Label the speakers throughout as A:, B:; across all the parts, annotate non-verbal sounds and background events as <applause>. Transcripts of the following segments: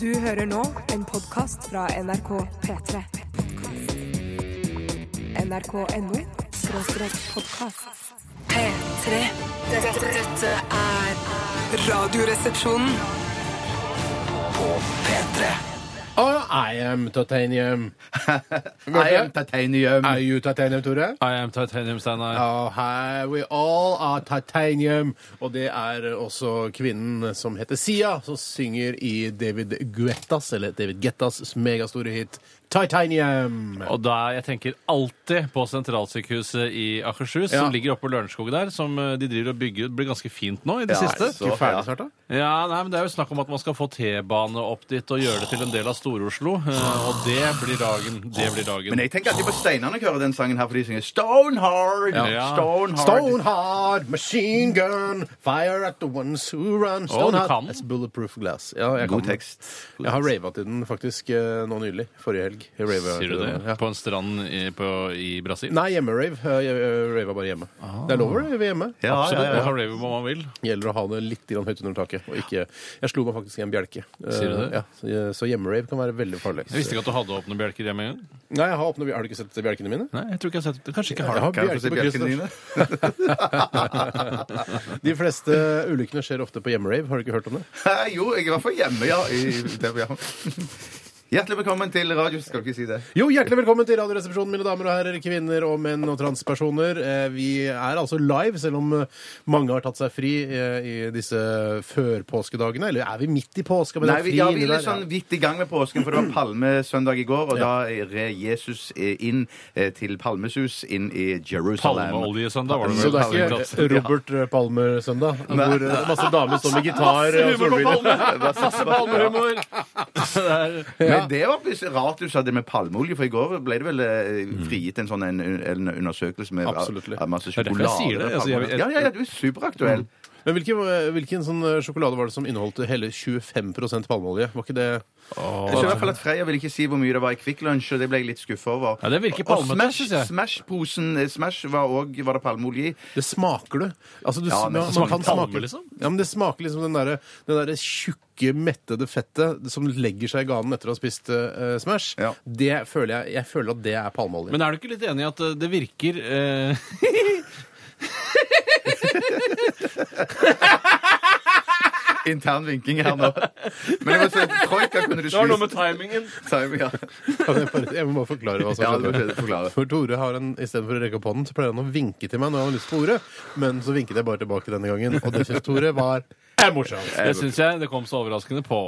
A: Du hører nå en podkast fra NRK P3. NRK.no skråstrek podkast. P3. Dette, dette er Radioresepsjonen.
B: Oh, I am <laughs> titanium.
C: I am titanium.
B: Are you titanium, Tore?
D: I am titanium, Steinar.
B: Oh, hi, we all are titanium. Og det er også kvinnen som heter Sia, som synger i David Guettas, eller David Gettas megastore hit Titanium.
D: Og da, jeg tenker alltid på sentralsykehuset i Akershus,
B: Ja.
D: som ligger oppe på Lørenskog der, som eh, de driver og bygger ut. Blir ganske fint nå i det siste.
C: så-
B: Ikke ferdig snart, da?
D: Ja, nei, men Det er jo snakk om at man skal få T-bane opp dit og gjøre det til en del av Stor-Oslo. eh, Og det blir dagen. Det blir dagen.
C: Men jeg tenker alltid på Steinar når jeg hører den sangen her, for de synger Stonehard.
D: Ja.
C: Stonehard.
B: Stone hard, machine gun, fire at the ones who run. Stone
D: du
B: hard
D: kan den.
B: as bulletproof glass. Ja, jeg
C: God
B: kan den.
C: tekst.
B: Jeg har rava til den faktisk eh, nå nylig. Forrige helg. Jeg ravet
D: Sier
B: til
D: du det?
B: den, ja.
D: På en strand i, på, i Brasil?
B: Nei, hjemmerave. Eh, Jeg eh, rava bare hjemme.
D: Ah.
B: Det er lov å rave hjemme.
C: Ja,
D: Absolutt.
C: ja,
D: Man
C: ja.
D: kan rave hvor man vil.
B: Gjelder å ha det litt grann høyt under taket. Og ikke, jeg slo meg faktisk i en bjelke. Eh,
D: Sier du det?
B: Ja, så, eh, så hjemmerave kan være veldig farlig.
D: Jeg visste ikke at du hadde åpne bjelker hjemme engang.
B: Nei, jeg har, åpnet, bjel- har du ikke sett bjelkene
D: <laughs>
B: mine?
D: Nei, jeg tror ikke jeg har sett det. Kanskje ikke
B: Jeg
D: har det.
B: har
C: Kan jeg få se
B: bjelke på
C: bjelkene
B: kryss.
C: dine?
B: De fleste ulykkene skjer ofte på hjemmerave. Har du ikke hørt om det?
C: <laughs> Hæ, Jo, jeg er i hvert fall hjemme, ja. I, der, ja. <laughs> Hjertelig velkommen til radio. Skal ikke si det.
B: Jo, Hjertelig velkommen til Radioresepsjonen, mine damer og herrer, kvinner og menn og transpersoner. Eh, Vi er altså live, selv om eh, mange har tatt seg fri eh, i disse førpåskedagene. Eller er vi midt i påska? Men
C: Nei,
B: det er
C: vi,
B: fri
C: ja, vi
B: inni
C: er litt sånn
B: der.
D: liksom-
B: ja.
C: vidt i gang med påsken, for
B: <clears throat>
C: det var palmesøndag i går, og da red Jesus inn eh, til palmesus inn i Jerusalem.
D: Palmeoljesøndag var det
B: Så
D: vel.
B: det er ikke Robert Palmer-søndag, hvor eh, masse damer står med gitar og solbriller? <laughs>
D: Palmehumor! Det er-
C: Men det var vis- rart du sa det med palmeolje, for i går ble det vel eh, frigitt en sånn en, en undersøkelse med
B: Absolutt.
C: av masse
D: er derfor jeg
C: sjokolade.
D: sier Mm. det,
C: og
D: altså, jeg- Mm.
C: palmeolje. ja, ja, ja, du er superaktuell.
B: Men hvilken, hvilken sånn eh, sjokolade var det som inneholdt hele 25 palmeolje? Var ikke det
C: Jeg så i hvert fall at Freya ville ikke si hvor mye det var i Kvikk Lunsj, og det ble jeg litt skuffa over.
D: Ja, det virker
C: Og- og
D: palmete,
C: Smash-
D: synes jeg.
C: Smash-posen eh, Smash var òg Var det palmeolje i?
B: Det smaker du. Altså, du
C: Ja, men
B: man- man
C: det
D: smaker
B: kan
D: palme,
B: smake-
D: liksom.
B: Ja, men det smaker liksom den derre den der tjukke, mettede fettet som legger seg i ganen etter å ha spist eh, Smash.
C: Ja.
B: Det føler jeg Jeg føler at det er palmeolje.
D: Men er du ikke litt enig i at eh, det virker eh,
C: Intern vinking her nå. Men jeg må si, troika kunne du spist.
D: timingen.
C: Time,
D: <laughs>
C: ja.
B: Kan jeg, bare, <laughs> jeg må bare forklare hva som
C: ja, det må
B: skjedde.
C: jeg forklare.
B: For Tore har en, Istedenfor å rekke opp hånden så pleier han å vinke til meg når han har lyst på ordet. Men så vinket jeg bare tilbake denne gangen, og det syns Tore var er morsomt.
D: Det syns jeg det kom så overraskende på.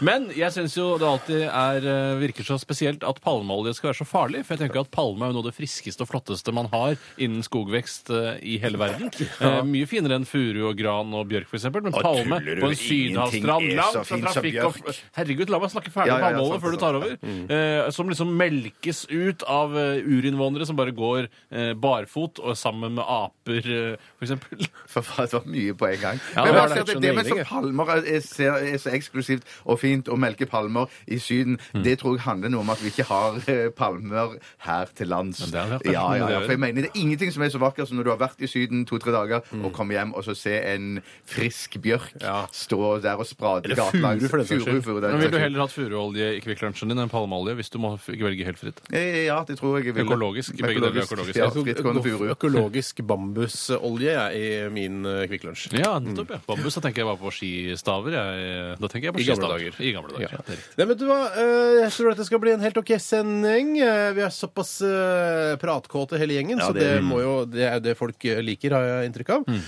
D: Men jeg syns jo det alltid er, eh, virker så spesielt at palmeolje skal være så farlig. For jeg tenker at palme er jo noe av det friskeste og flotteste man har innen skogvekst eh, i hele verden. Eh, mye finere enn furu og gran og bjørk, f.eks. Men palme
C: tuller du?
D: på en
C: Ingenting
D: sydhavsstrand
C: er
D: langt
C: så
D: fra
C: fint som
D: trafikk og
C: bjørk.
D: Herregud, la meg snakke ferdig
C: Ja,
D: om
C: ja, Mm. ja,
D: palmeolje
C: sant,
D: før du
C: sant,
D: tar over. Eh, som liksom melkes ut av eh, urinnvånere som bare går eh, barfot og sammen med aper, eh, for f.eks.
C: For faen, det var mye på en gang.
D: Ja,
C: men
D: det
C: bare
D: var
C: si
D: det.
C: at det,
B: Skjønner
C: det med
B: ingenting,
C: så
B: jeg.
C: palmer er, er, ser- er så eksklusivt og fint å melke palmer i Syden, det tror jeg handler noe om at vi ikke har eh, palmer her til lands.
D: Men det har vært det.
C: ja, ja, ja,
D: Det er-
C: for jeg mener det er ingenting som er så vakkert som når du har vært i Syden to-tre dager og kommer hjem og så ser en frisk bjørk
B: Ja.
C: stå der og sprade
B: Eller furu, for den saks skyld.
C: furu, den
D: Men Vil du
C: saks skyld.
D: heller hatt furuolje i Kvikk-lunsjen din enn palmeolje hvis du må f- velge helt fritt?
C: Eh, Ja, det tror jeg jeg vil.
D: Økologisk, begge deler er økologisk.
C: Ja,
B: Jeg tok
C: frittgående furu.
B: Økologisk bambusolje jeg, i min eh, Kvikk Lunsj.
D: Ja, nettopp. ja. Bambus, da tenker jeg bare på skistaver. Jeg. Da tenker jeg på
B: Mm. I gamle
D: skistaver.
B: dager.
D: I gamle dager. Ja. det er riktig.
B: Nei, men du hva, eh, jeg tror dette skal bli en helt ok sending. Eh, Vi er såpass eh, pratkåte hele gjengen, så det,
C: det-
B: må jo, det er det folk eh, liker, har jeg inntrykk av.
D: Mm.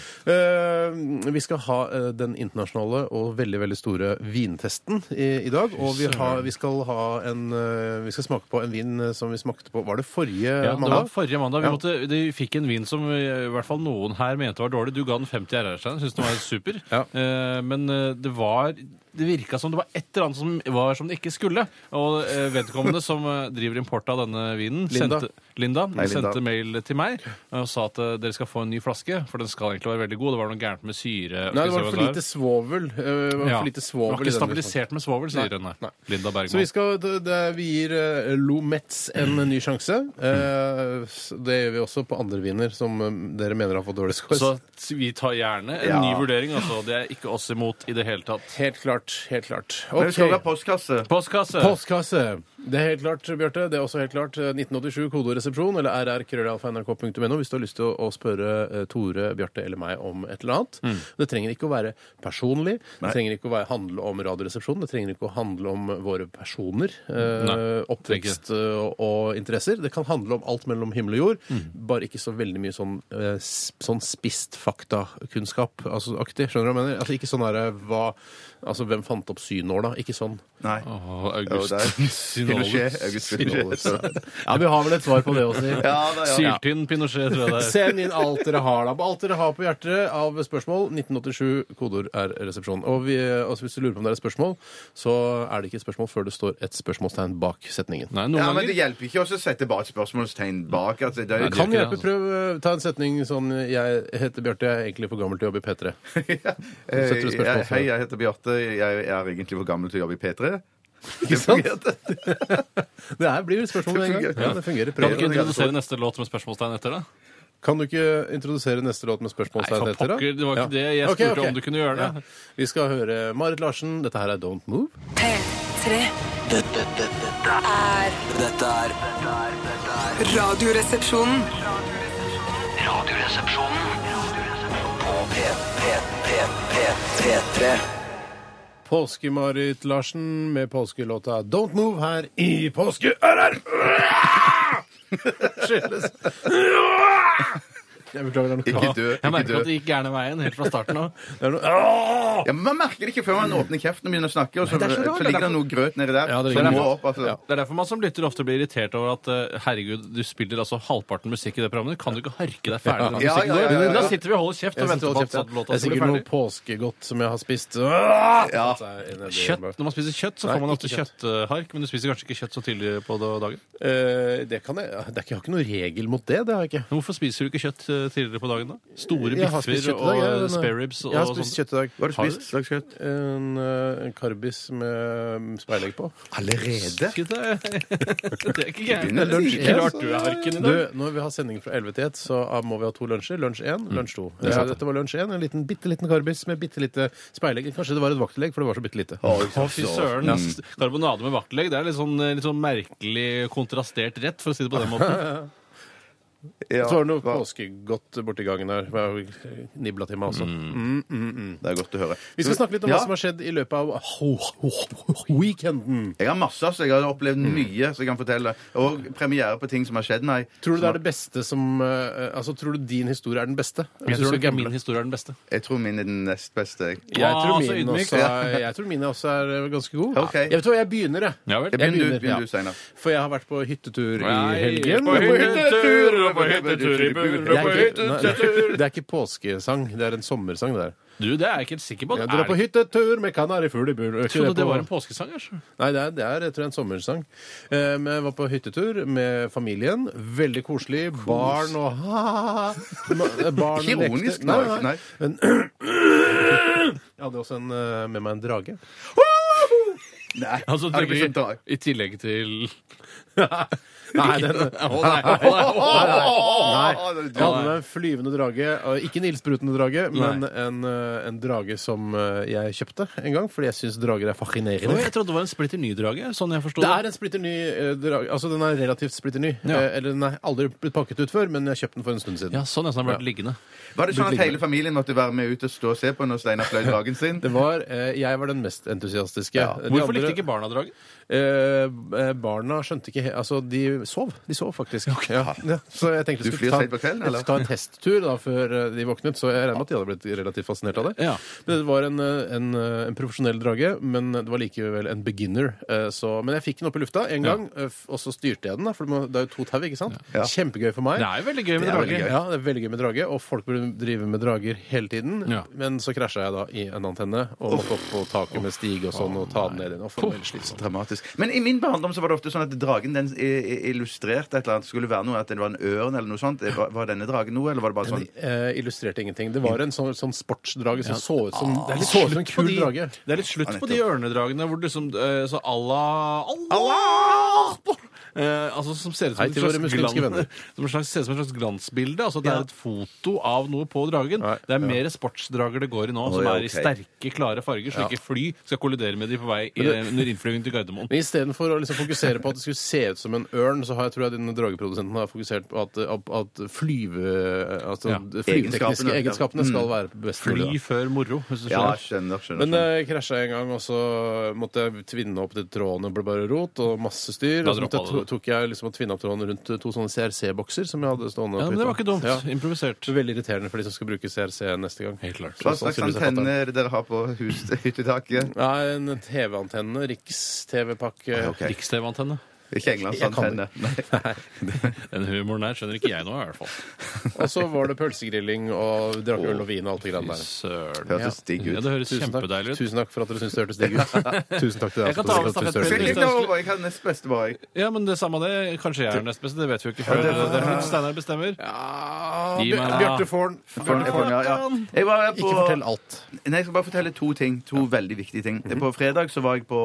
B: Eh, vi skal ha eh, den internasjonale og veldig veldig store vintesten i, i dag. Og vi, har, vi, skal ha en, eh, vi skal smake på en vin eh, som vi smakte på Var det forrige
D: Ja, det var
B: mandag?
D: forrige mandag. Vi,
B: Ja.
D: måtte, de fikk en vin som eh, i hvert fall noen her mente var dårlig. Du ga den 50 RR, Stein. Syns den var super.
B: <laughs> Ja.
D: Eh, men eh, det var det virka som det var et eller annet som var som det ikke skulle. Og eh, vedkommende som eh, driver import av denne vinen,
B: Linda.
D: sendte, Linda,
C: Hei, Linda.
D: sendte mail til meg og sa at eh, dere skal få en ny flaske, for den skal egentlig være veldig god. Det var noe gærent med syre. og
B: Nei, det
D: skal
B: var
D: se hva
B: for lite svovel. eh, det var
D: Ja.
B: for lite svovel
D: Det var
B: i
D: ikke
B: den.
D: stabilisert med svovel, sier hun.
B: nei.
D: Nei. Linda
B: Så vi,
D: Bergman.
B: skal, det, det, vi gir eh, Lo Metz en ny sjanse. Eh, s- det gjør vi også på andre viner som eh, dere mener har fått dårlig score.
D: Så vi tar gjerne en
C: Ja.
D: ny vurdering, altså. Det er ikke oss imot i det hele tatt.
B: Helt klart. klart. Helt klart.
C: Men vi skal
B: Ok.
C: ha postkasse.
D: Postkasse.
B: Postkasse. Det er helt klart, Bjarte. Det er også helt klart. 1987, kodoresepsjon eller rrkrøllalfa.nrk.no hvis du har lyst til å, å spørre eh, Tore, Bjarte eller meg om et eller annet. Det trenger ikke å være personlig. Det trenger ikke å være, handle om Radioresepsjonen. Det trenger ikke å handle om våre personer, eh,
D: Nei,
B: oppvekst eh, og interesser. Det kan handle om alt mellom himmel og jord, bare ikke så veldig mye sånn, eh, s- sånn spist faktakunnskap altså, aktig. Skjønner du hva jeg mener? Altså, ikke sånn derre hva Altså, hvem fant opp synåla? Ikke sånn.
C: Nei.
D: Åh,
C: Jo,
D: August.
C: det er- <laughs>
D: Synolis.
C: Pinochet, August Pinochet.
B: Ja, vi har vel et svar på det også.
C: Ja, da, ja.
D: Syltynn Pinochet, tror jeg det er.
B: Send inn alt dere har da. Alt dere har på hjertet av spørsmål. 1987, kodeord er resepsjon. Og vi, altså hvis du lurer på om det er et spørsmål, så er det ikke et spørsmål før det står et spørsmålstegn bak setningen.
D: Nei, noen
C: Ja, men Det
D: ganger
C: hjelper ikke også å sette bare et spørsmålstegn bak. Altså, det er jo
D: Nei, det-
B: Kan
D: ikke
B: hjelpe.
D: altså.
B: Prøv eh, ta en setning sånn Jeg heter Bjarte, jeg er egentlig for gammel til å jobbe i P3.
C: <laughs> Eh,
B: setter du spørsmål,
C: jeg-
B: så-
C: Hei, jeg heter Bjarte. Jeg er egentlig for gammel til å jobbe i P3.
B: Ikke
C: <laughs>
B: sant? Det her blir et spørsmål med en gang.
C: fungerer.
B: Ja, det fungerer.
D: Kan du ikke
B: Prøv.
D: introdusere neste låt med spørsmålstegn etter det?
B: Kan du ikke introdusere neste låt med
D: Nei,
B: spørsmålstegn
D: for
B: etter? da?
D: pokker, det var ikke det. Jeg
B: Ok,
D: spurte
B: ok.
D: om du kunne gjøre det.
B: Ja. Vi skal høre Marit Larsen. Dette her er Don't Move.
A: P3
E: Dette, dette, dette,
A: er
E: dette er dette er- dette er
A: Radioresepsjonen.
E: Radioresepsjonen på P, P, P, P, P3.
B: Påske-Marit Larsen med påskelåta Don't Move her i Påske-RR! <laughs> Skyldes Jeg beklager, det er noe
C: Ikke dø.
D: Jeg
C: Ikke
D: merker at
C: dø.
D: det gikk gærne veien helt fra starten av.
B: Det er noe
C: Ja, men Man merker det ikke før man åpner kjeften og begynner å snakke, og så,
B: Nei, det er så rart.
C: så ligger det noe grøt nedi der.
B: Ja, det
C: så
B: ligger
C: det må
B: noe.
C: opp, altså.
B: Ja.
D: Det er derfor man som lytter ofte blir irritert over at eh, herregud, du spiller altså halvparten musikk i det programmet. Kan du ikke harke deg ferdig når
C: Ja, ja,
D: musikken
C: ja,
D: går?
C: ja, ja.
D: Da sitter vi og holder kjeft og
B: Jeg
D: venter
B: sitter
D: på
B: og
D: at at
B: kjefter. Det er
D: låta skal bli
B: sikkert noe
D: ferdig.
B: påskegodt som jeg har spist. Altså,
C: Ja.
D: Kjøtt. Når man spiser kjøtt, så får
B: Nei,
D: man ofte
B: ikke kjøtt.
D: kjøtthark, men du spiser kanskje ikke kjøtt så tidlig på da- dagen.
B: Eh, Det kan jeg, det er ikke, jeg har ikke noen regel mot det. det har jeg ikke.
D: Men hvorfor spiser du ikke kjøtt eh, tidligere på dagen, da? Store
B: Jeg har spist
D: biffer
B: kjøtt i dag,
D: og
B: jeg, men-
D: spareribs
B: Jeg har
D: og
B: spist
D: sånn.
B: kjøtt i dag.
C: Hva har du spist? Slags kjøtt?
B: En, eh, en karbis med mm, speilegg på.
C: Allerede?
D: Ikke det? det er ikke gærent.
C: begynner
D: Det er
C: lunsj.
D: ikke rart du er harken
B: Du,
D: i dag. Mm.
B: når vi har sending fra 11 til 1, så ah, må vi ha to lunsjer. Lunsj 1, lunsj 2. Ja, dette var lunsj 1, en liten, bitte liten karbis med bitte lite speilegg. Kanskje det var et vaktelegg, for det var så bitte lite.
D: Å, fy søren. Karbonade med vaktelegg, det er litt sånn, litt sånn merkelig kontrastert rett, for å si det på den måten.
C: Ja,
B: Så var det noe
C: hva-
B: påskegodt borti gangen der. Nibla til meg også.
C: Det er godt å høre.
B: Vi skal snakke litt om
C: Mm. Ja.
B: hva som har skjedd i løpet av ho- ho- ho- weekenden.
C: Jeg har masse, altså. Jeg har opplevd
B: Mm.
C: mye som jeg kan fortelle. Og premiere på ting som har skjedd meg.
B: Tror du det er det beste som eh, Altså, tror du din historie er den beste? Hvis
D: Jeg
B: du
D: tror
B: skal
D: ikke
B: gamble.
D: min historie er den beste.
C: Jeg tror min er den nest beste. jeg.
B: Jeg
D: Å,
B: tror
D: så
B: min
D: ydmyk.
B: også er, jeg tror mine også er eh, ganske gode.
C: Ok.
B: Jeg vet hva, jeg begynner, jeg.
D: Ja vel.
C: Jeg begynner,
B: Jeg
C: du, begynner
B: ja.
C: du Steinar.
B: For jeg har vært på hyttetur i
D: Nei,
B: helgen.
D: På
B: Jeg-
D: hyttetur og på hyttetur i bur
B: Det
D: og
B: er,
D: på
B: ikke, nei, det
D: hyttetur.
B: er- det er ikke påskesang, det er en sommersang. det der.
D: Du, det er jeg ikke helt sikker på.
B: Jeg
D: Er
B: drar på
D: det-
B: hyttetur med kanarifugl i bur. Er
D: Jeg
B: ikke
D: trodde
B: det
D: det
B: på-
D: var en påskesang, altså.
B: Nei, det er, det er jeg tror jeg, en sommersang. Eh, Men jeg var på hyttetur med familien. Veldig koselig. Barn og ha-ha-ha. eh, Barn
C: Ikke ironisk,
B: lekte-
C: nei. nei.
B: Jeg hadde også en, eh, med meg en drage.
C: nei.
D: Altså,
C: Har du ikke sånn
D: tenker,
C: sett
D: I tillegg til <laughs>
B: Nei, den,
D: Å, <laughs> nei, å, nei, å, nei.
B: Nei, jeg hadde med en flyvende drage. og Ikke en ildsprutende drage, men en, eh, en drage som eh, jeg kjøpte en gang, fordi jeg syns drager er
D: Oi,
B: fascinerende.
D: Jeg trodde det var en splitter ny drage, sånn jeg forsto
B: Det er en splitter ny eh, drage. Altså, den er relativt splitter ny.
D: Ja.
B: Eh, Eller den er aldri blitt pakket ut før, men jeg kjøpte den for en stund siden.
D: Ja, sånn jeg som har blitt liggende.
C: Var det sånn at hele familien måtte være med ut og stå og se på når Steinar fløy dragen sin?
B: <laughs> Det var, eh, Jeg var den mest entusiastiske. De
D: Hvorfor
B: andre-
D: likte ikke barna dragen?
B: Eh, eh, barna skjønte ikke he- Altså, de sov. De sov faktisk. Ja, ja. Så jeg tenkte
C: Du
B: jeg skulle
C: flyr
B: ta,
C: sent på kvelden, eller?
B: jeg skulle ta en testtur da, før eh, de våknet, så jeg regner med at de hadde blitt relativt fascinert av det.
D: Ja.
B: Men det var en, eh, en, eh, en profesjonell drage, men det var likevel en beginner. eh, Så, men jeg fikk den opp i lufta en gang, eh, f- og så styrte jeg den, da, for det må- det er jo to tau, ikke sant? Kjempegøy for meg.
D: Det er jo veldig gøy med
C: Det er veldig
D: drage.
C: gøy.
B: Ja, det er veldig gøy med drage, og folk burde drive med drager hele tiden.
D: Ja.
B: Men så krasja jeg da i en antenne og måtte opp på taket med stig og sånn og ta den ned igjen. Å, var for veldig slitsomt.
C: Dramatisk. Men i min barndom så var det ofte sånn at dragen den i- i- illustrerte et eller annet. Skulle være noe, at det var en ørn eller noe sånt. Det Var, var denne dragen noe, eller var det bare sånn?
B: Eh, illustrerte ingenting. Det var en sånn, sånn sportsdrage som så ut som
D: Det er
B: Ah,
D: litt
B: så ut som
D: slutt
B: en
D: på
B: kul
D: de-
B: drage.
D: Det er litt slutt
C: Ja,
D: på de ørnedragene hvor det liksom eh, Så Allah Eh, altså som ser ut som
B: Hei
D: et
B: til
D: slags
B: våre muslimske
D: glan-
B: venner.
D: <laughs> Som en slags, ser ut som et slags glansbilde. Altså at det er et foto av noe på dragen.
B: Nei,
D: det er mer sportsdrager det går i nå,
C: Å,
D: som
C: ja,
D: er i
C: ok.
D: sterke, klare farger, så ikke fly skal kollidere med de på vei i, under innflygning til Gardermoen.
B: Men istedenfor å liksom fokusere på at det skulle se ut som en ørn, så har jeg, tror jeg denne drageprodusenten har fokusert på at, at, at flyve... Altså,
D: Ja.
B: de flygetekniske
C: Egenskapene, ja.
B: egenskapene skal være best
D: Fly
B: mulig. da.
D: før moro. Hvis du
C: Ja,
D: skjønner.
C: skjønner, skjønner.
B: Men eh,
C: skjønner.
B: jeg krasja en gang, og så måtte jeg tvinne opp de trådene. Det ble bare rot og masse styr.
D: Da
B: Og så måtte jeg,
D: droppa du det.
B: tok jeg liksom å tvinne opp trådene rundt to sånne CRC-bokser som jeg hadde stående.
D: ja,
B: på
D: men det var
B: hytta.
D: ikke dumt.
B: Ja.
D: Improvisert.
B: Det er Veldig irriterende for de som skal bruke CRC neste gang.
D: Helt klart.
C: Hva slags
B: sannsynligvis jeg Mm.
C: antenne er det dere har på hus, hyttetaket?
B: Ja, en TV-antenne. Riks-TV-pakke.
C: Ok.
D: Rikstv-antenne.
C: Ikke Englands
B: Jeg kan
C: antenne.
D: Den humoren der skjønner ikke jeg nå, i hvert fall.
B: Og så var det pølsegrilling og drakk øl og vin og alt det grann der.
D: Søren.
C: Hørtes digg
D: Ja,
C: ut.
D: det høres
B: Tusen takk.
D: kjempedeilig ut.
B: Tusen takk for at dere syntes det hørtes digg ut. <laughs> Tusen takk til deg.
D: Jeg kan ta
B: Aspen,
D: over
B: for at du syntes det hørtes digg
D: stafettpinnen.
C: Fylling
B: ut.
C: det over, jeg hadde nest beste boy.
D: Ja, men det samme det. Kanskje jeg er nest beste, det vet vi jo ikke før det, det, Steinar bestemmer.
B: Ja,
D: Gi meg-
B: Bjør- Bjarte Forn.
C: Fylling,
B: Bjarte Forn.
C: ja, ja. Jeg var på,
B: Ikke fortell alt.
C: Nei, jeg skal bare fortelle to ting. To veldig viktige ting.
D: Mhm.
C: På fredag så var jeg på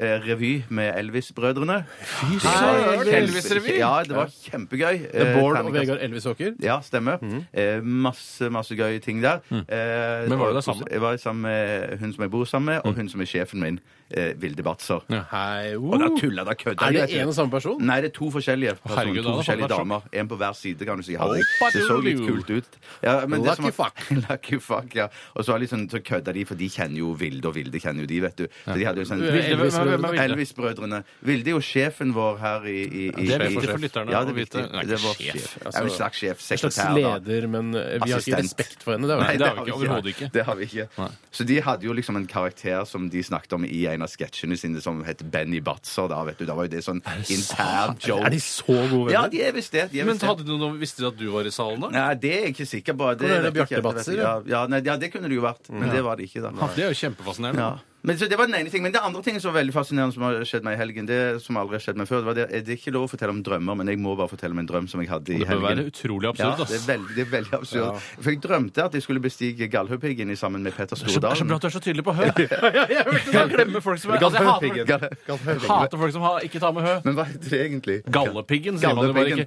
C: eh, revy med
D: Ah,
C: Elvis-brødrene. Fy
D: søren, Elvis-revy!
C: Ja, det var kjempegøy.
B: Det er
C: Eh,
B: Bård og
C: terningkast-
B: Vegard Elvisåker.
C: Ja, stemmer. Eh, masse masse gøye ting der. Eh,
D: Mhm. Men var du
C: og-
D: der sammen? Mhm.
C: Jeg var sammen med hun som jeg bor sammen med, og hun som er sjefen min, eh, Vilde Batzer.
B: Hei,
C: Og da
B: uh.
C: tuller da kødder
B: Er det
C: jeg ikke.
B: en og samme person?
C: Nei, det er to forskjellige personer,
D: herregud, da
C: to
D: hadde
C: forskjellige
D: folk vært
C: damer. En på hver side, kan du si. Hadde.
D: Hoppa,
C: Det så litt
D: doodle-doo.
C: kult ut. Ja, men det som
B: Lucky
C: var- <laughs> Lucky fuck, ja. Og så, var det litt sånn, så kødda de, for de kjenner jo Vilde, og Vilde kjenner jo de, vet du. Så de hadde jo sånn
B: Vilde, hvem er- hvem er
D: Vilde?
C: Elvis-brødrene. Vilde er jo sjefen vår her i, i, i
D: det er
C: i-
D: viktig for lytterne
C: Ja, det
D: å
C: er
D: vite.
C: viktig.
D: Nei,
C: Det er vår
D: sjef.
C: sjef.
B: Altså,
C: Ja, en slags sjef.
B: En slags
C: Sekretær, da.
B: leder, men eh, vi har ikke
C: Assistent.
B: respekt for henne. Det er
C: Nei,
B: vel
D: det
B: det.
D: har vi ikke, overhodet ikke.
C: Det har vi ikke. Så de hadde jo liksom en karakter som de snakket om i en av sketsjene sine, som het Benny Batzer. Da vet du, da var jo det sånn intern joke.
B: Er de så gode venner?
C: Ja, de er visst det. De er
D: Men
C: visst det.
D: hadde du noe, visste de at du var i salen da?
C: Nei, det er jeg ikke sikker på. Det,
B: Hvordan er det
C: vet jeg ikke.
B: Bjarte Batzer,
C: Ja, ja, nei, ja, det kunne det jo vært, men det var det ikke. da
D: Det er jo kjempefascinerende.
C: ja. Men så Det var den ene ting, men det andre ting som var veldig fascinerende som har skjedd meg i helgen, det som aldri har skjedd meg før, det var det, det er ikke lov å fortelle om drømmer, men jeg må bare fortelle om en drøm som jeg hadde i
D: Det bør være
C: helgen.
D: utrolig
C: Ja,
D: absurd,
C: det er
D: ass.
C: veldig, det er veldig absurd. For jeg drømte at jeg skulle bestige Galdhøpiggen i sammen med Petter
D: Det er så
C: Stordalen.
D: bra at du er så tydelig
C: <laughs>
D: på hø. Jeg glemmer folk som er altså, jeg hater,
C: Galdhøpiggen.
D: hater folk som har, ikke tar med hø.
C: Men hva heter det egentlig?
D: Gallepiggen sier man jo bare ikke.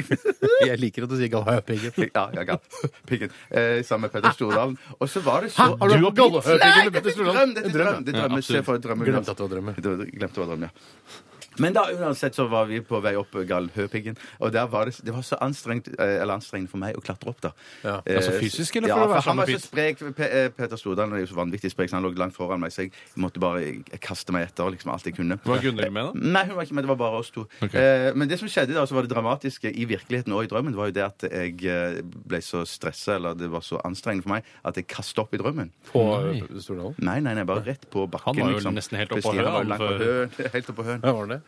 C: <laughs>
B: Jeg liker at du sier Gallhaugpiggen.
C: Ja, ja, <laughs> Galdhøpiggen. Eh, sammen med Petter Stordalen. Og så var det så
B: Har du hatt
C: Nei,
B: Gallhaugpiggen med
C: dette
B: Petter
C: er drøm!
B: Stordalen?
C: Dette er
B: En
C: drøm! Det er
D: Ja,
C: drøm. Se
D: absolutt.
C: for et drømme.
B: Glemte at det var drømme.
C: Det var- Glemte å drømme, ja. Men da, uansett så var vi på vei opp Galdhøpiggen, og der var det, det var så anstrengt eh, eller anstrengende for meg å klatre opp, da.
B: Ja.
C: Eh,
D: Altså fysisk, eller
C: ja,
D: for
C: for
D: å
C: sånn
D: være
C: han
D: sammen
C: var
D: med
C: så sprek, Pe- eh, Peter Stordalen er jo så vanvittig sprek, så han lå langt foran meg, så jeg måtte bare kaste meg etter liksom alt jeg kunne.
D: <laughs> Var Gunnhild med da?
C: <laughs> Nei, hun var ikke med, det var bare oss to.
D: Ok.
C: Eh, men det som skjedde da, så var det dramatiske i virkeligheten og i drømmen, var jo det at jeg eh, ble så stressa, eller det var så anstrengende for meg, at jeg kastet opp i drømmen.
B: På
D: Nei.
B: Stordalen?
C: Nei, nei, nei, bare rett på bakken.
D: Han var jo
C: liksom.
D: nesten helt oppå
C: Plutselig, han
D: høen
C: var jo langt på
D: før-
C: høen, <laughs> Helt oppå høen.
B: Ja, var det det?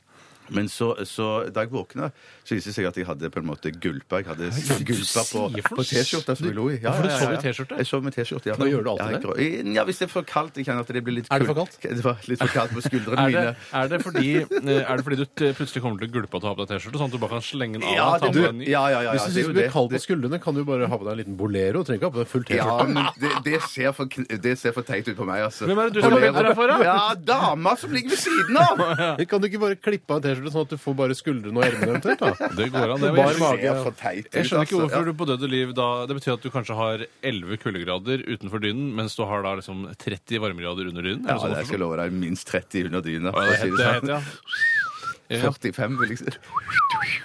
C: Men så, så da jeg våkna, så viste det seg at jeg hadde på en måte gulpa. Jeg hadde gulpa på,
D: sier for noe?
C: på T-skjorta som jeg lå i. Ja,
D: Hvorfor
C: ja,
D: sov
C: ja,
D: du i
C: ja.
D: T-skjorte?
C: Jeg sov med T-skjorte, ja.
B: Nå gjør du alltid
C: ja, det? Ja, hvis det er for kaldt. Jeg kjenner at det blir litt
B: Er det for
C: kul-
B: kaldt?
C: <laughs> Det var litt for kaldt på skuldrene
D: Er det,
C: mine.
D: er, det fordi, eh, er det fordi du t- plutselig kommer til å gulpe og ta på deg T-skjorte, sånn at du bare kan slenge den av?
C: Ja,
D: og ta
C: det,
D: på
C: du,
D: deg en ny?
C: ja, ja, ja, ja,
B: Hvis du syns
C: det er jo
B: det blir kaldt
C: Det-
B: på skuldrene, kan du jo bare ha på deg en liten bolero. Trenger ikke ha på deg full T-skjorte.
C: Ja, men det, det, ser for, det ser for teit ut på meg, altså.
D: Hvem er det du som
C: Kolleger.
D: venter deg for, da?
C: Ja, dama som ligger ved siden av!
B: Kan du ikke bare klippe av en T-skjorte sånn at du får bare skuldrene og ermene eventuelt? da?
C: <laughs>
D: Det går an, det.
B: Bar
D: Jeg-
B: mage.
C: Det ser for teit ut,
D: Jeg skjønner ikke
C: altså.
D: hvorfor du på døde liv da Det betyr at du kanskje har 11 kuldegrader utenfor dynen, mens du har da liksom 30 varmegrader under dynen?
C: Ja, det skal jeg love deg. Minst 30 under dyna.
D: Ja,
C: for å
D: det
C: si
D: heter,
C: det sånn.
D: det heter, ja.
C: 45 vil jeg si.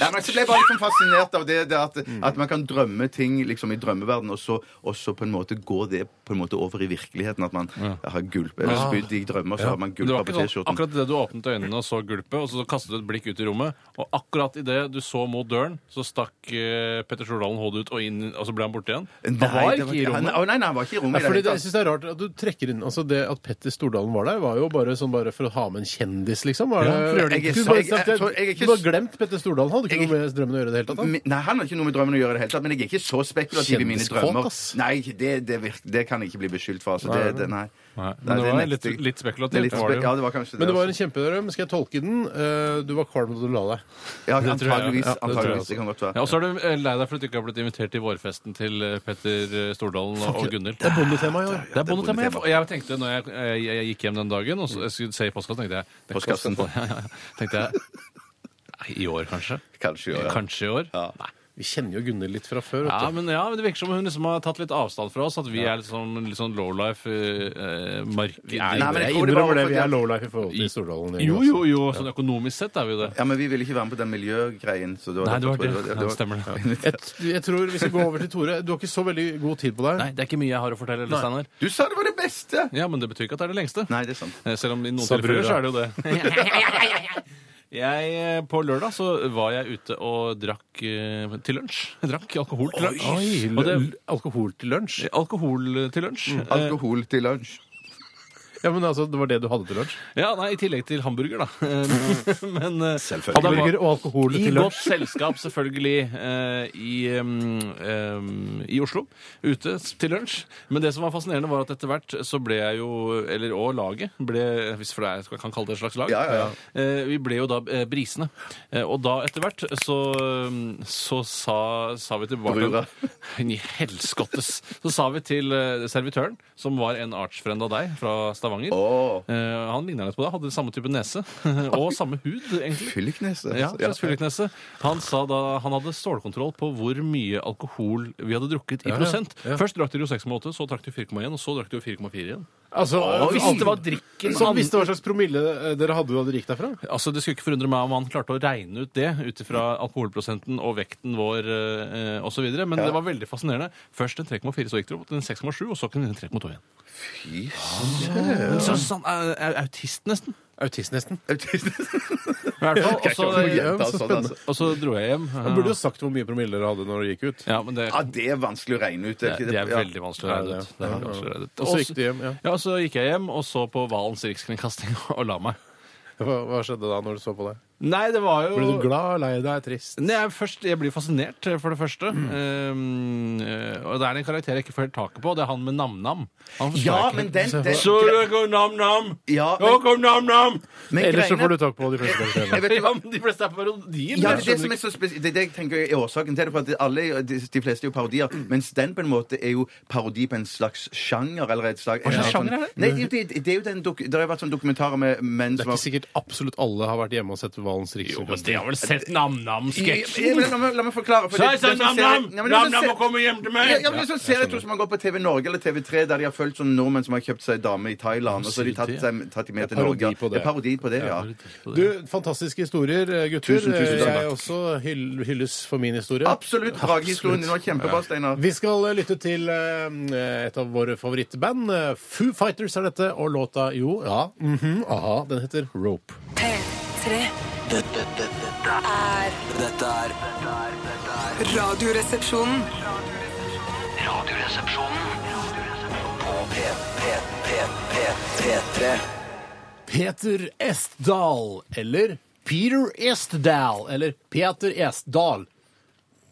C: Nei, men så ble jeg bare liksom fascinert av det, det at, at man kan drømme ting liksom i drømmeverden, og så, og så på en måte gå det på en måte over i virkeligheten. At man har gulp, eller spydd i drømmer, så har man
D: Men
C: gulpa
D: Ah. Det var
C: på
D: ikke sånn,
C: T-skjorten.
D: akkurat det du åpnet øynene og så gulpet, og så kastet du et blikk ut i rommet, og akkurat i det du så mot døren, så stakk eh, Petter Stordalen hodet ut og inn, og så ble han borte igjen.
C: Nei,
D: han var
C: det
D: ikke i
C: han-
D: rommet.
C: Å, Nei, nei, han var ikke i
B: Nei,
C: rommet. i
B: fordi
C: det
B: det,
C: hele
B: jeg synes det er rart at du trekker inn altså Det at Petter Stordalen var der, var jo bare sånn bare for å ha med en kjendis, liksom. Var det,
D: Ja, for å gjøre det
C: Jeg er
B: Du
C: så-
B: bare
C: jeg- jeg
B: sagt det-
C: tror- jeg er ikke
B: du har
C: s-
B: glemt Petter Stordalen. Hadde har ikke noe med drømmen å gjøre i det hele tatt? da?
C: Mi- Nei, han har ikke noe med drømmen å gjøre i det hele tatt, men jeg er ikke så spekulativ i mine
B: Kjendiskåt,
C: drømmer.
B: ass.
C: Nei, det, det, virk, det kan jeg ikke bli beskyldt for. Altså. Det, det, nei.
D: Nei, men
C: Nei, er
D: det var
C: nekter
D: litt-
C: jeg.
D: litt spekulativt,
C: Det er litt
D: var det
C: spe-
D: jo.
C: Ja, det var kanskje det.
B: Men det var en
C: altså.
B: kjempedrøm. Skal jeg tolke den? Eh, Du var kvalm da du la deg.
C: Ja,
D: <laughs> Det tror
C: antageligvis.
D: jeg, ja. Ja, det tror jeg
C: antageligvis,
D: også.
C: det kan godt være.
D: Ja, og så er du eh, lei deg for at du ikke har blitt invitert til vårfesten til eh, Petter eh, Stordalen og og Gunhild.
B: Det er bondetema i år.
D: Det er bondetema.
C: bondetema.
D: Og jeg tenkte når jeg, jeg, jeg gikk hjem den dagen og så, jeg skulle se i postkassa, tenkte jeg det er
C: Postkassen.
D: postkassa. <laughs> Ja, ja, ja. Tenkte jeg nei, I år, kanskje?
C: Kanskje, ja.
D: Kanskje i år?
C: Ja.
D: Nei.
B: Vi kjenner jo Gunhild litt fra før.
D: Ja
B: vet du.
D: men, ja, men det virker som hun liksom har tatt litt avstand fra oss. At vi er litt sånn, litt sånn lowlife eh,
C: Nei,
D: marked...
C: men jeg
B: jeg
C: tror det var
B: innrømmer det.
C: fordi
B: Vi
C: at-
B: er lowlife i forhold til Stordalen. altså.
D: Jo, jo, jo. Sånn økonomisk sett er vi jo det.
C: Ja, men vi ville ikke være med på den miljøgreien. Så det var
D: Nei, det var
C: jeg
D: det.
C: tror
D: Nei, det stemmer
C: <laughs>
D: det.
B: Jeg, jeg tror Vi skal gå over til Tore. Du har ikke så veldig god tid på deg.
D: Nei, det er ikke mye jeg har å fortelle. eller, Steinar.
C: Du sa det var det beste!
D: Ja, men det betyr ikke at det er det lengste.
C: Nei, det er sant.
D: Eh, Selv om i noen
B: Sa
D: tilfeller
B: brura.
D: så er det jo det. <laughs> Jeg, eh, på lørdag så var jeg ute og drakk eh, til lunsj. Jeg drakk alkohol til lunsj.
B: Oi,
D: Og det,
B: l- alkohol til lunsj?
D: alkohol til lunsj. Eh,
C: Alkohol til lunsj.
B: Ja, men altså, Det var det du hadde til lunsj?
D: Ja, nei, I tillegg til hamburger, da. <laughs> Eh, Men, Selvfølgelig.
B: Hamburger og alkohol
D: I
B: til
D: godt
B: lunsj.
D: selskap, selvfølgelig, eh, i, em, em, i Oslo. Ute s- til lunsj. Men det som var fascinerende, var at etter hvert så ble jeg jo Eller og laget ble Hvis for det er, jeg kan kalle det et slags lag.
C: Ja, ja,
D: Eh, Vi ble jo da eh, brisene. Eh, Og da etter hvert så, em, så sa, sa vi til bartenderen
C: Brura.
D: <laughs> Ni helskottes! Så sa vi til eh, servitøren, som var en artsfrend av deg fra Stavanger
C: Åh.
D: Eh, Han ligna litt på deg, hadde samme type nese. <laughs> Og samme hud,
B: <laughs>
D: egentlig.
C: Fyllikneset.
D: Ja, Klaus Fyllikneset. Han sa da han hadde stålkontroll på hvor mye alkohol vi hadde drukket i
B: Ja, ja.
D: prosent.
B: Ja.
D: Først drakk dere jo 6,8, så drakk dere 4,1, og så drakk dere 4,4 igjen.
B: Altså,
D: Hvis det var drikken
B: Som
D: han-
B: visste hva slags promille eh, dere hadde da dere gikk derfra?
D: Altså, Det skulle ikke forundre meg om han klarte å regne ut det ut ifra alkoholprosenten og vekten vår eh, osv., men det var veldig fascinerende. Først en 3,4, så gikk dere opp til en 6,7, og så kunne dere en 3,2 igjen.
C: <laughs>
D: Men Så, sånn, eh, er autist, nesten.
B: Autist, nesten.
D: I
B: <laughs>
D: hvert fall. Og eh, så,
B: ikke
C: Ja,
B: så
C: sånn, altså.
D: og så dro jeg hjem.
B: Han burde jo sagt hvor mye promille dere hadde når dere gikk ut.
D: Ja, men det
C: Ja, det er vanskelig å regne ut.
D: Det,
C: ikke
D: det er
C: Ja.
D: veldig vanskelig å
B: Ja,
D: regne
B: det
D: ut.
B: er-
D: Det er
B: ja,
D: veldig
B: ja.
D: vanskelig å regne ut.
B: Og så gikk du hjem, ja.
D: Ja, så gikk jeg hjem og så på Valens rikskringkasting <laughs> og la meg.
B: Hva, hva skjedde da når du så på deg?
D: Nei, det var jo
B: Ble du glad, lei deg, trist?
D: Nei, jeg, først, jeg blir fascinert, for det første.
C: Mm.
D: Um, eh, og det er en karakter jeg ikke får helt taket på. Det er han med nam-nam. Han forstår
C: Ja,
D: jeg
C: men den, den
D: ikke. Så det går nam-nam!
C: Ja,
D: Nå kom nam-nam!
C: men
B: Ellers så
C: greiene-
B: får du tak på de fleste
C: <laughs>
B: karakterene.
C: Jeg vet
D: Ja, men de fleste er parodier.
C: Ja,
D: jeg
C: det er det
D: skjønner
C: som er
D: ikke.
C: så spes- det, er det jeg tenker er årsaken til det. For at alle, de, de fleste er jo parodier. Mens den på en måte er jo parodi på en slags sjanger. Eller et slag, Hva
D: slags sjanger er det?
C: Nei, det, er jo- det, det er jo den dok, Det har jo vært sånn dokumentarer med menn
B: Det er
C: som
B: ikke sikkert absolelt alle har vært hjemme og sett Valens
D: Jo, men
B: rikskringkasting.
D: de har vel sett
C: Ja, men
D: nam-nam-sketsjen?
C: La, meg- la meg forklare. for
D: Så
C: det-
D: jeg sa
C: det som ser-
D: nam-nam!
C: Ja, men det som
D: Nam-nam
C: ser-
D: må komme hjem til meg!
C: Ja, ja, men det er sånn serie jeg tror som har gått på TV Norge eller TV3, der de har fulgt sånne nordmenn som har kjøpt seg dame i Thailand, og så har de tatt, seg, tatt de med
B: Det
C: til
B: er parodi
C: Norge.
B: på det.
C: Det er parodi på det, ja.
B: Du, fantastiske historier, eh, gutter.
C: Tusen, tusen takk.
B: Jeg også hyll, hylles for min historie.
C: Absolutt. Dragehistorien din var kjempebra, Steinar.
B: Vi skal eh, lytte til eh, et av våre favorittband. Eh, Foo Fighters er dette, og låta jo, ja, mhm, aha, den heter Rope.
A: P3
E: Dette, dette, dette,
A: er
E: er- dette er dette er- dette er
A: Radioresepsjonen.
E: Radioresepsjonen på P, P, P, P, P3.
B: Peter Estdal, eller Peter Estdal, eller Peter Estdal.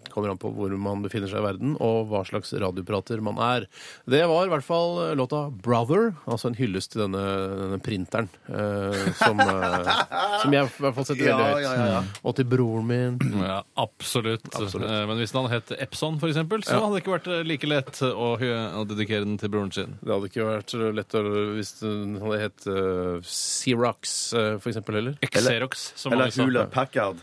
B: Kommer an på hvor man befinner seg i verden, og hva slags radioprater man er. Det var i hvert fall eh, låta 'Brother', altså en hyllest til denne, denne printeren. eh, som, eh, som jeg i hvert fall setter
C: Ja,
B: veldig høyt.
C: ja, ja, ja.
B: Og til broren min.
D: Ja, absolutt. Eh, Men hvis den hadde hett Epson, for eksempel, så hadde det ikke vært eh, like lett å, hø- å dedikere den til broren sin.
B: Det hadde ikke vært lett å- hvis den hadde hett uh, Xerox, eh, for eksempel, heller.
D: Xerox, som liksom-
C: Eller
D: mange sa.
C: Hula Packard.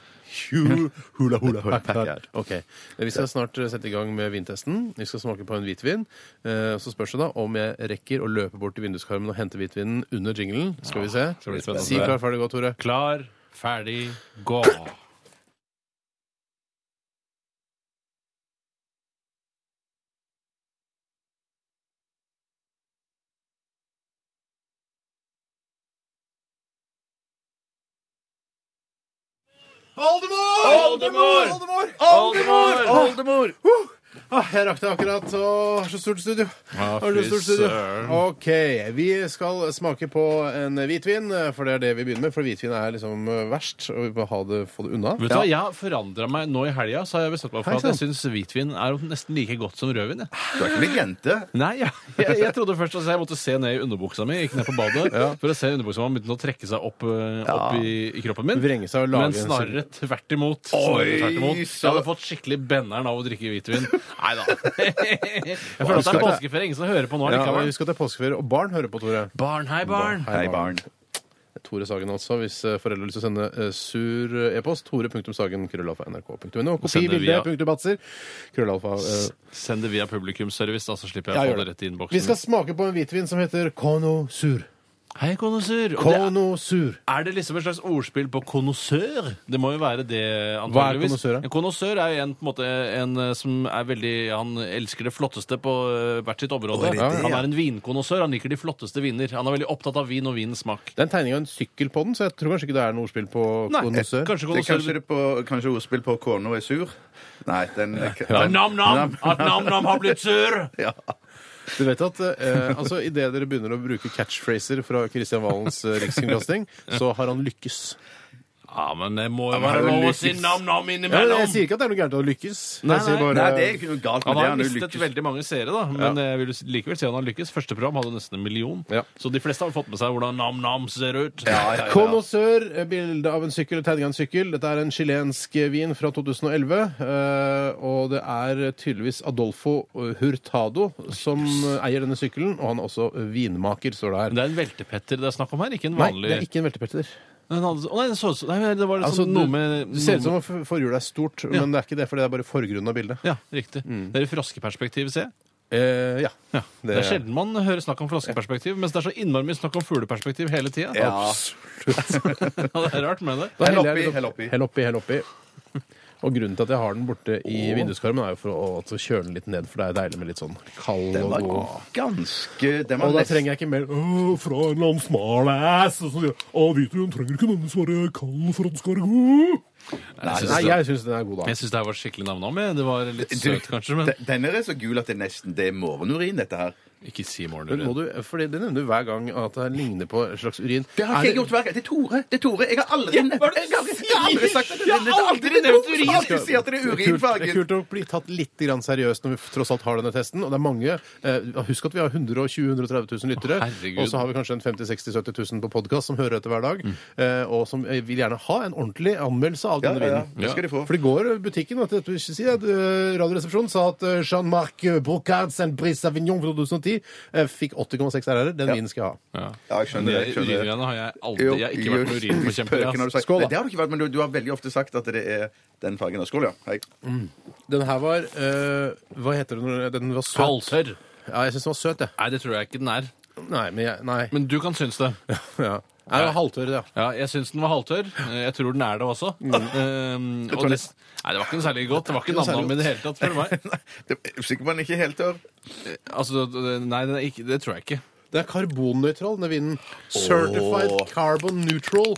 B: Hula, hula, hula,
C: Packard.
B: Ok, Vi skal snart eh, sette i gang med vintesten. Vi skal smake på en hvitvin. Eh, Så spørs det da om jeg rekker å løpe bort til vinduskarmen og hente hvitvinen under jinglen. Skal vi se.
D: blir spennende.
B: Si klar, ferdig, gå, Tore.
D: Klar, ferdig, gå.
B: Oldemor!
D: Oldemor!
B: Oldemor! Oldemor! Åh, Ah, jeg rakk det akkurat. Åh, så stort studio.
D: Ja,
B: Åh, så
D: fy
B: stort studio.
D: søren.
B: OK. Vi skal smake på en hvitvin, eh, for det er det vi begynner med. For hvitvin er liksom verst, og vi må ha det, få det unna.
D: Vet du hva, Jeg har forandra meg nå i helga. Så har jeg bestemt meg
B: Hei,
D: for at jeg
B: sann.
D: syns hvitvin er nesten like godt som rødvin. Jeg.
C: Du er ikke blitt jente.
D: Nei, jeg, <laughs> jeg, jeg trodde først at jeg måtte se ned i underbuksa mi. Jeg Gikk ned på badet for å se underbuksa mi begynte å trekke seg opp, eh, opp i, i kroppen min.
B: Vrenge seg og lage
D: Men
B: en
D: snarere tvert imot. Snarere tvert imot.
C: så-
D: Jeg hadde fått skikkelig benneren av å drikke
B: <laughs>
D: hvitvin. Nei da. Jeg føler at det er påskeferie. Ingen som hører på nå
B: Ja, men
D: likevel.
B: Husk at det er påskeferie, og barn hører på, Tore.
D: Barn, hei, barn.
C: Hei, barn.
B: Tore Sagen, altså. Hvis eh, foreldre har lyst til å sende eh, sur eh, e-post, tore.sagen.krøllalfa.nrk.no. Kopi,
D: Sender
B: bilde,
D: via-
B: punktubatser. Krøllalfa. eh,
D: Send det via publikumsservice, da, så slipper
B: jeg
D: jeg å
B: gjør
D: få
B: det.
D: det rett i
B: Vi skal
D: innboksen.
B: smake på en hvitvin som heter Kono Sur.
D: Hei, konnoissør. Og det er-
B: Kono Sur.
D: Er det liksom et slags ordspill på konnoissør? Det må jo være det, antageligvis.
B: Hva er konnoissør, da?
D: En konnoissør er jo en, på en, måte, en eh, som er veldig Han elsker det flotteste på eh, hvert sitt område.
B: det det,
D: Han er en vinkonnoissør. Han liker de flotteste viner. Han er veldig opptatt av vin og vinens smak.
B: Det er en tegning av en sykkel på den, så jeg tror kanskje ikke det er noe ordspill på
D: Nei, eh,
B: konosør.
C: Det
D: kanskje
C: er kanskje,
D: konnoissør
C: det på, kanskje ordspill på Kåno er sur? Nei, den
D: Nam-nam! At nam-nam har blitt sur!
C: Ja.
B: Du vet at eh, altså, idet dere begynner å bruke catchphraser fra Kristian Valens eh, rikskringkasting, så har han lykkes.
D: Ja, men det må jo
C: Han har
D: være
C: jo
D: lov å
C: lykkes.
D: si nam-nam
B: Ja, jeg
D: innimellom!
B: sier ikke at det er noe gærent å lykkes.
D: Nei,
B: Jeg sier
D: nei.
B: bare-
C: Nei, det er ikke noe galt med det. eh,
D: Han har
C: Han har jo
D: mistet
C: lykkes.
D: veldig mange seere, da, men jeg vil likevel si han har lykkes. Første program hadde nesten en million.
B: Ja.
D: Så de fleste har fått med seg hvordan nam-nam ser ut.
C: Ja, ja, ja.
B: Konosør, eh, bilde av en sykkel, tegning av en sykkel. Dette er en chilensk eh, vin fra 2011. eh, Og det er tydeligvis Adolfo eh, Hurtado som eh, eier denne sykkelen, og han er også vinmaker, står det
D: Men
B: her.
D: det er en veltepetter det er snakk om her, ikke en
B: Nei,
D: vanlig
B: det er ikke en veltepetter.
D: Nei, den hadde- å, nei, det så ut som nei, Det var liksom
B: Altså, du,
D: noe med
B: det ser ut som
D: noe med-
B: om for- forhjulet er stort, men det er ikke det, for det er bare forgrunnen av bildet.
D: Ja, riktig. Det er i froskeperspektiv, se.
B: Eh, Mm. ja.
D: Ja. Det,
B: Det
D: er
B: er-
D: sjelden man hører snakk om froskeperspektiv, mens det er så innmari mye snakk om fugleperspektiv hele tida.
C: Ja.
D: <laughs> det er rart med det.
B: Da
C: Hell
B: heller jeg
C: oppi,
B: litt
C: hell oppi.
B: Hell oppi, hell oppi. Og grunnen til at jeg har den borte i vinduskarmen, er jo for å å kjøle den litt ned, for det er deilig med litt sånn kald
C: Den
B: og
C: var
B: god
C: ganske Den var
B: og da
C: nesten-
B: trenger jeg ikke mer «Åh, fra en eller annen smal ass. Og så sier jeg, «Åh, vet du, hun trenger ikke nødvendigvis være kald for at den skal være god.
D: Nei,
B: Nei, jeg syns den er god, da.
D: jeg syns det her var skikkelig nam-nam. jeg. Det var litt
C: Du,
D: søt, kanskje, men
C: de- Denne er så gul at det nesten det er morgenurin, dette her.
D: ikke si
B: Men må
D: morgenurin.
B: du, fordi Det nevner du hver gang at det ligner på en slags urin.
C: Det har
B: Er
C: ikke jeg gjort hver gang. Det er Tore. det er Tore. Jeg har aldri nevnt
D: hva er det
C: jeg har
D: du
C: aldri- jeg har aldri
D: sier?
C: sagt at det
D: Jeg har
C: det er
D: aldri
C: aldri
D: nevnt
C: Tore
D: urin.
C: som alltid sier at det er
B: kult, det er
C: urinfargen.
B: kult å bli tatt litt grann seriøst når vi tross alt har denne testen. Og det er mange, eh, Husk at vi har 120 000-130 000 lyttere.
D: Å, herregud. Mm.
B: og så har vi kanskje en 50 000-60 000-70 000 på podkast som hører etter hver dag. Eh, og som eh, vil gjerne ha en ordentlig anmeldelse av
C: Ja,
B: denne
C: ja, ja.
B: vinen.
C: Det skal de få.
B: For det går i butikken at du ikke sier at eh, Radioresepsjonen sa at eh, Jean-Marc Brocard Saint-Brice Avignon fra 2010 eh, fikk 80,6 RR. Den vinen skal jeg ha.
D: Ja.
C: Ja, jeg skjønner det.
D: De
C: jeg skjønner det.
D: uringreiene har jeg aldri Jeg har ikke vært noen urinforkjemper.
C: Spøken har du
D: altså.
C: sagt.
B: Skål, da.
C: Nei, Det har du ikke vært, men du, du har veldig ofte sagt at det er den fargen. av Skål, ja. Hei. <laughs>
B: Den her var eh, Hva heter den? når- Den var søt.
D: Halvtørr?
B: Ja, jeg syns den var søt, jeg.
D: Nei, det tror jeg ikke den er.
B: Nei, men jeg Nei.
D: Men du kan synes det.
B: <laughs> Ja. Nei, det var halvtørr, ja.
D: Ja, jeg syns den var halvtørr. Eh, Jeg tror den er det også.
B: Mm.
D: Eh, og det, nei, det var ikke noe særlig godt. Det var ikke
B: noe særlig
D: nam-nam i det hele tatt, spør du meg.
C: Nei, det er sikker på at den ikke er helt tørr.
D: Altså, det- nei, den er ikke, det tror jeg ikke.
B: Det er karbonnøytral, denne vinen. Certified
C: Åh.
B: carbon neutral.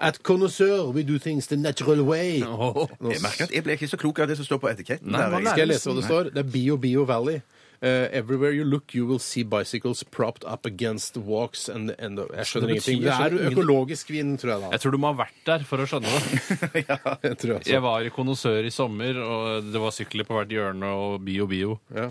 B: At connoisseur we do things the natural way. Nå
C: Jeg merker at jeg ble ikke så klok av det som står på etiketten.
D: Nei,
C: der,
D: hva er
B: skal jeg lese hva det står. Det er Bio Bio Valley. Eh, everywhere you look, you will see bicycles propped up against walks and the end of Jeg skjønner
D: Det betyr-
B: ingenting. Det
D: jeg skjønner
B: er
D: ingen-
B: økologisk vin, tror jeg, da.
D: Jeg tror du må ha vært der for å skjønne det.
C: <laughs>
B: Jeg <laughs> tror jeg,
D: Jeg var i konnoissør i sommer, og det var sykler på hvert hjørne og bio-bio.
B: Ja.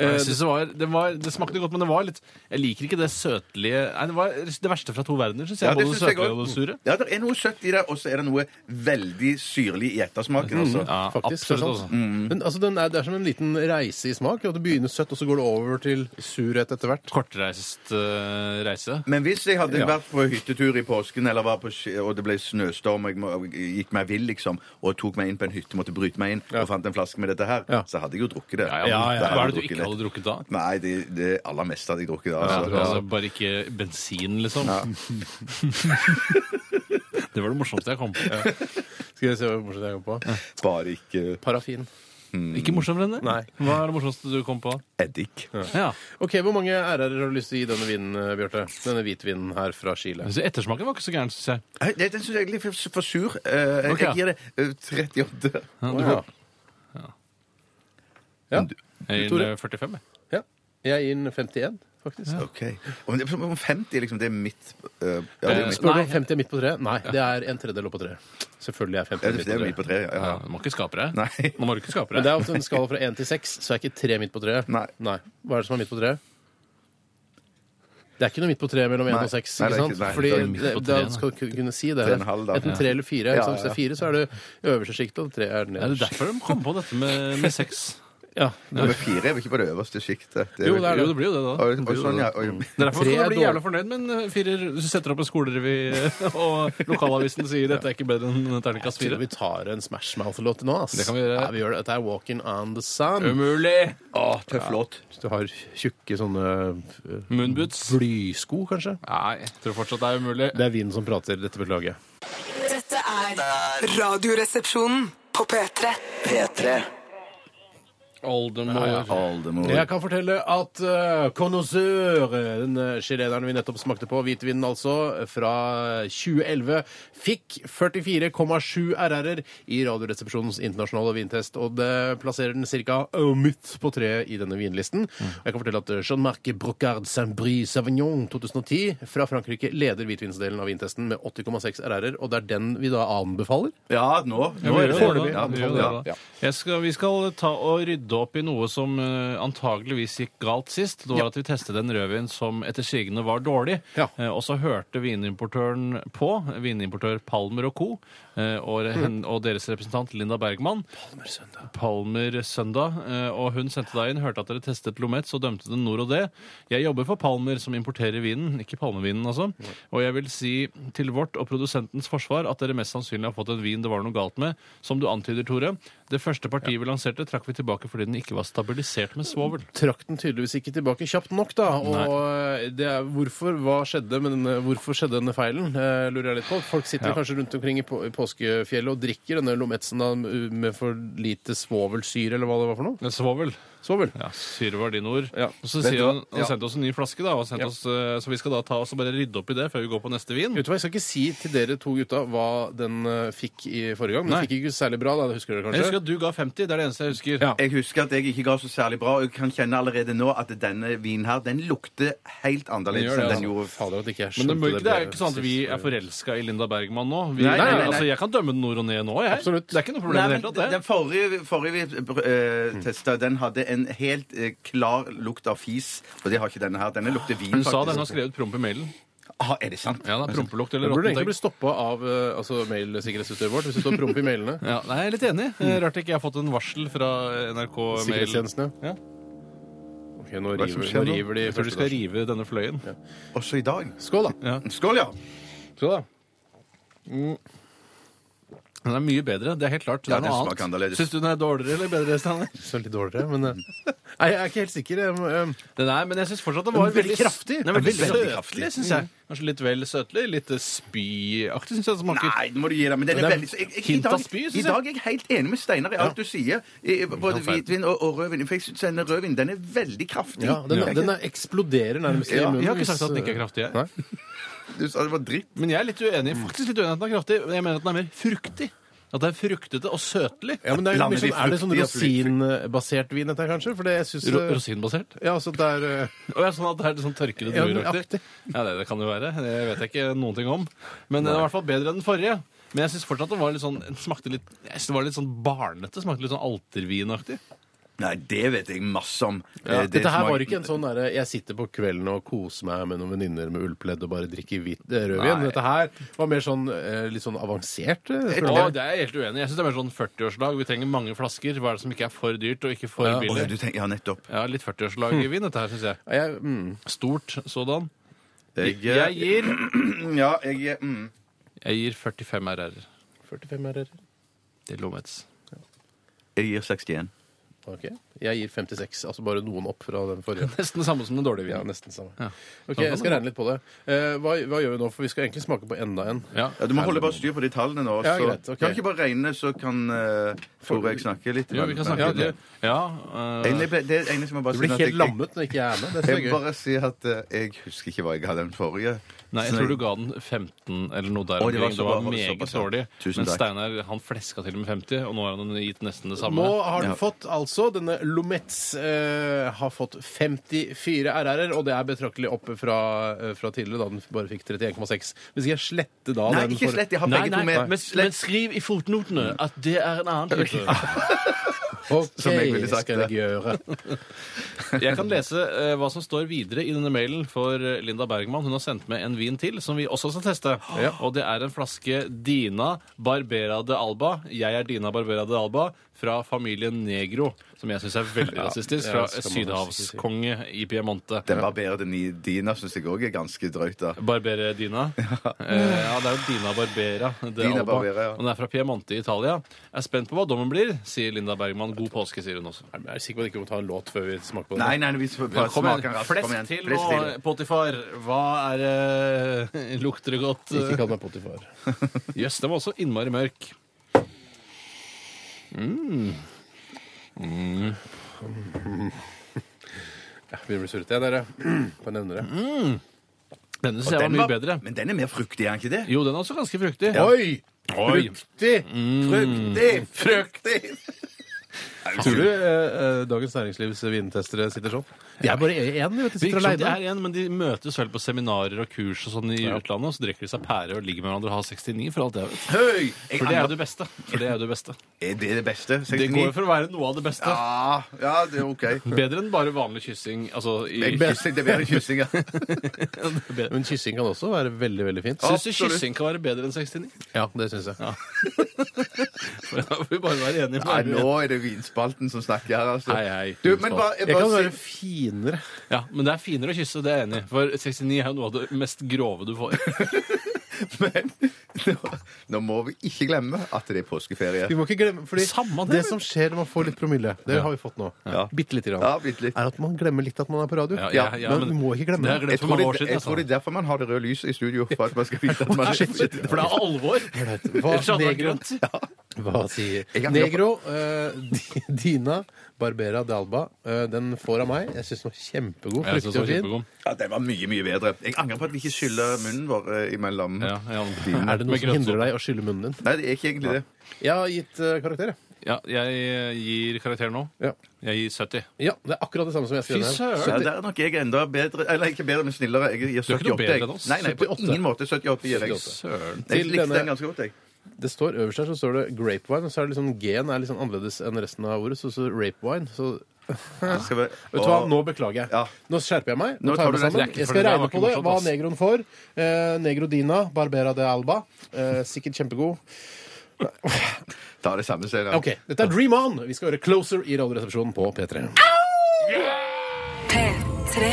D: Jeg synes det, var, det, var, det smakte godt, men det var litt Jeg liker ikke det søtlige Nei, det var det verste fra to verdener, syns jeg.
C: Ja, det
D: både det
C: synes jeg
D: søtlige og
C: også.
D: det sure.
C: Ja, det er noe søtt i det, og så er det noe veldig syrlig i ettersmaken. Altså.
D: Mhm. Ja,
B: Faktisk, det er
D: absolutt.
B: sant.
D: altså.
B: Men altså, den er, det er som en liten reise i smak. At det begynner søtt, og så går det over til surhet etter hvert.
D: Kortreist eh, reise.
C: Men hvis jeg hadde
B: Ja.
C: vært på hyttetur i påsken, eller var på, ski- og det ble snøstorm, og jeg må- gikk meg vill, liksom, og tok meg inn på en hytte, måtte bryte meg inn, og fant en flaske med dette her,
B: Ja.
C: så hadde jeg jo drukket det.
D: Ja,
C: Da hadde
D: ja, Hva
C: jeg
D: er det du
C: drukket
D: ikke hadde drukket da?
C: Nei, det, det aller meste hadde jeg drukket da. Altså.
D: Altså, bare ikke bensin, liksom. <laughs> det var det morsomste jeg kom på.
B: Skal vi se hvor morsomt jeg kom på.
C: Bare ikke
B: Parafin.
D: Ikke morsommere enn det?
B: Nei.
D: Hva er det morsomste du kom på?
C: eddik.
D: <laughs> Ja.
B: Ok, Hvor mange ærer har du lyst til å gi denne vinen, eh, Bjarte? Denne hvitvinen her fra Chile.
D: Altså, Ettersmaken var ikke så gæren, syns jeg.
C: Nei, det- Den syns jeg er litt for, for sur. Eh, jeg-
D: Ok, ja.
C: Jeg gir det eh, 38.
B: Å, ja. Ja.
C: Men du-
D: Jeg gir
B: Tore?
D: den, eh, 45. jeg.
B: ja. Jeg gir den 51, faktisk.
C: OK. Og det er som om 50 liksom, det er mitt øh, ja, det er
D: Eh,
C: mitt.
B: Spør du
D: Nei.
B: om 50 er midt på treet? Nei, det er en tredjedel oppå treet. Selvfølgelig er
C: Ja,
B: 50
C: det det er midt
B: midt
C: på
B: på treet.
C: treet. Ja,
D: Ja,
C: ja.
D: du må ikke skape deg. <laughs>
C: Nei.
D: Nå må du ikke skape
B: Men det
D: deg.
B: er ofte en skala fra 1 til 6, så er ikke 3 midt på treet.
C: Nei.
B: Hva er det som er midt på treet? Det er ikke noe midt på treet mellom 1
C: Nei.
B: og 6.
C: Nei,
B: ikke
C: det er
B: sant?
C: ikke- nei,
B: Fordi
C: det er midt
B: det,
D: på
B: da
D: treet,
B: skal du kunne si det.
C: Tre og en halv, da.
B: Enten 3 eller 4.
C: Ja,
B: Hvis det
C: ja.
B: er 4, så er det i øverste sjikt, og 3 er
D: Er det
B: nederst.
D: derfor de kom på dette med, med sex?
B: Ja.
C: Nummer fire er vel ikke på det øverste sjiktet?
B: Jo, det er
D: Jo, det blir jo det, da.
C: Og, og sånn, ja. Og,
D: Det er derfor
B: Tre
D: skal
B: er
D: du bli
B: dårlig.
D: jævla fornøyd med en eh, firer. Du setter opp en skolerevy, eh, <laughs> og lokalavisen sier dette er ikke bedre enn terningkast
B: Tror du
D: fire.
B: vi tar en Smash Mouth-låt nå, ass.
D: Det kan vi gjøre. Um,
B: Ja, vi gjør det. Dette er Walking on the Sun.
D: Umulig!
C: Å, tøff låt.
B: Hvis du har tjukke sånne øh,
D: Moonboots.
B: blysko, kanskje.
D: Nei, jeg tror fortsatt det er umulig.
B: Det er vinen som prater. Dette beklager jeg.
F: Dette er Radioresepsjonen på P3.
E: P3
D: Oldemor.
C: Oldemor.
B: Jeg kan fortelle at uh, Connoisseur, den eh, chileneren vi nettopp smakte på, hvitvinen altså, fra 2011, fikk 44,7 RR-er i Radioresepsjonens internasjonale vintest, og det plasserer den ca. midt på treet i denne vinlisten. Jeg kan fortelle at eh, Jean-Marc Brocard Saint-Brie Savignon 2010 fra Frankrike leder hvitvinsdelen av vintesten med 80,6 RR-er, og det er den vi da anbefaler.
C: Ja, nå.
D: Ja,
C: nå
D: vi
C: er
D: gjør
C: det
D: det
C: foreløpig.
D: da.
C: Ja,
D: Vi gjør det da.
C: ja.
D: Jeg skal, vi skal ta og rydde opp i noe som eh, antageligvis gikk galt sist. Det var at vi testet en rødvin som etter sigende var dårlig.
B: Ja.
D: Eh, og så hørte vinimportøren på, vinimportør Palmer og co., eh, og, hen,
C: Mm.
D: og deres representant Linda Bergman. Palmer Søndag. eh, og hun sendte deg inn, hørte at dere testet Lomets og dømte den nord og det. Jeg jobber for Palmer, som importerer vinen, ikke palmevinen altså. Og jeg vil si til vårt og produsentens forsvar at dere mest sannsynlig har fått en vin det var noe galt med, som du antyder, Tore. Det første partiet vi lanserte, trakk vi tilbake fordi den ikke var stabilisert med svovel.
B: trakk den tydeligvis ikke tilbake kjapt nok, da. Og det er, hvorfor, hva skjedde med denne, hvorfor skjedde denne feilen, eh, lurer jeg litt på. Folk sitter
D: Ja.
B: kanskje rundt omkring i, på, i påskefjellet og drikker denne lometsen da, med for lite svovelsyre, eller hva det var for noe?
D: Svovel.
B: Svovel.
D: Ja, syre var dine ord.
B: Ja.
D: Og så
C: Vet
D: sier
C: du hva?
D: han, han
C: Ja.
D: sendte oss en ny flaske, da, og har sendt
B: Ja.
D: oss, eh, så vi skal da ta oss og bare rydde opp i det før vi går på neste vin.
B: Vet du hva, Jeg skal ikke si til dere to gutta hva den eh, fikk i forrige gang, men
D: Nei.
B: den fikk ikke særlig bra. da, det husker dere
D: Jeg husker
B: kanskje?
D: at du ga 50, det er det eneste jeg husker.
B: Ja.
C: Jeg husker at jeg ikke ga så særlig bra, og jeg kan kjenne allerede nå at denne vinen her, den lukter helt annerledes
D: Den gjør det,
C: enn den
D: altså.
C: gjorde
B: Fader, at ikke jeg
D: Men det, må
B: skjønte
D: ikke, det er
B: bedre
D: jo ikke sånn at vi
B: sist.
D: er forelska i Linda Bergman nå. Vi,
C: Nei,
B: nei, nei,
D: Altså,
C: nei.
D: jeg kan dømme den nord og ned nå, jeg.
B: Absolutt.
D: Det er ikke noe problem i det
C: Nei, men
D: hele tatt,
C: Den
D: det. Mm.
C: forrige, forrige vi eh, testa, den hadde en helt eh, klar lukt av fis, og det har ikke denne her. Denne lukter vin,
D: Hun sa den har
C: faktisk.
D: skrevet promp i mailen.
C: Ah, er det sant?
D: Ja, det er prompelukt
B: Det
D: eller
B: burde egentlig bli
D: råttent.
B: stoppa av eh, altså, mailsikkerhetsutøveren vårt hvis du står promp i mailene.
D: Ja, nei, jeg er litt enig. Eh, Rart ikke jeg har fått en varsel fra NRK-mail.
B: Sikkerhetstjenesten,
D: Ja.
B: Ok, nå
C: Hva er det som
B: river,
C: skjer
B: nå
C: nå?
B: river de
D: Jeg tror du
B: første
D: skal
B: etasjen.
D: rive denne fløyen.
C: Også i dag.
B: Skål, da.
C: Skål, ja!
D: Skal da. Mm. Den er mye bedre. Det er helt klart. Det
C: Ja,
D: er
C: den
D: noe
C: smaker
D: annet.
C: annerledes.
D: Syns du den er dårligere eller bedre? Stanley?
B: Så litt dårligere, men eh, <laughs> Nei, jeg er ikke helt sikker. Jeg, må, eh,
D: Den er, men jeg syns fortsatt den
B: Den
D: var
B: er veldig
D: s-
B: kraftig.
D: Den er veldig,
C: Den er veldig
D: søtlig,
C: kraftig.
D: syns jeg. Kanskje litt vel søtlig. Litt eh, spyaktig, syns jeg det smaker.
C: Nei, det må du gi deg. Men den
B: Men det
C: er
B: er
C: veldig så jeg, jeg, i,
D: hint av
C: dag,
D: spy, synes
C: I
D: jeg.
C: dag er jeg helt enig med Steinar i alt du sier. I, både
D: sant.
C: hvitvin og, og rødvin. For jeg synes denne rødvinen den er veldig kraftig.
B: ja, den,
C: Jeg-
B: den er- eksploderer nærmest i
C: Ja,
B: munnen.
D: Jeg har ikke sagt
B: hvis,
D: at den ikke er kraftig.
B: Nei.
D: Jeg.
C: Du sa det var dritt.
D: Men jeg er litt uenig faktisk litt uenig i at den er kraftig. men Jeg mener at den er mer fruktig. At det er fruktete og søtlig.
B: Ja, men det er,
C: Blander
B: mer sånn, er det sånn
C: de fruktige
B: rosinbasert vin, dette her, kanskje? For det jeg syns
D: Ro- Rosinbasert?
B: Ja, så det er eh,
D: Å, ja, sånn at det er litt sånn tørkede
B: Ja,
D: drueraktig? Ja, det, det kan det jo være. Det vet jeg ikke noen ting om. Men den er i hvert fall bedre enn den forrige. Men jeg syns fortsatt det var litt sånn den smakte litt, jeg synes det var litt sånn barnete. Smakte litt sånn altervinaktig.
C: Nei, det vet jeg masse om. Eh,
B: ja, Dette her var ikke en sånn derre jeg sitter på kvelden og koser meg med noen venninner med ullpledd og bare drikker hvit eh, rødvin.
D: Nei.
B: Dette her var mer sånn eh, litt sånn avansert. eh,
D: Å,
B: føler jeg.
D: det er jeg helt uenig. i. Jeg syns det er mer sånn 40-årslag. Vi trenger mange flasker. Hva er det som ikke er for dyrt og ikke for
B: Ja.
C: Å, ja,
D: billig?
C: du tenker, ja, nettopp.
D: Ja, litt 40-årslag i vin, dette her, syns jeg.
B: Ja, jeg, mm.
D: Stort sådan.
C: Jeg,
D: Jeg gir,
C: Ja, jeg mm.
D: jeg gir 45 RR
B: 45 RR.
D: til Lomets.
C: Jeg gir 61.
B: Ok. Jeg gir 56, altså bare noen opp fra den forrige.
D: <laughs> Nesten det samme som den dårlige
B: Ja,
D: vinen.
B: nesten samme.
D: Ja.
B: Ok, jeg skal regne litt på det. Eh, hva, hva gjør vi nå? For vi skal egentlig smake på enda en.
D: Ja.
C: Ja, du må holde bare styr på de tallene nå.
B: Ja,
C: så-
B: greit, ok.
C: Kan ikke bare regne, så kan uh, Tore og jeg snakke litt.
D: Jo, vi kan
C: Ja,
D: snakke
C: det-
D: litt. Ja, eh,
C: Egentlig ble- Det eneste jeg må bare
B: Du
C: si
B: blir
C: Sånn at
B: helt
C: jeg-
B: lammet når ikke jeg er med. Det
C: Jeg
B: er
C: vil
B: så gøy.
C: bare si at eh, jeg husker ikke hva jeg hadde den forrige.
D: Nei, jeg tror du ga den 15 eller noe der
C: Å, det var
D: omkring. Det
C: så-
D: var
C: var det
D: meget
C: såpass, ja.
D: dårlig.
C: Tusen
D: Men
C: takk.
D: Steinar han fleska til med 50, og nå har han gitt nesten det samme.
B: Nå har den
C: Ja.
B: fått altså Denne Lometz eh, har fått 54 RR-er, og det er betraktelig oppe fra, eh, fra tidligere, da den bare fikk 31,6. Men skal jeg slette da
C: Nei,
B: den?
C: ikke
B: for-
C: slett. Jeg har
D: Nei,
C: begge
D: nei,
C: to
D: men,
C: med.
D: men skriv i fotnotene at det er en annen type.
B: OK,
C: Som jeg ville sagt
B: skal
C: det.
B: jeg gjøre.
D: Jeg kan lese eh, hva som står videre i denne mailen for eh, Linda Bergman. Hun har sendt med en vin til som vi også
B: <gasps>
D: skal teste. Og det er en flaske Dina Barbera de Alba. Jeg er Dina Barbera de Alba fra familien Negro, som jeg syns er veldig rasistisk,
B: ja,
D: fra
B: det skal man vel sikkert si.
D: sydhavskonge i Piemonte.
C: Den barberede ni- Dina syns jeg òg er ganske drøyt. da.
D: Barbere Dina.
B: <laughs>
D: Eh, ja, det er jo Dina Barbera. Det er
C: Dina
D: Alba.
C: Barbera, ja.
D: Og den er fra Piemonte i Italia. Jeg er spent på hva dommen blir, sier Linda Bergman. God påske, sier hun også.
B: Jeg er sikker på at vi ikke må ta en låt før vi smaker på den.
C: Nei, nei, vi får bare
D: Kom
C: smake
D: igjen.
C: den raskt.
D: Flesk
C: Kom igjen.
D: til
C: Flesk
D: nå, Potifar. Hva er det <laughs> Lukter det godt?
B: Ikke kall meg Potifar.
D: Jøss, den var også innmari mørk.
B: Jeg begynner å bli surrete, jeg, dere. <clears throat> Bare nevner det.
D: Denne
C: Og
D: synes jeg var
C: den
D: mye
C: var-
D: bedre.
C: Men den er mer fruktig, er den ikke det?
D: Jo, den er også ganske fruktig.
B: Oi!
D: Oi. Mm.
B: Fruktig!
C: Fruktig! Fruktig!
B: Tror du eh, eh, Dagens Næringslivs vintestere sitter sånn? De er bare én, vet du.
D: Det
B: Sitter
D: virker som de
B: aleine.
D: er igjen, men de møtes vel på seminarer og kurs og sånn i
B: Ja.
D: utlandet, og så drikker de seg pære og ligger med hverandre og har 69 for alt det jeg vet.
C: Høy! Jeg
D: For det er jo
C: angrer-
D: det beste. For det er jo det beste.
C: Er det det beste?
D: Det går jo
C: 69?
D: for å være noe av det beste.
C: Ja, ja, det er OK.
D: Bedre enn bare vanlig kyssing. Altså <laughs> i
C: Jeg kyssing, det er bedre kyssing. ja.
B: Men kyssing kan også være veldig, veldig fint.
D: Syns du kyssing kan være bedre enn 69?
B: Ja, det syns jeg.
D: <laughs> For da får vi bare være enige
C: Nei,
D: med
C: nå er det vinspalten som snakker her, altså.
D: Hei, hei,
C: Du, men bare, jeg
B: Jeg kan
C: bare
B: være finere.
D: Ja, men det er finere å kysse, det er jeg enig i. For 69 er jo noe av det mest grove du
B: <laughs>
D: får.
C: <laughs> men, nå, nå må vi ikke glemme at det er påskeferie.
B: Vi må ikke glemme, fordi
D: Samme det,
B: det,
D: men-
B: som skjer når man får litt promille, det har vi fått nå,
C: Ja.
B: bitte lite grann,
C: Ja, bitte litt.
B: er at man glemmer litt at man er på radio.
D: Ja, ja, ja,
B: men,
D: men-
B: du må ikke glemme
D: Det har jeg
B: det.
C: Jeg
D: glemt for
C: tror,
D: mange år
C: det,
D: siden.
C: jeg tror det
D: altså.
C: er derfor man har det røde lyset i studio. For at man skal vite at man
D: <laughs> Nei, For det er
B: <laughs>
D: alvor.
B: Hva,
D: Ellers hadde det vært
B: negro,
D: grønt.
B: hva sier
C: Jeg kan-
B: Negro, eh, <laughs> Di- Dina Barbera Dalba, eh, den får av meg. Jeg syns den var kjempegod.
D: Jeg
B: Fruktig
D: synes det var
B: og fin.
D: kjempegod.
C: Ja, den var mye, mye bedre. Jeg angrer på at vi ikke skyller munnen vår eh, imellom.
D: Ja, ja.
B: Er det
D: Med
B: noe som
D: grønnsaker.
B: hindrer deg å skylle munnen din?
C: Nei, det er ikke egentlig det.
B: Jeg har gitt eh, karakter, jeg.
D: Ja, jeg eh, gir karakter nå.
B: Ja.
D: Jeg gir 70.
B: ja. Det er akkurat det samme som jeg skrev her.
C: Ja, der er nok jeg enda bedre Eller ikke bedre, men snillere. Jeg gir
D: er ikke noe
C: 78.
D: bedre
C: jeg.
D: enn oss.
C: Nei, nei, på
B: 78.
C: ingen måte. 78 gir jeg.
B: 78.
D: Søren.
C: Jeg
B: Til
C: likte
B: denne-
C: den ganske godt, jeg.
B: Det står Øverst her så står det grapevine, og så er det liksom G-en er litt sånn annerledes enn resten av ordet. Så står rapewine. Så
C: Skal vi-
B: Vet du hva,
C: og-
B: Nå beklager jeg.
C: Ja.
B: Nå skjerper jeg meg.
C: Nå
B: Nå
C: tar
B: tar
C: du
B: jeg meg
C: det
B: sammen.
D: tilbake,
B: Jeg
D: for
B: skal
D: det der
B: regne
D: var
B: på det.
D: ikke morsomt,
B: Hva
D: ass.
B: negroen får. Eh, negro Dina, Barbera de Alba. Eh, sikkert kjempegod.
C: Ta det samme senere.
B: OK. Dette er Dream On. Vi skal høre Closer i Radioresepsjonen på P3.
F: P3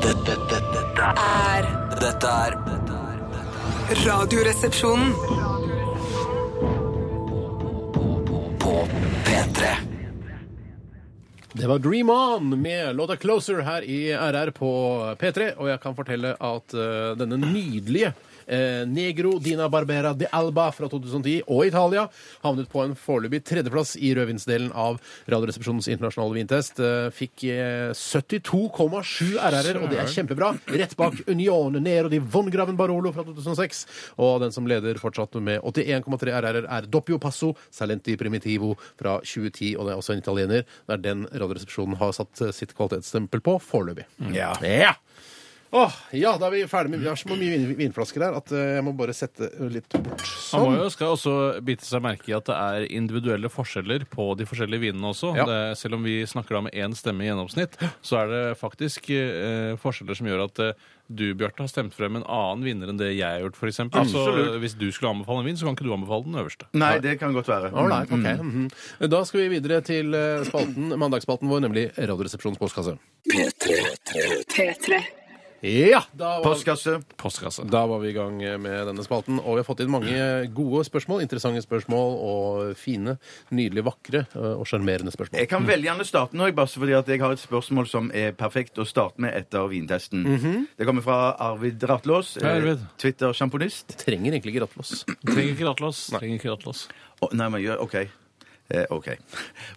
E: Dette, dette, dette er-
F: er
E: Dette er dette er- dette er
F: Radioresepsjonen.
E: På P3
B: Det var Dream On med låta Closer her i RR på P3, og jeg kan fortelle at eh, denne nydelige eh, Negro Dina Barbera de Alba fra 2010 og Italia havnet på en foreløpig tredjeplass i rødvinsdelen av Radioresepsjonens internasjonale vintest. Eh, fikk eh, 72,7 RR-er, og det er kjempebra. Rett bak Unione Nero di Von Graven Barolo fra 2006. Og den som leder fortsatt med 81,3 RR-er, er Doppio Passo Salenti Primitivo fra 2010, og det er også en italiener. Det er den Radioresepsjonen har satt eh, sitt kvalitetsstempel på foreløpig.
C: Ja.
B: Ja. Åh, ja, da er vi ferdig med Vi har så mye vin- vinflasker der at eh, jeg må bare sette litt bort.
D: Man må
B: Sånn.
D: jo skal også bite seg merke i at det er individuelle forskjeller på de forskjellige vinene også.
B: Ja.
D: Det, er- selv om vi snakker da med én stemme i gjennomsnitt, så er det faktisk eh, forskjeller som gjør at eh, du, Bjarte, har stemt frem en annen vinner enn det jeg har gjort, f.eks. Så eh, hvis du skulle anbefale en vin, så kan ikke du anbefale den øverste.
C: Nei, det kan godt være. Mm.
B: All right, ok. Mhm. Da skal vi videre til eh, spalten, mandagsspalten vår, nemlig Radioresepsjonens postkasse.
F: P3.
B: Ja! Da var,
C: Postkasse.
D: Postkasse.
B: da var vi i gang med denne spalten, og vi har fått inn mange gode spørsmål, interessante spørsmål, og fine, nydelige, vakre eh, og sjarmerende spørsmål.
C: Jeg kan veldig gjerne starte nå, jeg, bare fordi at jeg har et spørsmål som er perfekt å starte med etter vintesten.
B: Mhm.
C: Det kommer fra Arvid Ratlås,
D: Hei, Arvid.
C: eh, Twitter-sjamponist.
B: Trenger egentlig ikke rattlås.
D: Trenger ikke rattlås. Trenger ikke rattlås.
C: Å, nei, men gjør OK. Eh, OK.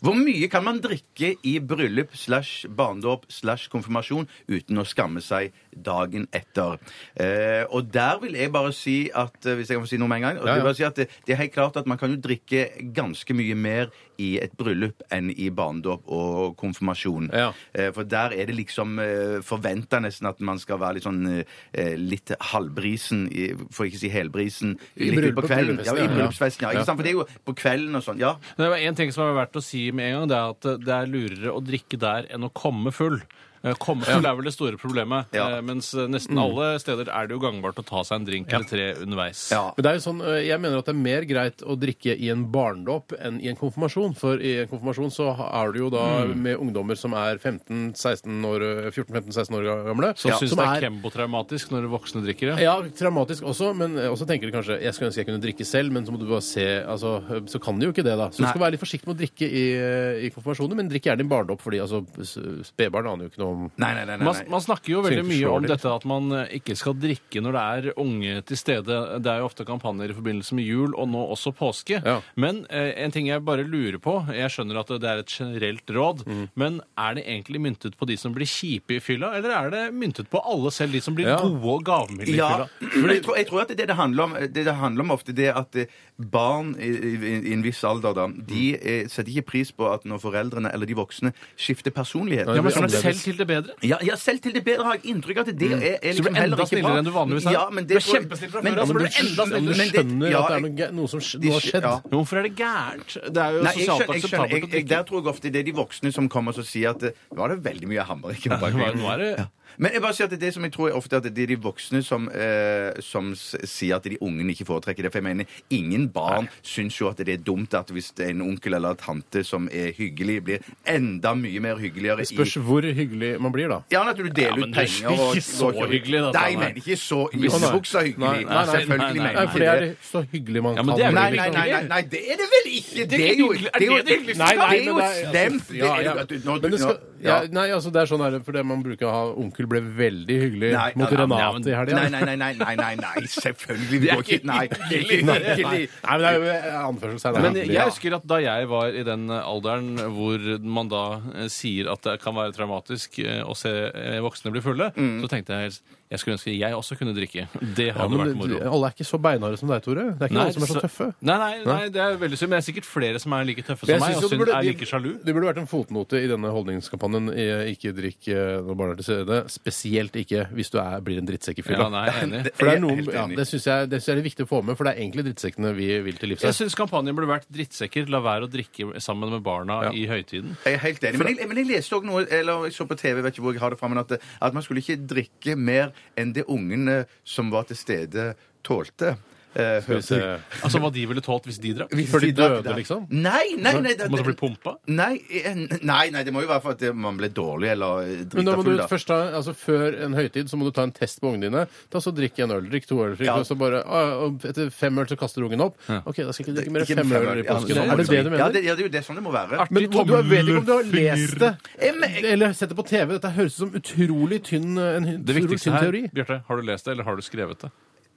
C: Hvor mye kan man drikke i bryllup slash barnedåp slash konfirmasjon uten å skamme seg dagen etter? Eh, og der vil jeg bare si at eh, Hvis jeg kan få si noe med en gang?
B: Ja,
C: og
B: ja.
C: det vil jeg si at det, det er helt klart at man kan jo drikke ganske mye mer i et bryllup enn i barnedåp og konfirmasjon.
B: Ja.
C: Eh, For der er det liksom forventa nesten at man skal være litt sånn eh, litt halvbrisen, i- for ikke å si helbrisen,
B: I
C: litt ut
B: bryllup-
C: på kvelden. Ja,
B: bryllupsfesten,
C: I
B: ja.
C: bryllupsfesten, ja.
B: Ja.
C: Ikke sant? For det er jo på kvelden og sånn. Ja.
D: Men det var en ting som er verdt å si med en gang, det er at eh, det er lurere å drikke der enn å komme full. Eh, Komme full er vel det store problemet,
C: Ja.
D: eh, mens eh, nesten alle steder er det jo gangbart å ta seg en drink eller tre underveis.
C: Ja.
B: Men det er jo sånn, eh, jeg mener at det er mer greit å drikke i en barndåp enn i en konfirmasjon. For i en konfirmasjon så er du jo da
D: Mm.
B: med ungdommer som er 15-16 år, eh, 14-15-16 år gamle.
D: Så
B: ja,
D: syns
B: som
D: det er kembotraumatisk når voksne drikker det.
B: ja, traumatisk også, men også tenker du kanskje jeg skulle ønske jeg kunne drikke selv, men så må du bare se altså, Så kan du jo ikke det, da. Så du
C: Nei.
B: skal være litt forsiktig med å drikke i, eh, i konfirmasjoner, men drikk gjerne i barndåp, fordi altså, s- spedbarn aner jo ikke noe om
C: Nei, nei, nei. nei,
D: Man,
C: nei.
D: man snakker jo veldig
B: Tenker
D: mye
B: slår
D: om
B: litt.
D: dette at man eh, ikke skal drikke når det er unge til stede. Det er jo ofte kampanjer i forbindelse med jul, og nå også påske.
B: Ja.
D: Men eh, en ting jeg bare lurer på Jeg skjønner at det er et generelt råd,
C: Mm.
D: men er det egentlig myntet på de som blir kjipe i fylla, eller er det myntet på alle selv, de som blir
B: Ja.
D: gode og gavmilde i
C: Ja,
D: fylla?
C: men jeg tror, jeg tror at det det handler om, det det handler om ofte det at eh, barn i, i, i en viss alder da, de eh, setter ikke pris på at når foreldrene eller de voksne skifter personlighet.
B: Ja,
D: Ja,
B: men
D: men
B: som
D: som
B: er
D: selv
B: annerledes.
D: til det bedre?
C: Ja, ja, selv til det bedre har jeg inntrykk av at det er, er liksom
D: Så du blir enda
C: heller ikke
D: snillere
C: bra.
D: enn du vanligvis er?
C: Ja, men
D: Du er
C: det tror jeg-
D: kjempesnill fra før,
C: Men-
D: altså,
B: men
D: blir
B: du,
D: du
B: skj-
D: enda
B: om du
D: snillere.
B: skjønner
C: ja,
B: at det er
C: jeg-
B: noe, gæ- noe som sk- noe har skjedd?
C: Ja.
D: Men Hvorfor er det gærent? Det er jo
C: Nei, jeg
D: sosialt
C: skjønner, jeg skjønner.
D: akseptabelt
C: Jeg,
D: å
C: jeg,
D: drikke.
C: der tror jeg ofte det er de voksne som kommer og sier at eh, Nå er det veldig mye
D: <laughs>
C: hammer. Ikke bare
D: nå er- nå er det-
C: Ja. Men jeg bare sier at det, er det som jeg tror er ofte at det er de voksne som, eh, som s- sier at de ungene ikke foretrekker det. For jeg mener, ingen barn syns jo at det er dumt at hvis det er en onkel eller en tante som er hyggelig, blir enda mye mer hyggeligere i
B: Spørs hvor hyggelig man blir, da.
C: ja, men at du deler
D: men
C: ut
D: det er
C: penger og
D: ikke så
C: går-
D: hyggelig, dette,
C: Nei, jeg
D: nei.
C: mener ikke så
B: nei.
C: Vissebuksa hyggelig.
B: Nei, nei, nei,
C: Selvfølgelig
D: nei,
C: mener
B: Nei,
C: jeg
B: for
C: ikke
B: det er
C: det.
B: så hyggelig man
D: Ja, men
B: kan liksom.
D: det er vel
C: Nei, nei,
D: hyggelig.
C: nei, nei, nei, det er det vel ikke! Det er jo
D: hyggelig. Er
C: det er jo-
D: det det hyggeligste?
C: Nei, nei,
B: Nei,
C: Det er jo
B: men det er-
C: stemt! Det
B: Ja,
C: er
B: ja.
C: jo at du- når
B: Men
C: du-
B: det skal,
C: når-
B: ja,
C: ja.
B: nei, altså det er sånn her, for det man bruker å ha Onkel ble veldig hyggelig
C: Nei,
B: mot
C: ja, ja, men-
B: Renate i helga.
C: Nei, nei, nei, nei, nei, nei, nei, selvfølgelig. Det
D: er
C: går ikke Nei, det er ikke
B: <laughs> Nei,
C: hyggelig.
B: Nei, men det er jo eh, anførselstegn.
D: Men
B: her.
D: jeg husker at da jeg var i den eh, alderen hvor man da eh, sier at det kan være traumatisk eh, å se eh, voksne bli fulle, så tenkte jeg helst jeg skulle ønske jeg også kunne drikke. Det
B: Mm. Ja,
D: hadde
B: men
D: vært moro.
B: du- alle er ikke så beinharde som deg, Tore. Det er ikke alle som er så
D: så-
B: tøffe.
D: Nei, nei, nei, det er veldig synd. Men det er sikkert flere som er like tøffe som meg, og
B: synes jo
D: synd
B: det burde-
D: er like sjalu.
B: Det burde vært en fotnote i denne holdningskampanjen. eh, Ikke drikk eh, når barn er til stede. Spesielt ikke hvis du er, blir en drittsekk i fylla.
D: Ja, nei, jeg er enig.
B: For det,
C: Jeg er
B: er noen,
C: helt
B: ja,
C: enig.
B: det syns jeg, det synes jeg er viktig å få med, for det er egentlig drittsekkene vi vil til livs.
D: Jeg
B: her.
D: syns kampanjen burde vært drittsekker. La være å drikke sammen med barna
B: Ja.
D: i høytiden.
C: Jeg er helt enig. Men jeg, men jeg leste også noe, eller jeg så på TV, vet ikke hvor jeg har det fra, men at, at man skulle ikke drikke mer enn det ungene som var til stede, tålte. Eh,
B: Skal vi se.
C: hørte-
D: Altså hva de ville tålt hvis de drakk.
C: Hvis
B: For de
C: drakk
B: døde,
C: det.
B: liksom?
C: Nei, nei, nei. det-
D: Måtte bli pumpa.
C: Nei, eh, nei, nei, det må jo være for at eh, man ble dårlig eller eh,
B: Men da
C: drita
B: må du
C: full, da.
B: først ta, altså Før en høytid så må du ta en test på ungene dine. Ta så Drikk en øl, drikk to øl. drikk,
C: Ja.
B: Og så bare, å, og etter fem øl så kaster ungen opp. OK, da skal jeg ikke drikke mer
C: Ikke
B: enn
C: en
B: fem
C: femøl,
B: øl i
C: ja,
B: påsken.
C: sånn
B: er det det du
C: Ja,
B: mener?
C: det, ja, det er jo det sånn det må være.
B: Men du du vet ikke om du har lest det.
C: Jeg, Eh, men, jeg,
B: Eller sett det på TV. Dette høres ut som utrolig tynn, eh, en hy-
D: Det
B: utrolig
D: viktigste
B: tynn
D: her,
B: teori.
D: Bjarte, har du lest det, eller har du skrevet det?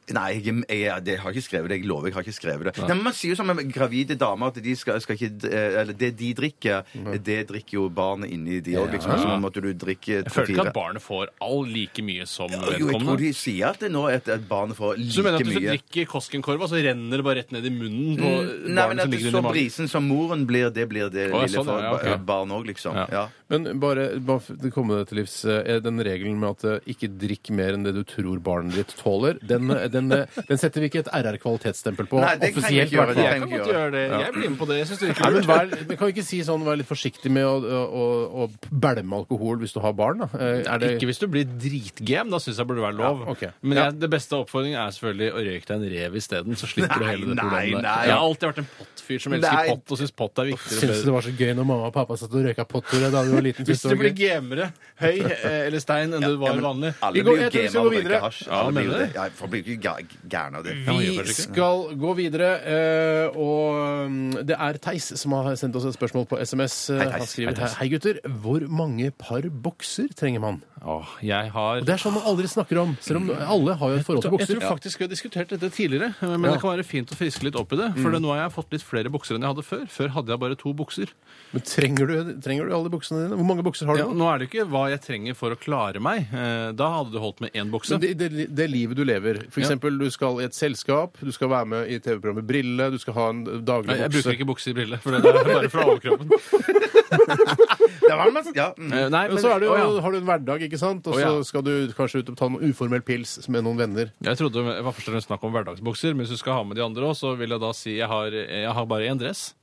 C: Nei, jeg, jeg, jeg, jeg har ikke skrevet det. Jeg lover, jeg har ikke skrevet det. Nei, men Man sier jo som en gravide damer at de skal, skal ikke, eh, eller det de drikker, eh, det drikker jo barnet inni de òg. Liksom. Så nå måtte du drikke
D: Jeg føler ikke
C: to-fire.
D: at barnet får all like mye som
C: Jo, jeg tror
D: vedkommende.
C: de sier at det nå at, at barnet får
D: Så du mener
C: like
D: at hvis du
C: mye.
D: drikker Koskenkorva, så renner det bare rett ned i munnen på
C: Mm, Nei, men
D: barnet
C: at
D: som
C: det
D: ligger
C: så
D: under magen?
C: brisen som moren blir, det blir det
D: Å, ja,
C: lille
D: sånn,
C: for
D: ja, ok.
C: ba- barn òg, liksom.
D: Ja.
C: Ja.
B: Men bare, bare for å komme deg til livs, eh, den regelen med at eh, ikke drikk mer enn det du tror barnet ditt tåler, den, eh, den, eh, den setter vi ikke et RR-kvalitetsstempel på.
C: Nei, det kan vi
B: offisielt,
C: ikke
B: i
C: gjøre,
B: hvert
C: det
B: fall.
D: Jeg kan godt gjøre det. Jeg blir med på det. Jeg synes det
B: Nei,
D: virker
B: men
D: lurt.
B: vær, men kan vi ikke si sånn, vær litt forsiktig med å, å, å, å bælme alkohol hvis du har barn? Da? Eh, Er det,
D: Ikke hvis du blir dritgam. Da syns jeg burde være lov.
B: Ja, ok.
D: Men
B: Ja.
D: jeg, det beste oppfordringen er selvfølgelig å røyke deg en rev isteden. Så slipper du
C: Nei,
D: hele det
C: nei,
D: problemet. der.
C: nei.
D: Jeg har alltid vært en pottfyr som elsker
C: Nei.
D: pott, og syns pott er viktigere. og
B: Syns du
D: bedre.
B: det var så gøy når mamma og pappa satt og røyka pottere da du var liten?
D: Hvis
B: Synes
D: du
B: det var
D: blir
B: gøy?
D: gamere, høy eh, eller stein enn du
C: Ja,
D: var
C: men
D: vanlig
C: Alle
B: Vi går-
C: blir jo
B: jeg tror vi skal gå
C: game av å
B: videre.
C: røyke hasj.
D: Ja,
C: Alle blir jo
D: mener du
C: det. Ja, folk blir jo ikke ga- gæren av det.
B: Vi skal gå videre, eh, og mm, det er Theis som har sendt oss et spørsmål på SMS. Eh,
C: Hei, Theis.
B: Han skriver hei, hei gutter, hvor mange par bokser trenger man?
D: Åh, jeg har
B: Det er sånn man aldri snakker om, selv om alle har jo et forhold til
D: Jeg
B: bokser.
D: tror faktisk vi har diskutert dette tidligere, eh, men det kan være fint å friske litt opp i det. For nå har jeg fått litt flere bukser enn jeg hadde før. Før hadde jeg bare to bukser.
B: Men trenger du, trenger du alle buksene dine? Hvor mange bukser har du?
D: Ja, nå er det ikke hva jeg trenger for å klare meg. Eh, Da hadde det holdt med én bukse.
B: Men det, det, det livet du lever. For
D: Ja.
B: eksempel, du skal i et selskap, du skal være med i TV-programmet Brille, du skal ha en daglig
D: Nei,
B: bukse.
D: jeg bruker ikke bukse i brille, for det er bare fra overkroppen.
C: Det var en masse, ja, mm.
D: <laughs> Eh, Nei,
B: Men så er det, jo-
D: Å, ja.
B: har du en hverdag, ikke sant? Og
D: Å,
B: så
D: ja.
B: skal du kanskje ut og ta noen uformell pils med noen venner.
D: Jeg trodde det var først og fremst snakk om hverdagsbukser, men hvis du skal ha med de andre òg, så vil jeg da si jeg har, jeg har bare én dress.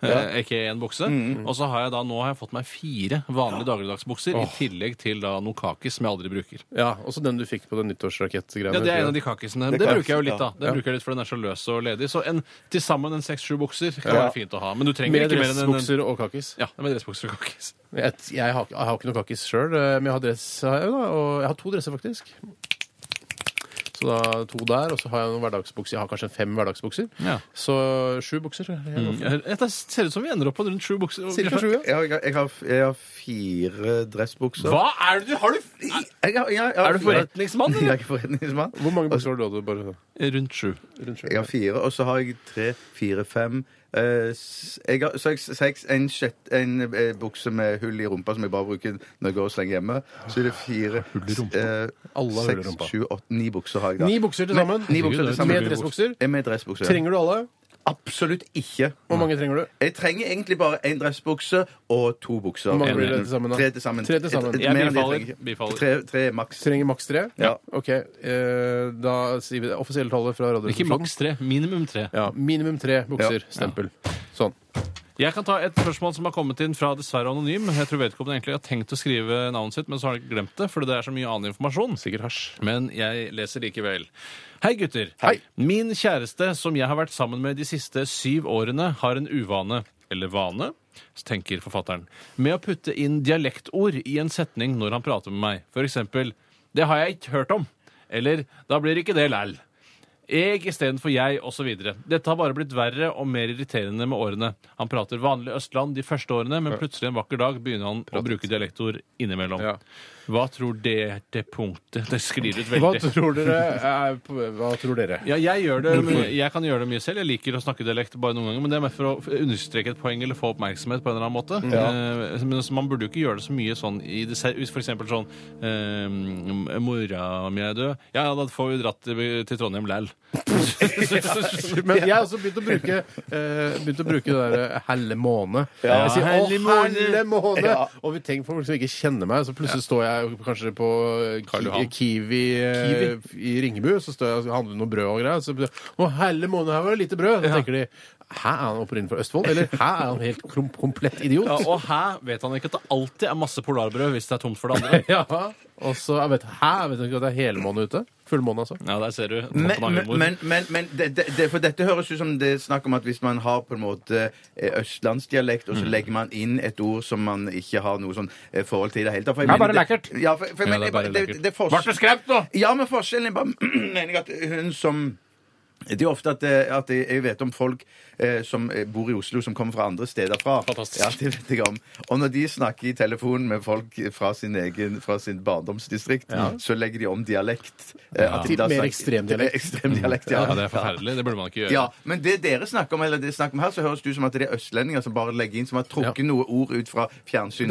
D: eh, Ikke én bukse. Og så har jeg da, nå har jeg fått meg fire vanlige dagligdagsbukser, i tillegg til da noen kakis som jeg aldri bruker.
B: Ja, Også den du fikk på den nyttårsrakettgreiene.
D: Ja, Det er en av de kakisene. Det,
C: kan-
D: bruker jeg jo litt, da. Det
B: ja.
D: bruker jeg litt, For den er så løs og ledig. Så en, til sammen en seks-sju bukser kan være fint å ha. Men du trenger
B: Med
D: ikke mer enn en- en
B: dressbukser og kakis.
D: Ja, med dressbukser og kakis.
B: Jeg, jeg, har, jeg har ikke noe kakis sjøl, men jeg har dress her, da, og jeg har to dresser, faktisk. Så da to der, og så har jeg noen hverdagsbukser. Jeg har kanskje fem hverdagsbukser.
D: Ja.
B: Så sju bukser. Mm.
D: Det ser ut som vi ender opp på rundt sju bukser.
B: Cirka sju, ja.
C: jeg, har- jeg, har, jeg har fire dressbukser.
D: Hva er det du har? du-
C: Jeg har, jeg, jeg har
D: Er du
C: fire-
D: forretningsmann, eller?
C: <laughs> Jeg er ikke forretningsmann.
B: Hvor mange bukser har du hatt? Bare
D: Rundt sju.
B: rundt sjøl?
C: Jeg har fire, og så har jeg tre, fire, fem eh, s- jeg har, så har jeg seks, en, sjett, en eh, bukse med hull i rumpa som jeg bare bruker når jeg går og slenger hjemme. Så er det fire
D: i rumpa?
C: eh,
B: Alle har hull i
C: seks,
B: rumpa.
C: sju, åtte, Ni bukser har jeg da.
B: Ni bukser til sammen.
C: Ni bukser til sammen.
B: Med dressbukser.
C: Jeg er Med dressbukser.
B: Trenger du alle?
C: Absolutt ikke.
B: Hvor mange trenger du?
C: Jeg trenger egentlig bare én dressbukse og to bukser.
B: Hvor mange
C: En-
B: blir det til sammen, da?
C: Tre til sammen.
B: Tre til sammen.
C: Et- et-
D: Jeg
C: mer enn det
D: bifaller.
C: trenger jeg.
D: Bifaller.
C: Tre, tre maks.
B: Trenger maks tre?
C: Ja.
B: Ok, eh, Da sier vi det offisielle tallet fra
D: Ikke
B: Radioresepsjonen.
D: maks tre, minimum tre.
B: Ja, minimum tre bukser.
C: Ja.
B: Stempel. Sånn.
D: Jeg kan ta et spørsmål som har kommet inn fra dessverre anonym. Jeg tror vedkommende egentlig har tenkt å skrive navnet sitt, men så har han glemt det, fordi det er så mye annen informasjon.
B: Sikkert hasj.
D: Men jeg leser likevel. Hei, gutter.
B: Hei.
D: Min kjæreste, som jeg har vært sammen med de siste syv årene, har en uvane, eller vane, tenker forfatteren, med å putte inn dialektord i en setning når han prater med meg. For eksempel 'Det har jeg ikke hørt om', eller 'Da blir ikke det læl'. Jeg istedenfor jeg, osv. Dette har bare blitt verre og mer irriterende med årene. Han prater vanlig Østland de første årene, men plutselig en vakker dag begynner han å bruke dialektord innimellom.
B: Ja.
D: Hva tror dere det punktet Det sklir ut
B: Hva
D: veldig.
B: tror dere? Er, hva tror dere?
D: Ja, jeg, gjør det, jeg kan gjøre det mye selv. Jeg liker å snakke dialekt bare noen ganger, men det er mer for å understreke et poeng eller få oppmerksomhet på en eller annen måte. Eh, Men altså, man burde jo ikke gjøre det så mye sånn i det ser- Hvis for eksempel sånn eh, Mora mi er død. Ja, ja, da får vi dratt til til
B: <laughs>
D: Trondheim <laughs> læl.
B: Men jeg har også begynt å bruke eh, Begynt å bruke det derre helle måne. jeg sier å,
D: helle måne».
B: helle måne! Og vi tenker folk som ikke kjenner meg, så plutselig står jeg kanskje på eh,
D: Karl
B: Ki-
D: Johan.
B: Kiwi, eh, i Ringebu, så står jeg og handler noe brød og greier. Så blir det, å, helle måne, her var det lite brød! Så tenker de Hæ, er han opprinnelig fra Østfold? Eller hæ, er han helt krom- komplett idiot?
D: Ja, og her vet han ikke at det alltid er masse polarbrød hvis det er tomt for det andre.
B: Ja, og så jeg vet, Hæ, vet du ikke at det er helmåne ute? Fullmåne, altså.
D: <laughs> Ja, der ser du.
C: Men,
D: Toppen av humor.
C: men, men, men det, det, det, for dette høres ut som det er snakk om at hvis man har på en måte eh, østlandsdialekt, og så legger man inn et ord som man ikke har noe sånn eh, forhold til i det hele tatt for jeg
B: Det er
C: mener
B: bare
C: det-
B: lekkert.
C: Ja, for, for jeg
D: Ja,
C: mener,
D: det er bare
C: det,
D: lekkert.
C: det, det er
D: Vart det skremt nå?
C: Ja, men forskjellen er bare <clears throat> mener jeg at hun som det er ofte at, eh, at jeg jeg vet om folk eh, som eh, bor i Oslo, som kommer fra andre steder fra.
D: Fantastisk.
C: Ja, det vet jeg om. Og når de snakker i telefonen med folk fra sin egen, fra sin barndomsdistrikt, så legger de om dialekt. eh, at de
B: Til
C: da
B: mer
C: snakker-
B: ekstrem dialekt.
C: Til ekstrem dialekt, ja.
D: Ja, det er forferdelig. Det burde man ikke gjøre.
C: Ja, men det dere snakker om, eller det snakker om her, så høres det ut som at det er østlendinger som bare legger inn, som har trukket noe ord ut fra fjernsyn,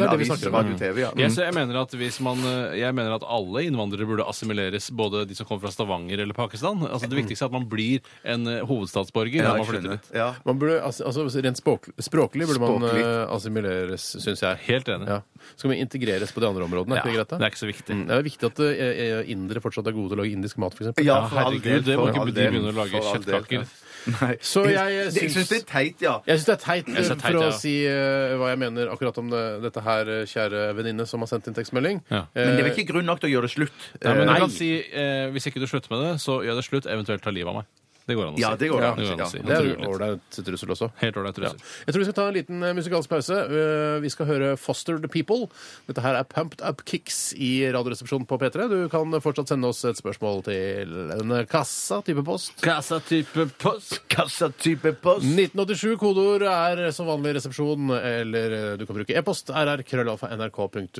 B: Det er det vi
C: avis,
B: snakker om.
C: radio, TV. Ja. Mm.
D: Jeg, så jeg, mener at hvis man, eh, jeg mener at alle innvandrere burde assimileres, både de som kommer fra Stavanger eller Pakistan. Altså Det viktigste er at man blir en eh, hovedstatsborger
C: Ja,
D: når
C: jeg
D: man flytter
C: skjønner.
D: dit.
C: Ja.
B: Man burde, altså, altså Rent språk, språklig burde man
C: Språklig.
B: eh, assimileres, syns jeg.
D: Helt enig.
B: Ja. Så kan vi integreres på de andre områdene. Er ikke det greit,
D: det
B: da?
D: er ikke så viktig.
B: Mm, Det er viktig at eh, eh, indere fortsatt er gode til å lage indisk mat, f.eks.
C: Ja,
D: Ja,
C: for all
D: herregud,
C: del.
D: det må
C: for
D: ikke
C: all
D: de
C: del,
D: begynne å lage
C: for all del,
D: kjøttkaker.
C: ja. Nei.
B: Så jeg
C: jeg, eh,
B: syns-
C: syns Eh, det er teit, ja.
B: Jeg syns det er teit,
D: Jeg synes det er teit,
B: for å
D: ja.
B: si eh, hva jeg mener akkurat om det, dette her, eh, kjære venninne som har sendt inn tekstmelding. Eh,
D: Ja.
C: Men det er vel ikke grunn nok til å gjøre det slutt.
D: Nei, men
C: Eh,
D: jeg kan si, eh, Hvis ikke du slutter med det, så gjør det slutt, eventuelt ta livet av meg. Det går an å si.
C: Ja, det går an å si,
D: å
C: ja.
D: si.
B: Det er
D: Naturlig.
B: ålreit trussel også.
D: Helt ålreit
B: Ja.
D: trussel.
B: Sånn. Jeg tror vi skal ta en liten eh, musikalsk pause. Eh, Vi skal høre Foster the People. Dette her er Pumped Up Kicks i Radioresepsjonen på P3. Du kan fortsatt sende oss et spørsmål til en kassa type post.
D: Kassatype post.
C: Kassatype post.
B: 1987 kodeord er som vanlig resepsjon, eller eh, du kan bruke e-post rr.krøllalfa.nrk.no.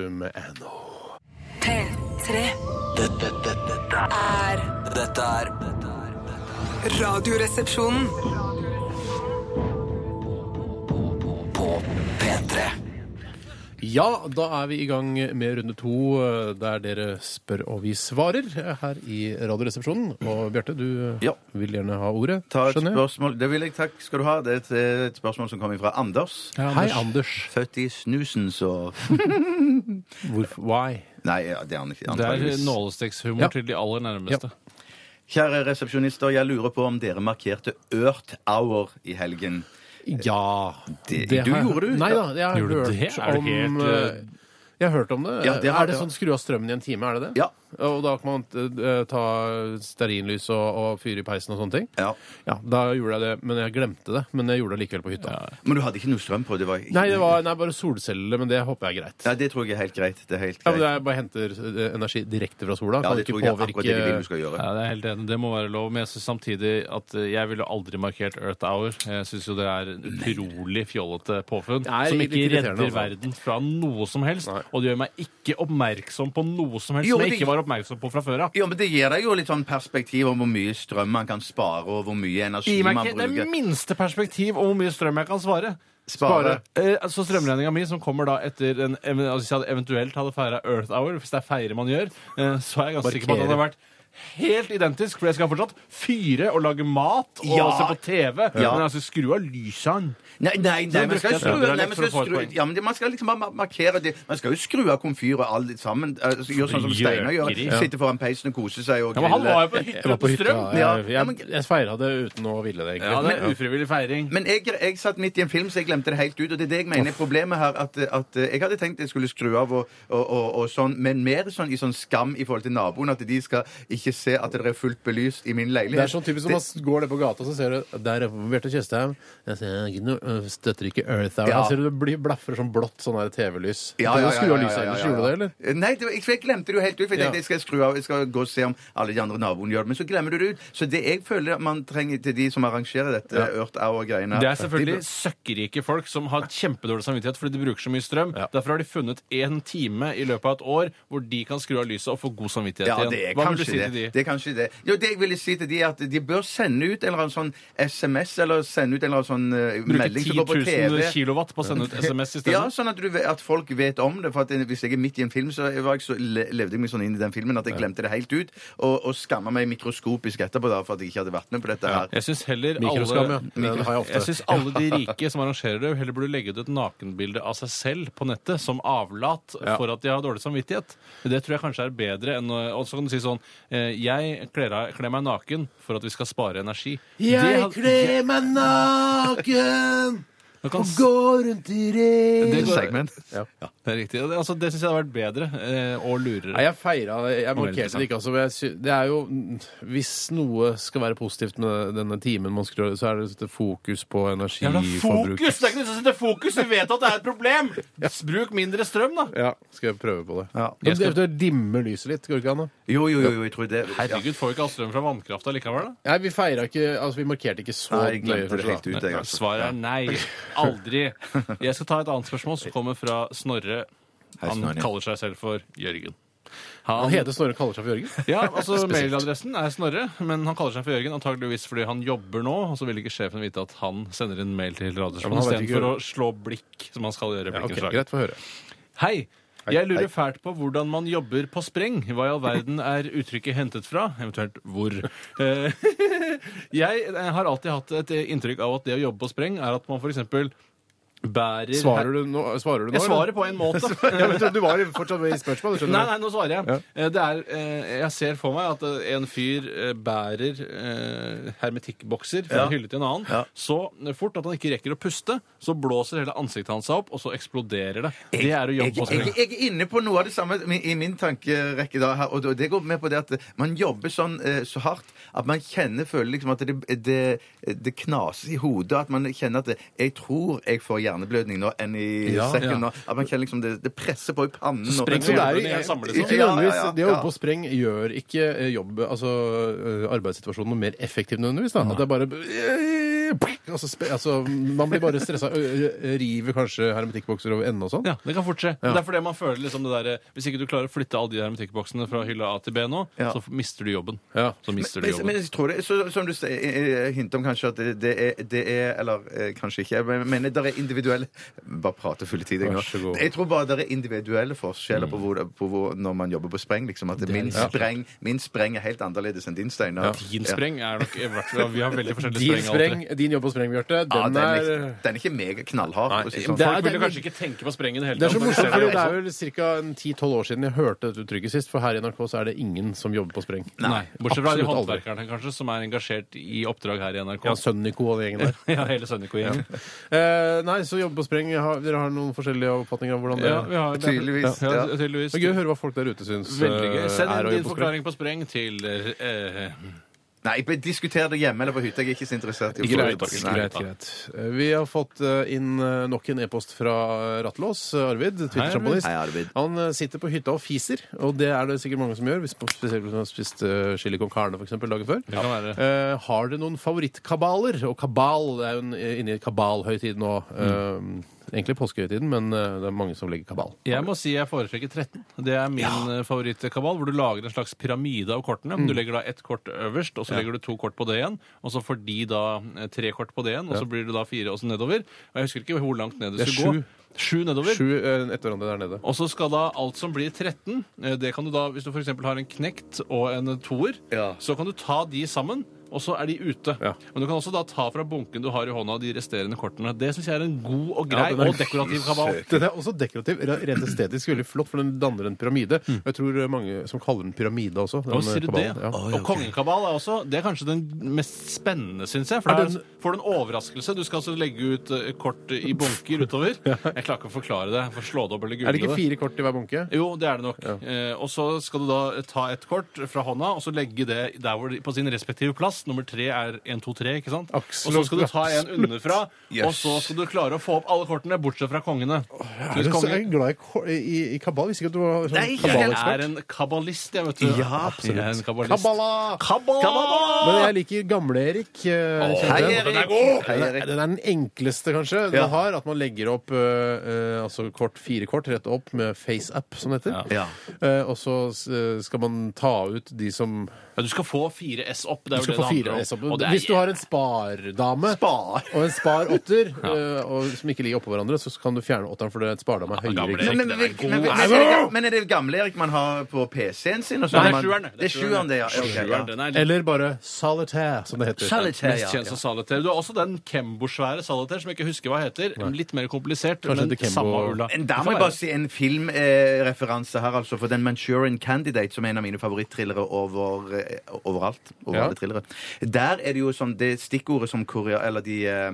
F: P3
E: Dette, dette, dette er-
F: er
E: dette er dette er-
F: Radioresepsjonen.
E: på P3.
B: Ja, da er vi i gang med runde to, eh, der dere spør og vi svarer eh, her i Radioresepsjonen. Og Bjarte, du eh,
C: Ja.
B: vil gjerne ha ordet,
C: Ta et
B: skjønner jeg?
C: spørsmål. Det vil jeg, takk skal du ha. Det er et, eh, et spørsmål som kommer fra Anders.
B: Hei, Anders.
C: Født i snusen, så
B: Hvorfor? Why?
C: Nei, ja, det er han ikke.
D: Det er
C: antageligvis.
D: nålestikkshumor
B: Ja.
D: til de aller nærmeste.
C: Kjære resepsjonister, jeg lurer på om dere markerte Ørt Hour i helgen.
B: Ja
C: Det- du
B: har jeg-
C: gjorde det.
B: Nei da, jeg har
D: Gjorde du
B: hørt
D: det? Er du
B: om
D: helt,
B: eh, Jeg har hørt om det.
C: Ja, det har-
B: er det
C: det har-
B: sånn skru av strømmen i en time, er det det?
C: Ja.
B: Og da kan man eh, ta stearinlys og, og fyre i peisen og sånne ting?
C: Ja.
B: Ja, da gjorde jeg det, men jeg glemte det. Men jeg gjorde det likevel på hytta.
C: Men du hadde ikke noe strøm på? Det var ikke...
B: Nei, det var nei, bare solceller, men det håper jeg er greit.
C: Ja, det tror jeg er helt greit. Det er helt
B: Ja, men
C: greit.
B: jeg bare henter eh, energi direkte fra sola.
C: Ja,
B: Kan
C: det
B: ikke
C: tror jeg er akkurat det de vil du
B: påvirke
C: skal gjøre.
D: Ja, det er helt enig. Det må være lov. Men jeg syns samtidig at eh, jeg ville aldri markert Earth Hour. Jeg syns jo det er en utrolig fjollete påfunn
B: Det er
D: som
B: litt
D: ikke
B: irriterende,
D: redder
B: altså.
D: verden fra noe som helst.
B: Nei.
D: Og det gjør meg ikke oppmerksom på noe som helst
C: Jo,
D: som jeg
C: det-
D: ikke var oppmerksom på fra før av.
C: Jo, men Det gir deg jo litt sånn perspektiv om hvor mye strøm man kan spare, og hvor mye energi
D: Gi meg
C: man
D: ikke det
C: bruker.
D: minste perspektiv om hvor mye strøm jeg kan svare.
C: Spare.
D: Eh, altså Strømregninga mi, som kommer da etter en, ev- altså, Hvis jeg hadde eventuelt hadde feira Earth Hour, hvis det er feire man gjør, eh, så er jeg ganske sikker på at det hadde vært helt identisk. For jeg skal fortsatt fyre og lage mat og
C: Ja.
D: se på TV.
C: Ja.
D: Men altså, skru av lysene.
C: Nei, nei, nei, man skal
D: bruker jeg
C: skru,
D: strøm.
C: nei, man skal
D: Det er lett for å få et
C: skru
D: poeng.
C: ja, men det- Man skal liksom bare ma- markere det. Man skal jo skru av komfyr og alt sammen. Altså, Gjøre sånn som Steinar gjør.
D: Gjøkeri. Ja.
C: Sitte foran peisen og kose seg og
D: Ja, men han var jo
C: grille.
D: på
B: Jeg
D: hytta
B: var på hytta.
D: strøm.
C: Ja,
B: Jeg,
C: ja, men-
B: jeg, jeg feira det uten å ville det, egentlig.
D: Ja, det er ufrivillig feiring.
C: Men jeg, jeg satt midt i en film, så jeg glemte det helt ut. Og det er det jeg mener er problemet her. At, at eh, jeg hadde tenkt jeg skulle skru av og, og, og, og sånn, men mer sånn i sånn skam i forhold til naboen. At de skal ikke se at det er fullt belyst i min
B: Det
C: leilighet.
B: er sånn typisk som man går ned på gata så ser du Der er Bjarte Tjøstheim. Jeg ser ikke noe, øh, støtter ikke Earth Hour.
C: Ja.
B: Jeg ser du blir blaffer sånn blått sånn der TV-lys.
C: Ja,
B: Du kan
C: ja, ja,
B: Skru av
C: ja,
B: lyset
C: ja, ja,
B: ellers.
C: ja. Eh,
B: Gjorde du det, eller?
C: Nei, det var, jeg- for jeg glemte det jo helt ut. For jeg
B: Ja.
C: tenkte jeg skal skru av, jeg skal gå og se om alle de andre naboene gjør det. Men så glemmer du det ut. Så det jeg føler at man trenger til de som arrangerer dette Ørt Hour-greiene
D: Det er selvfølgelig søkkrike folk som har kjempedårlig samvittighet fordi de bruker så mye strøm. Derfor har de funnet én time i løpet av et år hvor de kan skru av lyset og få god samvittighet
C: ja,
D: igjen.
C: det er
D: Hva vil du
C: kanskje
D: si
C: det.
D: til de?
C: Det er kanskje det. Jo, det jeg ville si til de er at de bør sende ut en eller annen sånn SMS eller sende ut en eller annen sånn eh,
D: Bruke
C: melding
D: 10
C: som går på
D: 000
C: TV.
D: kilowatt på å sende ut SMS i stedet?
C: <laughs> Ja, sånn at, du, ve- at folk vet om det. For at Hvis jeg er midt i en film, så, var jeg så le- levde jeg meg sånn inn i den filmen at jeg glemte det helt ut. Og, og skamma meg mikroskopisk etterpå da, for at jeg ikke hadde vært med på dette her.
D: Jeg syns heller
B: Mikroskam, ja.
D: alle,
B: Den har jeg ofte.
D: jeg synes alle de rike som arrangerer det, heller burde legge ut et nakenbilde av seg selv på nettet som avlat for at de har dårlig samvittighet. Det tror jeg kanskje er bedre enn å- Og så kan du si sånn eh, Jeg kler av- kler meg naken for at vi skal spare energi. Det had-
B: meg naken
D: <laughs> Man kan s-
B: rundt i ring
D: Det går-
C: Segment.
D: Det er riktig. Og Det, altså, det syns jeg hadde vært bedre eh, og lurere.
B: Nei, jeg feira det. Jeg markerte
D: interessant.
B: det ikke. Altså, men jeg sy det er jo, hvis noe skal være positivt med denne timen, man skrur, så er det dette fokus på
D: Jævla
B: energiforbruk.
D: fokus! Det er ikke noe som setter fokus! Vi vet at det er et problem! Bruk mindre strøm, da!
B: Ja, skal jeg prøve på det.
C: Ja.
B: Men Eventuelt dimme lyset litt. Går det ikke an? da?
C: Jo, jo, jo, jo, jeg tror det. Ja.
D: Herregud, får vi ikke all strøm fra vannkrafta likevel, da?
B: Nei, vi feira ikke Altså, vi markerte ikke så
C: Nei, jeg glemte
B: kanskje,
C: det helt
B: da.
C: ut. Jeg, altså.
D: Svaret er nei.
B: <laughs>
D: Aldri. Jeg skal ta et annet spørsmål som kommer fra Snorre.
C: Hei,
D: Han
C: Snorre.
D: kaller seg selv for Jørgen.
B: Han heter Snorre og kaller seg for
D: <laughs>
B: Jørgen. <laughs>
D: Ja, altså Mailadressen er Snorre, men han kaller seg for Jørgen antageligvis fordi han jobber nå, og så vil ikke sjefen vite at han sender en mail til
B: Ja, men
D: Radioresepsjonen
B: han vet ikke
D: istedenfor å
B: hvor-
D: slå blikk, som han skal gjøre.
B: Ja, ok,
D: blikkenslag.
B: greit, få høre.
D: Hei. Jeg
B: hei.
D: lurer fælt på hvordan man jobber på spreng. Hva i all verden er uttrykket hentet fra? Eventuelt hvor. Eh, <laughs> Jeg har alltid hatt et inntrykk av at det å jobbe på spreng er at man f.eks. bærer
B: Svarer du nå? Svarer du nå
D: Jeg svarer på en måte.
B: eller? ja, men du- Du var jo fortsatt med i spørsmålet, <laughs> skjønner
D: Nei,
B: du.
D: nei, nå svarer jeg.
B: Ja.
D: Eh, Det er, eh, jeg ser for meg at eh, en fyr eh, bærer eh, hermetikkbokser fra en hylle til en annen. Så eh, fort at han ikke rekker å puste, så blåser hele ansiktet hans seg opp, og så eksploderer det. Det er å jobbe på
C: Jeg, jeg er inne på noe av det samme i i min tankerekke. da her, og det- Det går med på det at man jobber sånn eh, så hardt at man kjenner, føler liksom at det, det, det knaser i hodet. At man kjenner at det, 'jeg tror jeg får hjerneblødning nå enn i
B: Ja,
C: sekken'. nå.
D: ja.
C: At man kjenner liksom det, det presser på i pannen. og-
D: sprenger
B: Så det sånn. er,
D: Jobben i en samlet
B: ikke
C: sum.
B: nødvendigvis,
C: Ja, ja, ja.
B: Det å jobbe på spreng gjør ikke eh, jobb, altså, eh, arbeidssituasjonen noe mer effektiv nødvendigvis. Da. At det er bare <laughs> altså, spe, altså, Man blir bare stressa. ø- ø- River kanskje hermetikkbokser over ende og sånn.
D: Ja, det kan fort skje. Men Det er fordi man føler liksom det derre Hvis ikke du klarer å flytte alle de hermetikkboksene fra hylla A til B nå,
C: Ja.
D: så f- mister du jobben.
B: Ja.
D: Så mister du
C: Men, men
D: jobben.
C: jeg tror det, så, som du sier, eh, eh, hinter om kanskje at det, det, er, det er Eller eh, kanskje ikke. Men, men det er individuelle Bare prate full tid. Jeg,
B: Vær så
C: nå.
B: god.
C: jeg tror bare det er individuelle forskjeller på, hvor, på hvor, når man jobber på spreng. Liksom, at min,
D: sant.
C: spreng, min spreng er helt annerledes enn din, Steinar.
D: Din spreng er nok i hvert fall Vi har veldig forskjellige
B: Din,
D: spreng.
B: spreng, din jobb på spreng, Bjarte,
C: Ja,
B: den
C: den, er,
B: er
C: ikke- den er ikke mega knallhard. for å si
D: alltid.
C: sånn.
B: det er-
D: Folk
B: det
D: ville
B: er-
D: kanskje ikke tenke på sprengen i det hele
B: det er så
D: tatt, men
B: morsomt,
D: ser
B: for
D: det
B: det er
D: også.
B: vel ca. 10-12 år siden jeg hørte dette uttrykket sist, for her i NRK så er det ingen som jobber på spreng.
D: Nei, Bortsett fra de
B: absolutt aldri.
D: håndverkerne kanskje, som er engasjert i oppdrag her i NRK.
B: Ja, Sønnico og den gjengen der.
D: <laughs> Ja, hele Sønniko-gjengen.
B: Eh, nei, så jobbe på spreng. Har, dere har noen forskjellige oppfatninger av hvordan det
D: Ja, vi har-
C: Tydeligvis,
D: Ja,
C: ja.
D: tydeligvis.
B: Det er gøy å høre hva folk der ute syns.
D: Veldig gøy.
B: eh,
D: Send
B: er
D: inn
B: å
D: din
B: jobbe på spreng.
D: forklaring på spreng til eh,
C: Nei, be- diskuter det hjemme eller på hytta. Jeg er ikke så interessert i å få
B: Greit,
C: det. Nei.
B: greit, greit. Eh, Vi har fått eh, inn eh, nok en e-post fra Rattelås. eh, Arvid, Twitter-sjamponist.
C: Hei, Arvid.
B: Han eh, sitter på hytta og fiser, og det er det sikkert mange som gjør. hvis- Spesielt hvis man har spist eh, chili con carne for eksempel, dagen før.
D: kan være.
B: Eh, har dere noen favorittkabaler? Og kabal er jo en- eh, inne i kabalhøytiden nå.
D: Mm.
B: Eh, egentlig påskehøytiden, men eh, det er mange som legger kabal.
D: Jeg må si jeg foretrekker 13. Det er min eh, favorittkabal, hvor du lager en slags pyramide av kortene.
B: Mm.
D: Du legger da ett kort øverst, og så legger du to kort på det igjen. Og så får de da eh, tre kort på det igjen, og så blir det da fire og så nedover. Og jeg husker ikke hvor langt ned du
B: Det er
D: skulle gå. Sju nedover.
B: Sju eh, etter hverandre der nede.
D: Og så skal da alt som blir 13 eh, det kan du da, Hvis du f.eks. har en knekt og en toer,
C: Ja.
D: så kan du ta de sammen. Og så er de ute.
B: Ja.
D: Men du kan også da ta fra bunken du har i hånda, de resterende kortene. Det syns jeg er en god og grei
B: den er-
D: og dekorativ kabal.
B: Den er også dekorativ, re- rent estetisk veldig flott, for den danner en pyramide. Jeg tror eh, mange som kaller den pyramide også. Den eh,
D: Og sier du det?
B: kabalen, ja.
D: Og kongekabal er også Det er kanskje den mest spennende, syns jeg. For
B: Er
D: da
B: den-
D: får du en overraskelse. Du skal altså legge ut eh, kort i bunker utover.
B: <laughs>
D: Jeg klarer ikke å forklare det. Jeg får slå det opp eller
B: Er det
D: google
B: ikke fire kort i hver bunke?
D: Jo, det er det nok. Eh, og så skal du da eh, ta et kort fra hånda og så legge det der hvor, de- på sin respektive plass. Nummer tre er 1, 2, 3, ikke sant?
B: Absolutt.
D: Og så skal du ta en underfra,
C: Yes.
D: og så skal du klare å få opp alle kortene, bortsett fra kongene. Så
B: Er du
D: hvis
B: så
D: kongen-
B: jeg er glad i, ko- i, i kabal? Visste ikke at du var sånn
C: Nei, jeg
D: jeg
B: kabalekspert.
D: er en kabbalist, jeg, vet du.
C: Ja,
D: absolutt. Jeg er en kabbalist.
B: Kabala!
D: Kabala!
B: Men jeg liker eh, gamle-Erik.
C: Hei,
B: Hei,
C: Erik!
D: Den er god!
C: Hei,
B: Den er,
C: Erik.
B: den er den enkleste, kanskje,
C: Ja.
B: man har. At man legger opp eh, eh, altså kort, fire kort rett opp med FaceApp, som det heter.
C: Ja.
B: Eh, og så eh, skal man ta ut de som
D: Ja, du skal få 4S opp.
B: Du
D: Det er
B: skal
D: jo
B: få
D: det det
B: fire
D: handler om.
B: S opp.
D: Og det er-
B: Hvis du har en spardame
C: Spar.
B: og en spar
C: <laughs>
B: åtter eh, og, som ikke ligger oppå hverandre, så kan du fjerne åtteren fordi et spardame er høyere.
D: gamle
B: ikke sant?
C: Men, men,
D: Den
C: men,
D: er god.
C: men, men, er det, men er det gamle Erik man har på PC-en sin? og sånn?
D: Nei, det er
C: Man-
D: sjueren.
C: Det er sjueren, det, ja. Ok, ja.
D: Sjueren, den er
B: Eller bare solitaire, som det heter.
C: Solitaire,
D: Mest kjent
C: ja.
D: som Saletair. Du har også den Kembo-svære Saletair, som jeg ikke husker hva heter. Litt mer komplisert,
B: Kanskje
D: men
B: det Kembo-
D: samme ulla.
C: Men Der må jeg bare si en filmreferanse eh, referanse her, altså. For den Manchurian Candidate, som er en av mine favoritthrillere over, eh, overalt. Over
B: Ja.
C: alle thrillere. Der er det jo sånn Det stikkordet som korea, eller de eh,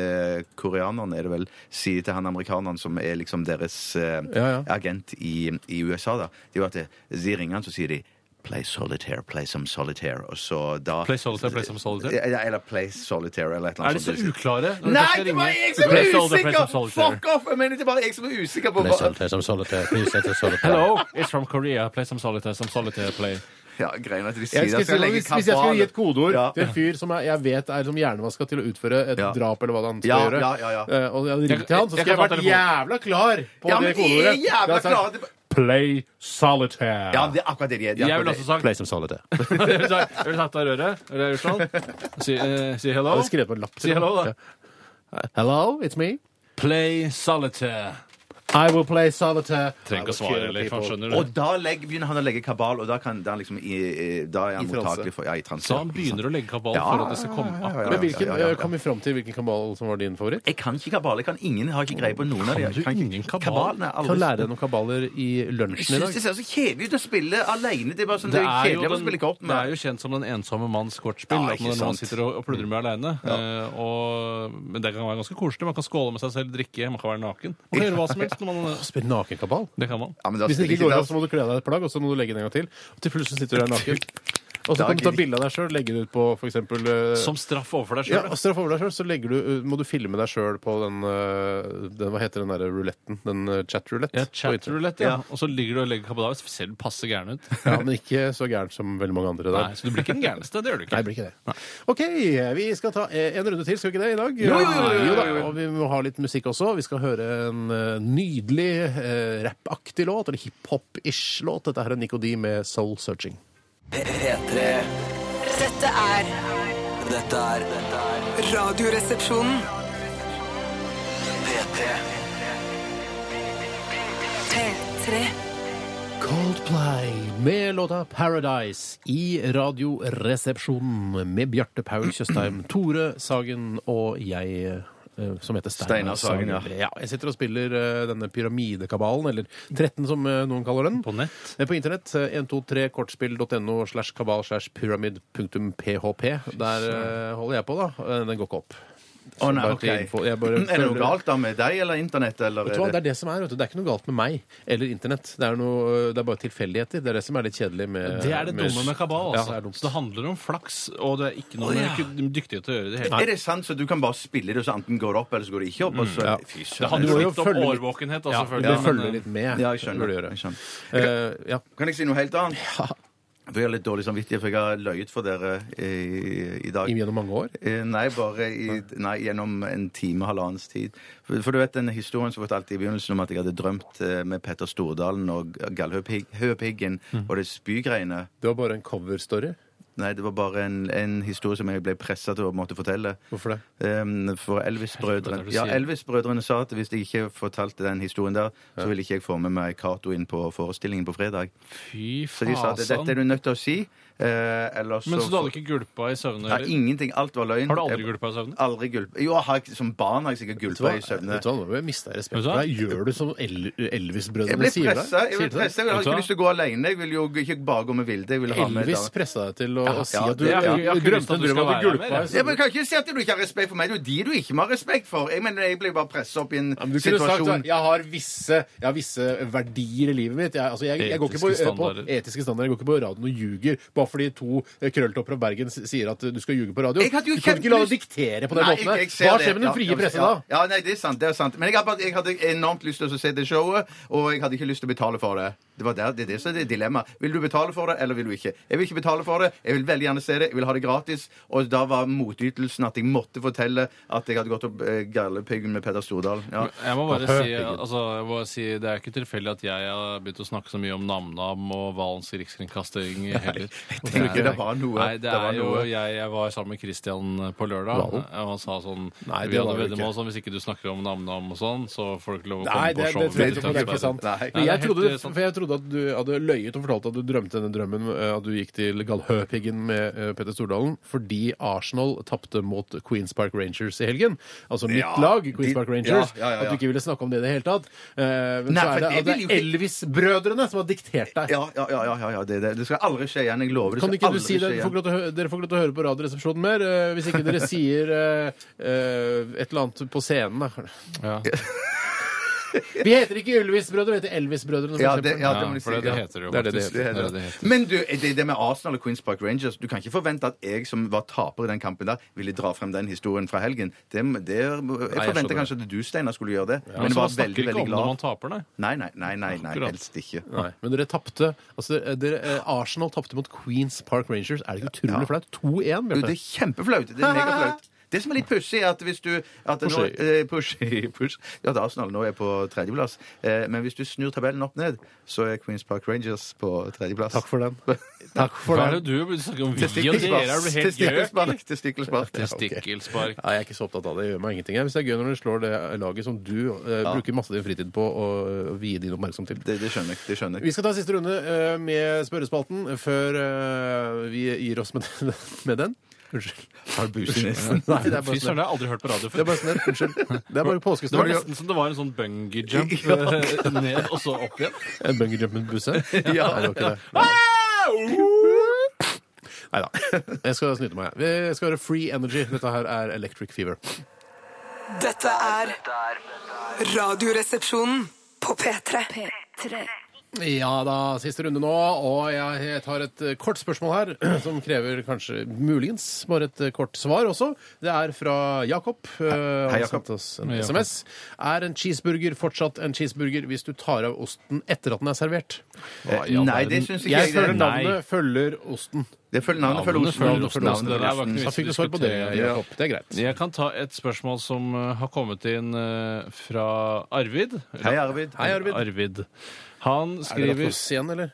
C: eh, koreanerne, er det vel, sier til han amerikaneren som er liksom deres eh,
B: Ja, ja.
C: agent i, i USA, da. Det er jo at det, de ringer han, så sier de Play solitaire, play some solitaire. Og så da
D: Play solitaire, play some solitaire?
C: Ja, ja, Eller play solitaire, eller et eller
D: Er
C: annet.
D: de så
C: sånt du sier.
D: uklare? når du først
C: Nei,
D: skal
C: det var
D: ringe?
C: jeg som
D: Play
C: var
D: solitaire, play some
C: usikker!
D: solitaire.
C: Fuck off! Jeg mener, det er bare jeg som er usikker på hva
D: Hello, it's from Korea. Play some solitaire, some solitaire play.
C: Ja, greiene at de sier
B: Jeg
C: at
B: skal si,
C: skal legge
B: hvis, hvis jeg skulle gi et kodeord
C: Ja.
B: til en fyr som jeg, jeg vet er som hjernevaska til å utføre et
C: Ja.
B: drap, eller hva det han skal
C: Ja,
B: gjøre,
C: ja, ja, ja.
B: eh, og jeg hadde ringt til han, så
D: Jeg-
B: skulle jeg
D: jeg kan
B: vært
D: ta
B: jævla klar på
C: Ja,
B: det
C: men de
B: kodeordet.
C: er
B: Da
C: jævla
B: hadde jeg
C: klare!
B: sagt,
C: Det-
B: Play solitaire.
C: Ja, det er akkurat det de er. Det er
D: Jeg ville
C: akkurat
D: også
C: det.
D: sagt
B: som solitaire.
D: <laughs> Jeg ville sagt- jeg ville sagt av røret. Eller gjort sånn. Si, eh, si
B: Jeg
D: hello.
B: hadde skrevet på en lapp. til
D: Si
B: han.
D: hello, da.
B: Ja. Hello, it's me.
D: Play solitaire.
B: I will play solitaire.
D: Trenger ikke å svare heller, for han skjønner
C: Og
D: det.
C: da legger, begynner han å legge kabal, og da, kan, da, er han liksom, i, i- da er
B: I
C: han
B: transe.
C: mottakelig for Ja, i transe.
D: Så han begynner å legge kabal
C: Ja,
D: for at det skal komme akkurat.
B: Men hvilken, eh,
C: Ja, ja, ja, ja.
B: Kom vi fram til hvilken kabal som var din favoritt?
C: Jeg kan ikke kabal. Jeg kan ingen, jeg har ikke greie på noen av dem.
D: Kan du ingen kabal?
B: Kan lære deg noen kabaler i
C: Jeg
B: lunsjen i
C: syns
B: dag.
C: det ser så kjedelig ut å spille alene. Det er bare sånn,
D: Det
C: det,
D: er,
C: er
D: jo
C: kjedelig å
D: den,
C: spille kort
D: det er
C: med.
D: jo kjent som den ensomme manns kortspill.
C: Ja,
D: at
C: ikke
D: man nå
C: sant.
D: sitter og, og pludrer med alene. Eh, og, men det kan være ganske koselig. Man kan skåle med seg selv, drikke, man kan være naken. Man kan gjøre hva som helst. Når man,
B: Spille nakenkabal?
D: det kan man.
C: Ja, men da
B: Hvis det
C: spiller
B: ikke går
C: da-
B: av, så må du kle deg i et plagg, og så må du legge den en gang til. Og til plutselig sitter du der naken. Og så kan du ta bilde av deg sjøl, legge det ut på f.eks.
D: Som straff overfor deg
B: ja,
D: sjøl.
B: og straff over deg selv, så legger du, eh, må du filme deg sjøl på den, eh, den Hva heter den derre ruletten? Den eh, chat-rulett?
D: Ja,
B: på internett.
D: chatroulette, ja. Og så ligger du og legger kabal. Selv passe gæren ut.
B: Ja, men ikke så gærent som veldig mange andre der.
D: Nei, så du blir ikke den gærneste. Det gjør
B: Nei,
D: du ikke.
B: det blir ikke det. OK, vi skal ta eh, en runde til, skal vi ikke det, i dag?
D: Jo, jo, jo, jo, jo, jo.
B: da, Og vi må ha litt musikk også. Vi skal høre en eh, nydelig eh, rappaktig låt, eller hiphop-ish låt. Dette her er Nico D med Soul Searching.
E: P3
F: Dette er
E: Dette er dette er
F: Radioresepsjonen.
E: P3
F: P3.
B: Coldplay med låta 'Paradise' i Radioresepsjonen med Bjarte Paul
C: <clears throat>
B: Tjøstheim, Tore Sagen og jeg. eh, Som heter Steinar
C: Steinar Sagen, ja.
B: Jeg sitter og spiller eh, denne pyramidekabalen, eller 13 som eh, noen kaller den.
D: På nett.
B: Eh, På internett. eh, 123kortspill.no slash kabal slash pyramid.php. Der eh, holder jeg på, da. Eh, Den går ikke opp.
C: Å, nei,
B: Bare
C: ok.
B: til info. Jeg bare
C: <laughs> <clears throat> Er det
B: føler-
C: noe galt da med deg eller internett? Eller
B: Vet du hva, Det er det som er, vet du. Det er ikke noe galt med meg eller internett. Det er, noe, det er bare tilfeldigheter. Det er det som er litt kjedelig med
D: Det er det dumme med kabal.
B: Ja,
D: Altså.
B: det er dumt.
D: så det handler om flaks, og det er ikke noe med ikke dyktighet til å gjøre i det hele tatt.
C: Er det sant? Så du kan bare spille det, og så enten går det opp, eller så går det ikke opp? Og så,
B: Mm, Ja.
C: Fy
D: Det
C: søren.
B: Du
D: handler
B: må
D: jo
B: jo
D: litt om
B: følge litt-
D: årvåkenhet, altså, da,
B: Ja, du
D: selvfølgelig. men,
B: følger litt med.
C: Ja, jeg skjønner.
B: burde du gjøre.
C: Jeg skjønner.
B: Eh, ja.
C: Kan jeg si noe helt annet? Ja. Jeg har litt dårlig samvittighet, for jeg har løyet for dere i, i dag.
B: I- Gjennom mange år.
C: Eh, Nei, bare i, nei, gjennom en time, halvannens tid. For, for du vet den historien som fortalte i begynnelsen om at jeg hadde drømt eh, med Petter Stordalen og Gallhøpiggen
B: Mm.
C: og det spygreiene.
B: Det var bare en coverstory.
C: Nei, det var bare en, en historie som jeg ble pressa til å måtte fortelle.
B: Hvorfor det?
C: Em, Ehm, for Elvis-brødrene
D: Helvete, hva er det du
C: ja,
D: sier?
C: Elvis-brødrene sa at hvis jeg ikke fortalte den historien der, så ville ikke jeg få med meg Cato inn på forestillingen på fredag.
D: Fy
C: Så de sa at dette er
D: fasan.
C: du nødt til å si. Eh, eller så
D: Ah, Men så du hadde ikke gulpa i søvne?
C: ja,
D: eller?
C: Ingenting. Alt var løgn.
D: Har du aldri
C: Jeg-
D: gulpa i søvne?
C: Aldri gulp. Jo, jeg har, ikke- som barn har jeg
B: Vet
C: sikkert
B: du hva?
C: gulpa i søvne.
B: Vet du hva, Nå må jeg miste respekt
D: Vet du
B: for
D: hva?
B: deg. Gjør du som El
C: Jeg
B: Elvis-brødrene
C: ble
B: sier deg?
C: pressa. Jeg, ble
B: Sier til deg?
C: presset. jeg har
D: Vet du
C: ikke
D: hva?
C: lyst til å gå alene. Jeg vil jo ikke bare gå med Vilde. Jeg vil ha med
B: Elvis
C: damer.
B: pressa deg til å å si
C: ja,
B: at du
C: det er-
B: du
D: jeg har
B: drømte
D: ikke lyst til
B: en
D: at du
B: drøm
D: skal
B: om at du
D: være
B: gulpa.
D: med,
B: så-
C: Ja, men jeg kan ikke si at du ikke har respekt for meg. Det er jo de du ikke må ha respekt for. Jeg mener, jeg blir bare pressa opp i en
B: Ja, men du kunne sagt
C: situasjon.
B: at jeg har visse, jeg har visse verdier i livet mitt. Jeg, altså, jeg, jeg går ikke på,
D: Etiske
B: eh, på
D: standarder.
B: etiske standarder. Jeg går ikke på radioen og ljuger bare fordi to eh, krølltopper fra Bergen s- sier at eh, du skal ljuge på radio.
C: Jeg hadde jo
B: du kan ikke la det
C: kjempelyst-
B: diktere på den
C: Nei,
B: måten.
C: jeg-
B: her.
C: jeg ser
B: Hva
C: det.
B: skjer med den
C: Ja,
B: frie
C: ja,
B: presse
C: ja.
B: da?
C: Ja, nei, det er sant. det er sant. Men jeg hadde, bare- jeg hadde enormt lyst til å se det showet, og jeg hadde ikke lyst til å betale for det. Det var der, det er det som er dilemmaet. Vil du betale for det, eller vil du ikke? Jeg vil ikke betale for det. Jeg vil veldig gjerne se det. Jeg vil ha det gratis. Og da var motytelsen at jeg måtte fortelle at jeg hadde gått opp eh, Gærlepiggen med Peder Stordalen. Ja.
D: Jeg må bare
B: Hø,
D: si,
B: ikke.
D: altså, jeg må bare si Det er ikke tilfeldig at jeg har begynt å snakke så mye om NamNam og Valens rikskringkasting heller.
C: jeg tenker det var noe.
D: Nei, det
C: Det var
D: er jo,
C: noe.
D: jeg, jeg var sammen med Christian på lørdag,
B: Valen?
D: og han sa sånn
B: Nei, det
D: Vi
B: var
D: hadde
B: det
D: veddemål
B: ikke.
D: sånn hvis ikke du snakker om NamNam og sånn, så får du ikke lov å komme
B: Nei, det,
D: på
B: det, tror jeg
D: showet. til
B: ikke, det er ikke
D: Tønsberg.
B: sant.
C: Nei.
B: Men
D: Nei,
B: jeg
D: det er
B: trodde,
D: helt, eh, sant.
B: for jeg trodde at du hadde løyet og fortalt at du drømte denne drømmen eh, at du gikk til Gallhøpiggen med eh, Petter Stordalen fordi Arsenal tapte mot Queens Park Rangers i helgen. Altså mitt
C: Ja,
B: lag, Queens
C: de-
B: Park Rangers.
C: ja, ja, ja, ja.
B: At du ikke ville snakke om det i det hele tatt. Eh, Men så
C: Nei,
B: er
C: for
B: det,
C: det
B: at det
C: vil
B: er
C: jo ikke-
B: Elvis-brødrene som har diktert deg.
C: Ja, ja, ja, ja, ja, ja det, det, det skal aldri skje igjen. Jeg lover. Det
B: Kan
C: skal
B: ikke du
C: aldri
B: si det?
C: skje
B: Dere får,
C: igjen.
B: ikke lov til å hø- dere får ikke lov til å høre på Radioresepsjonen mer eh, hvis ikke dere sier eh, eh, et eller annet på scenen. Da.
D: Ja,
B: Vi heter ikke Ylvis-brødre, vi heter Elvis-brødrene. for
C: Ja, det,
B: eksempel.
C: ja, det må
D: ja,
C: du si.
D: for det, det
C: ja.
D: heter det jo
B: Det er det det
D: faktisk.
C: Det er
D: det
C: det.
D: det heter.
C: Men du, det, det med Arsenal og Queens Park Rangers Du kan ikke forvente at jeg som var taper i den kampen der, ville dra frem den historien fra helgen. Det, det, jeg
B: skjønner
C: forventer
B: det.
C: kanskje at du, Steinar, skulle gjøre det.
D: Men
C: Men
D: så
C: var
D: Altså, man
C: veldig,
D: snakker ikke
C: veldig
D: om når man
C: glad.
D: taper, nei.
C: Nei, nei, nei, nei, nei
D: Akkurat.
C: helst ikke.
B: Nei, men dere tapte. Altså, dere- dere, Arsenal tapte mot Queens Park Rangers. Er det ikke utrolig
C: Ja.
B: flaut? 2-1,
C: Jo, det
B: Bjarte.
C: er kjempeflaut. Det er megaflaut. Det som er litt pussig, er at hvis du at nå,
B: Pussig.
C: eh, pussig, <laughs> puss, ja, at Arsenal nå er på tredjeplass, eh, men hvis du snur tabellen opp ned, så er Queens Park Rangers på tredjeplass.
B: Takk for den.
C: <laughs> Takk
D: Hva er det du snakker om? Vi og dere er du helt gjøk?
C: Testikkelspark. Testikkelspark.
B: Ja, ok.
D: Testikkelspark.
B: Nei, jeg er ikke så opptatt av det. Det gjør meg ingenting. jeg. Hvis det er gøy når du slår det laget som du eh, bruker masse av din fritid på å å vie din oppmerksomhet til.
C: Det, det skjønner jeg. Det skjønner
B: Vi
C: jeg.
B: skal ta en siste runde eh, med spørrespalten før eh, vi gir oss med den. <laughs> Med den. Unnskyld.
C: Har du bus i nesen?
B: <laughs> Nei, det er
D: Fy
B: bare
D: søren, det
B: snø.
D: har jeg aldri hørt på radio
B: Det er
D: før.
B: bare snø. Unnskyld. Det er bare
D: Det var
B: påskesnø.
D: nesten som det var en sånn bungee jump eh, ned, og så opp igjen.
B: En Eh, bungee jump med en busse?
C: Ja.
B: Nei, det var ikke det.
D: Ah!
B: Nei da. Jeg skal snyte meg. Vi skal høre Free Energy. Dette her er Electric Fever.
F: Dette er Radioresepsjonen på P3.
B: Ja da, siste runde nå. Og jeg tar et eh, kort spørsmål her, som krever kanskje muligens bare et eh, kort svar også. Det er fra Jakob. eh, Han
C: Jakob.
B: sendte oss en
D: Hei, Jakob.
B: SMS. Er en cheeseburger fortsatt en cheeseburger hvis du tar av osten etter at den er servert?
D: Hva i
C: Eh,
D: all
C: Nei,
D: verden?
C: det syns ikke
B: Jeg
C: jeg.
B: føler
C: Det,
D: Nei.
B: navnet følger osten.
C: det følger navnet følger
D: Navnet
C: osen.
D: følger osten.
C: Navnet Mm.
D: Det der var ikke
C: osen.
B: Da fikk du svar på det,
D: Diskutere, ja.
B: Jakob. Det er greit.
D: Jeg kan ta et spørsmål som eh, har kommet inn eh, fra Arvid.
C: Hei, Arvid.
B: Hei, Arvid.
D: Arvid. Han
B: Er det
D: skriver
B: Ratos igjen, eller?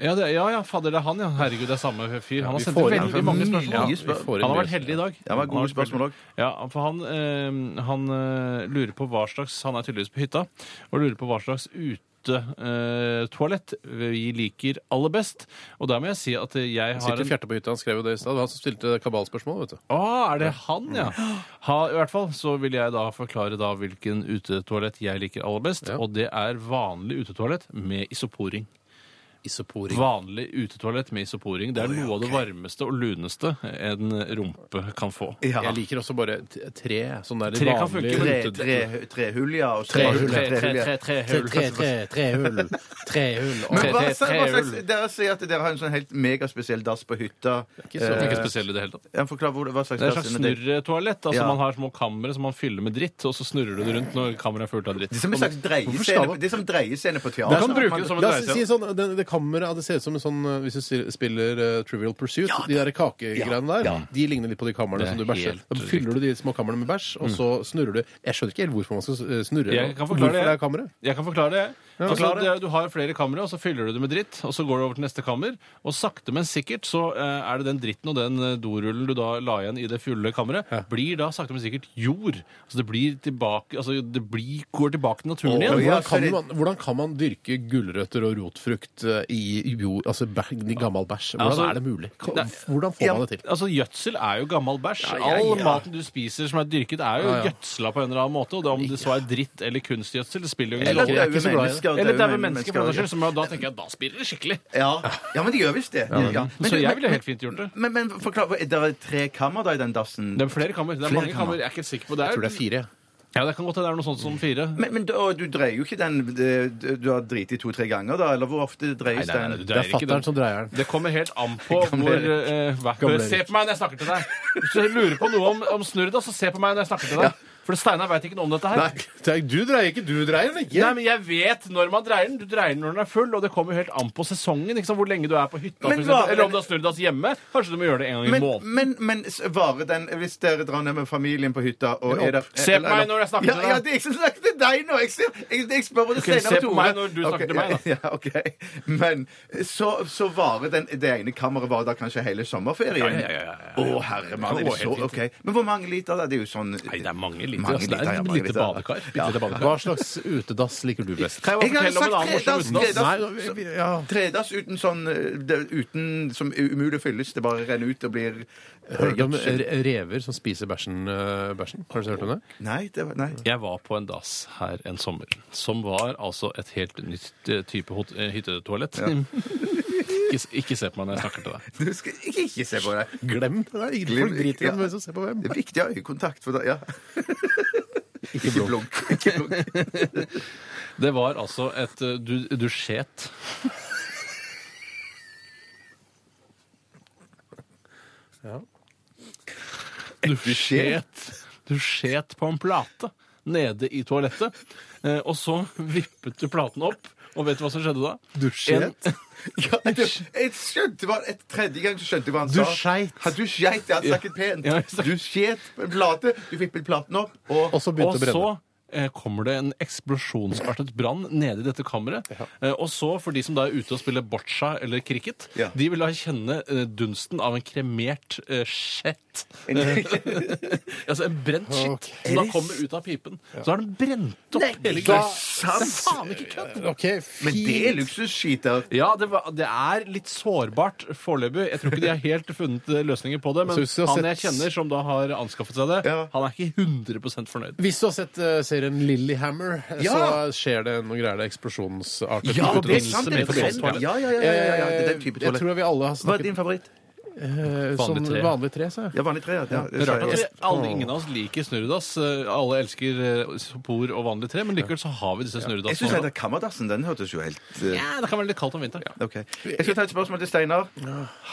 D: ja, det, ja, ja, fader, det er han, ja. Herregud, det er samme fyr. Han har
B: vi
D: sendt
B: får
D: veldig
B: inn for
C: mye
D: mange
C: spørsmål.
D: spørsmål. Ja, vi får inn han har vært heldig i dag.
C: Det var
D: Han
C: gode
D: har vært
C: spørsmål òg.
D: Ja, for han, eh, han eh, lurer på hva slags Han er tydeligvis på hytta, og lurer på hva slags utetoalett eh, toalett vi liker aller best. Og der må jeg si at eh, jeg
B: Han
D: har
B: sitter
D: en
B: fjerte på hytta, han skrev jo det i stad. Det var Han som stilte kabalspørsmål, vet du.
D: Å, er det han, ja? Ha, I hvert fall så vil jeg da forklare da hvilken utetoalett jeg liker aller best,
B: Ja.
D: og det er vanlig utetoalett med isoporing.
B: Isoporing.
D: Vanlig utetoalett med isoporing. Det er noe av det varmeste og luneste en rumpe kan få.
C: Ja.
B: Jeg liker også bare t- tre. Sånn der
D: Tre kan
B: vanlig-
D: funke,
C: Tre-
D: men-
C: tre- Trehull, ja. og så-
B: Trehull,
D: Tre, tre,
C: Trehull, ja.
D: tre, tre,
B: Tre,
D: hull.
B: tre, tre, tre hull. Tre hull.
C: Men
D: Tre-
C: hva,
D: tre-
C: sa- hva
D: trehull.
C: slags, dere sier at dere har en sånn helt megaspesiell dass på hytta.
B: Ikke
D: Det er
B: så-
D: ikke spesielt i det hele tatt.
C: Jeg forklarer hvor, hva slags
D: Det er et slags
C: dass er det?
D: snurretoalett. Altså
C: Ja.
D: Man har små kamre som man fyller med dritt, og så snurrer du det rundt når kammeret er fullt av dritt.
C: Det er som en slags
B: skal man-
C: dreiescene, det er som dreiescene på teater.
D: Man kan bruke det som en
B: La oss
D: dreisel.
B: si sånn, det, det kammeret det ser ut som en sånn eh, Hvis du si- spiller eh, Trivial Pursuit, de der kakegreiene der, de ligner litt på de kamrene
D: Det
B: som
D: er
B: du bæsjer.
D: helt Mm.
B: Da fyller du de små kamrene med bæsj, og så snurrer du. Jeg skjønner ikke helt hvorfor man skal eh, snurre.
D: Jeg kan
B: hvorfor det
D: forklare det.
B: er kammeret.
D: Jeg kan forklare det. jeg. altså,
B: forklar det.
D: det- Du har flere kamre, og så fyller du det med dritt. Og så går du over til neste kammer, og sakte, men sikkert så eh, er det den dritten og den eh, dorullen du da la igjen i det fulle kammeret, blir da sakte, men sikkert jord. Altså det blir tilbake Altså det blir, går tilbake til naturen
B: Men
D: igjen.
C: ja,
B: hvordan, kan
C: sorry.
B: man, hvordan kan man dyrke gulrøtter og rotfrukt eh, i, jord, altså, bæ- i gammel bæsj? Hvordan
D: Altså,
B: er det mulig? Ka-
D: det-
B: Hvordan får man det til?
D: Altså Gjødsel er jo gammel bæsj.
B: Ja, ja,
D: All
B: ja.
D: maten du spiser som er dyrket, er jo
B: Ja, ja.
D: gjødsla på en eller annen måte. Og det, om det så er dritt eller kunstgjødsel, det spiller jo ingen
C: Eller
D: rolle.
B: Jeg er ikke så
C: daue
B: glad i det.
C: mennesker.
D: Eller
C: daue
D: daue mennesker, for den saks
C: mennesker.
D: skyld. som- Da tenker jeg da spiller det skikkelig.
C: Ja. ja, men de gjør visst det. Ja. Men-
D: Så jeg
C: men-
D: ville helt fint gjort det.
C: Men, men forklar, hva- er det tre kammer da i den dassen?
D: Det er flere kammer. Det er
C: Flere
D: mange
C: kammer.
D: kammer. Jeg er ikke helt sikker på det.
B: Jeg tror det er fire.
D: Ja, det kan godt hende det er noe sånt som fire.
C: Men, men du, og du dreier jo ikke den det- Du har driti to-tre ganger, da? Eller hvor ofte dreies
D: Nei, nei, nei,
C: den?
D: du-
B: Det
D: Det er
B: er
D: ikke
B: fatteren
D: det.
B: som dreier den.
D: Det kommer helt an på hvor eh, hva-
B: Gamle Erik.
D: Se på meg når jeg snakker til deg! Hvis du lurer på noe om, om snurr, da, så se på meg når jeg snakker til deg. For Steinar veit ikke noe om dette her.
B: Nei, det er- du dreier ikke, du dreier den ikke.
D: Nei, men jeg vet når man dreier den. Du dreier den når den er full, og det kommer helt an på sesongen. Ikke sant? Hvor lenge du er på hytta,
C: Men
D: for
C: hva-
D: eksempel. Eller om du har snurrdass hjemme. Kanskje du må gjøre det en gang i
C: Men,
D: måneden.
C: men, men s- varer den Hvis dere drar ned med familien på hytta og er der,
D: Se på meg når jeg snakker
C: ja,
D: til deg.
C: Ja, det er ikke som jeg snakker til deg nå! Jeg, ser- jeg, jeg spør både
D: Ok,
C: Steinar og
D: se på
C: Tore.
D: meg når du
C: Ok,
D: snakker til meg, da.
C: <laughs> Ja, ja, ok. Men så, så varer den, det ene kammeret varer da kanskje hele sommerferien?
D: Ja, ja, ja, ja, ja.
C: Å, herre mann, er
D: Det
C: det
D: går
C: så
D: helt fint.
C: OK. Men hvor mange liter, da? Det er jo sånn
D: Nei, det er mange liter.
C: Mange
D: ass. det
C: liter,
D: er
C: ja,
D: et
C: mange
D: lite
C: liter.
D: badekar. Bitte lite badekar.
B: Hva slags utedass liker du best?
D: Kan
C: Jeg
D: jeg bare
C: har jo
D: fortelle om en
C: sagt
D: annen morsom
C: tredass,
D: utedass?
C: tredass.
B: Nei, vi- vi- ja.
C: Tredass uten sånn eh, det- uten, Som er umulig å fylles. Det bare renner ut og blir eh,
B: Hørte du om
C: gjødsel.
B: re- rever som spiser bæsjen? eh, bæsjen? Har du hørt om det?
C: Nei, det var, nei.
D: Jeg var på en dass her en sommer, som var altså et helt nytt eh, type hot- eh, hyttetoalett. <laughs> ikke, s- ikke se på meg når jeg snakker til deg.
C: Du skal ikke, ikke se på det.
B: Glem det! der. Ikke-
C: Glem-
B: Folk driter i
C: ja.
B: hvem som ser på hvem.
C: Det er viktig å ha øyekontakt. For da, ja. Ikke blunk. Ikke blunk.
D: Det var altså et eh, du, du skjet. Du skjet. Du skjet på en plate nede i toalettet. eh, Og så vippet du platen opp Og vet du hva som skjedde da?
B: Dusjet?
D: En- <laughs>
C: Ja, det, jeg skjønte hva, et tredje gang så skjønte jeg hva han
B: Du
C: sa.
B: skeit.
C: Ja, du skeit, ja. Snakket pent.
D: Ja, jeg snak-
C: Du sket på en plate. Du vippet platen opp, og
B: Og så begynte det å brenne.
D: Og så eh, kommer det en eksplosjonsartet brann nede i dette kammeret. Eh, Og så, for de som da er ute og spiller boccia eller cricket,
C: Ja.
D: de vil da kjenne eh, dunsten av en kremert eh, skjett. Eh, <laughs> altså en brent skitt
B: Ok.
D: som da kommer ut av pipen. Så er den brent opp hele
C: hva
D: glasset. Det er faen ikke kødd!
B: OK,
C: Men det er
B: fint.
C: luksusskiter.
D: Ja, det, var, det er litt sårbart foreløpig. Jeg tror ikke de har helt funnet eh, løsninger på det. Men
B: Så hvis du har
D: han jeg
B: sett-
D: kjenner som da har anskaffet seg det,
C: Ja.
D: han er ikke 100 fornøyd.
B: Hvis du har sett eh, serien Lillehammer, Hammer så
C: Ja.
B: skjer det noe greier. Det er eksplosjonsarter.
C: Ja, det er
D: forbindelse
C: sant. Det
D: med et
C: brenner.
D: toalett.
C: Ja, ja, ja, ja, ja, ja. Det er den type
B: Eh, Jeg tror
C: toalett.
B: vi alle har
C: Hva er
B: snakket
C: din favoritt?
B: eh,
D: Vanlig
B: sånn
D: tre.
B: vanlig tre, sa jeg.
C: Ja, vanlig tre. Ja. Ja,
D: Det er rart at
C: ja.
D: vi, alle, ingen av oss liker snurredass. Eh, Alle elsker eh, sopor og vanlig tre, men likevel så har vi disse
C: Jeg syns
D: snurredassene.
C: kammerdassen den hørtes jo helt eh,
D: Ja, det kan være litt kaldt om vinteren.
C: Ok. Jeg skal ta et spørsmål til Steinar.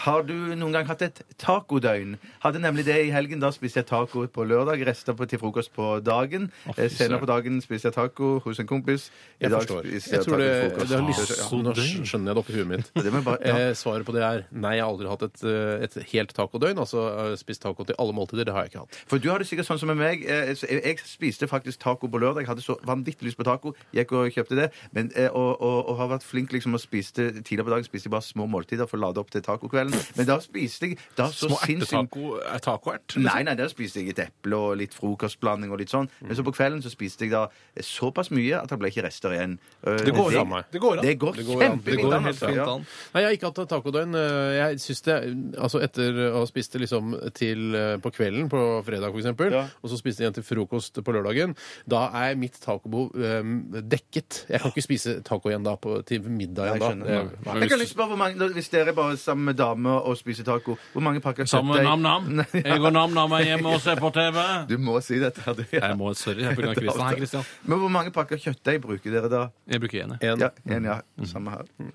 C: Har du noen gang hatt et tacodøgn? Hadde nemlig det i helgen. Da spiste jeg taco på lørdag, resta på, til frokost på dagen.
D: fy
C: Eh, Senere
D: søren.
C: på dagen spiste jeg taco hos en kompis. I
B: Jeg
C: dag
B: forstår.
C: spiser
B: Jeg tror
C: taco
B: det,
C: til frokost.
B: det har
C: Ja.
B: lyst, ja, nå skjønner jeg det oppi huet mitt.
C: Det må jeg bare- ja.
B: Eh, Svaret på det er nei, jeg har aldri hatt et, eh, et helt tacodøgn. Altså eh, spist taco til alle måltider. Det har jeg ikke hatt.
C: For du har det sikkert sånn som med meg. Eh, så Jeg, jeg spiste faktisk taco på lørdag. Jeg hadde så vanvittig lyst på taco. Jeg gikk og kjøpte det. Men, eh, og, og, og har vært flink liksom og spiste tidligere på dagen. Spiste jeg bare små måltider for å lade opp til tacokvelden. Men da spiste jeg da så
D: Små
C: sinnssykt
D: ertetaco er tacoert. liksom.
C: Nei, nei, der spiste jeg et eple og litt frokostblanding og litt sånn. Men så på kvelden så spiste jeg da såpass mye at det ble ikke rester igjen. Eh,
B: Det går an.
C: Det går,
B: Det
C: det går,
B: går an.
D: Det
C: kjempefint
D: går
C: an,
D: helt
C: altså.
D: fint
C: Ja.
D: an.
B: Nei, jeg har ikke hatt tacodøgn. Eh, Jeg synes det, altså Etter å ha spist det liksom til eh, på kvelden på fredag, for eksempel,
C: Ja.
B: og så spiste jeg igjen til frokost på lørdagen, da er mitt tacobehov eh, dekket. Jeg kan ikke spise taco igjen da på, til middag
C: Jeg
B: igjen da.
C: skjønner.
B: Eh,
C: Jeg kan lyst spørre hvor mange, Hvis dere er bare sammen med damer og spiser taco, hvor mange pakker
D: Sammen med
C: <laughs>
D: nam-nam.
C: Nei,
D: Jeg og nam-nam er hjemme og ser på TV.
C: Du må si dette. her, du, ja.
D: Jeg må, sorry, jeg
C: <laughs>
D: bruker Christian. Hei, Christian.
C: Men hvor mange pakker kjøttdeig bruker dere da?
D: Jeg bruker én, jeg.
B: En.
C: Ja, en, ja. Samme her.
D: Mm.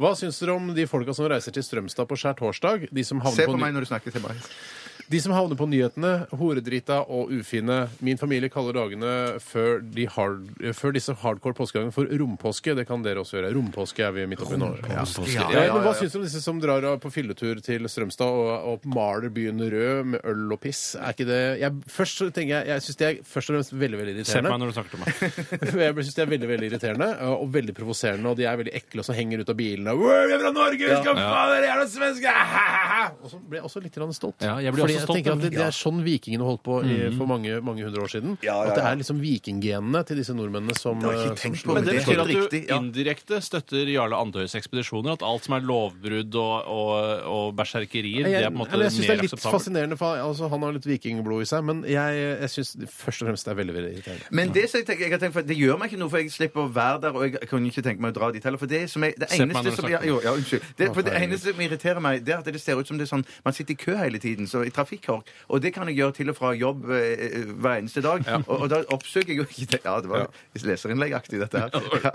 B: Hva syns dere om de folka som reiser til Strømstad på skjærtorsdag? De som havner
C: Se
B: på
C: på
B: ny-
C: meg når du snakker til meg.
B: De som havner på nyhetene, horedrita og ufine. Min familie kaller dagene før, de hard, før disse hardcore påskegangene for rompåske. Det kan dere også gjøre. Rompåske er vi midt oppi nå. Ja.
C: Ja,
B: Eh, Men hva syns du om disse som drar av på fylletur til Strømstad og, og maler byen rød med øl og piss? Er ikke det jeg, Først så tenker jeg Jeg syns det er først og fremst veldig, veldig
D: Se på meg
B: irriterende.
D: når du
C: <laughs>
D: snakker til
B: <laughs>
D: meg.
B: Jeg synes det er veldig, veldig irriterende og veldig provoserende, og de er veldig ekle og så henger ut av bilene. «Wow, Vi er fra Norge! Vi skal faen dere er noen svenske! <laughs> Og så blir jeg også litt grann stolt.
D: Ja, Mhm. jeg blir
B: Fordi
D: også stolt,
B: jeg tenker at det,
D: men-
B: det er sånn vikingene holdt på i, for mange, mange hundre år siden.
C: Ja, ja,
B: At det
C: ja.
B: er liksom vikinggenene til disse nordmennene som,
C: Det har jeg ikke
B: eh, som
C: tenkt på,
D: Men det
C: Det er
D: betyr at
C: helt
D: du
C: riktig, ja.
D: indirekte støtter Jarle Andøys ekspedisjoner? At alt som er lovbrudd og, og, og berserkerier, det er på en måte
B: eller jeg synes det
D: mer
B: er litt
D: akseptabelt?
B: fascinerende, for altså, han har litt vikingblod i seg, men jeg, jeg syns først og fremst det er veldig veldig irriterende.
C: Men det, som jeg tenker, jeg har tenkt, for det gjør meg ikke noe, for jeg slipper å være der, og jeg kan ikke tenke meg å dra dit heller. For det som er det
D: Se på meg når
C: eneste
D: du
C: som, ja,
D: snakker.
C: jo, ja, unnskyld. Det,
B: Å,
C: for det
B: herregud.
C: eneste som irriterer meg, det er at det ser ut som det er sånn man sitter i kø hele tiden, så i trafikkork. Og det kan jeg gjøre til og fra jobb eh, eh, hver eneste dag. Og, og da oppsøker jeg jo ikke det. Ja, det var leserinnleggaktig, dette her.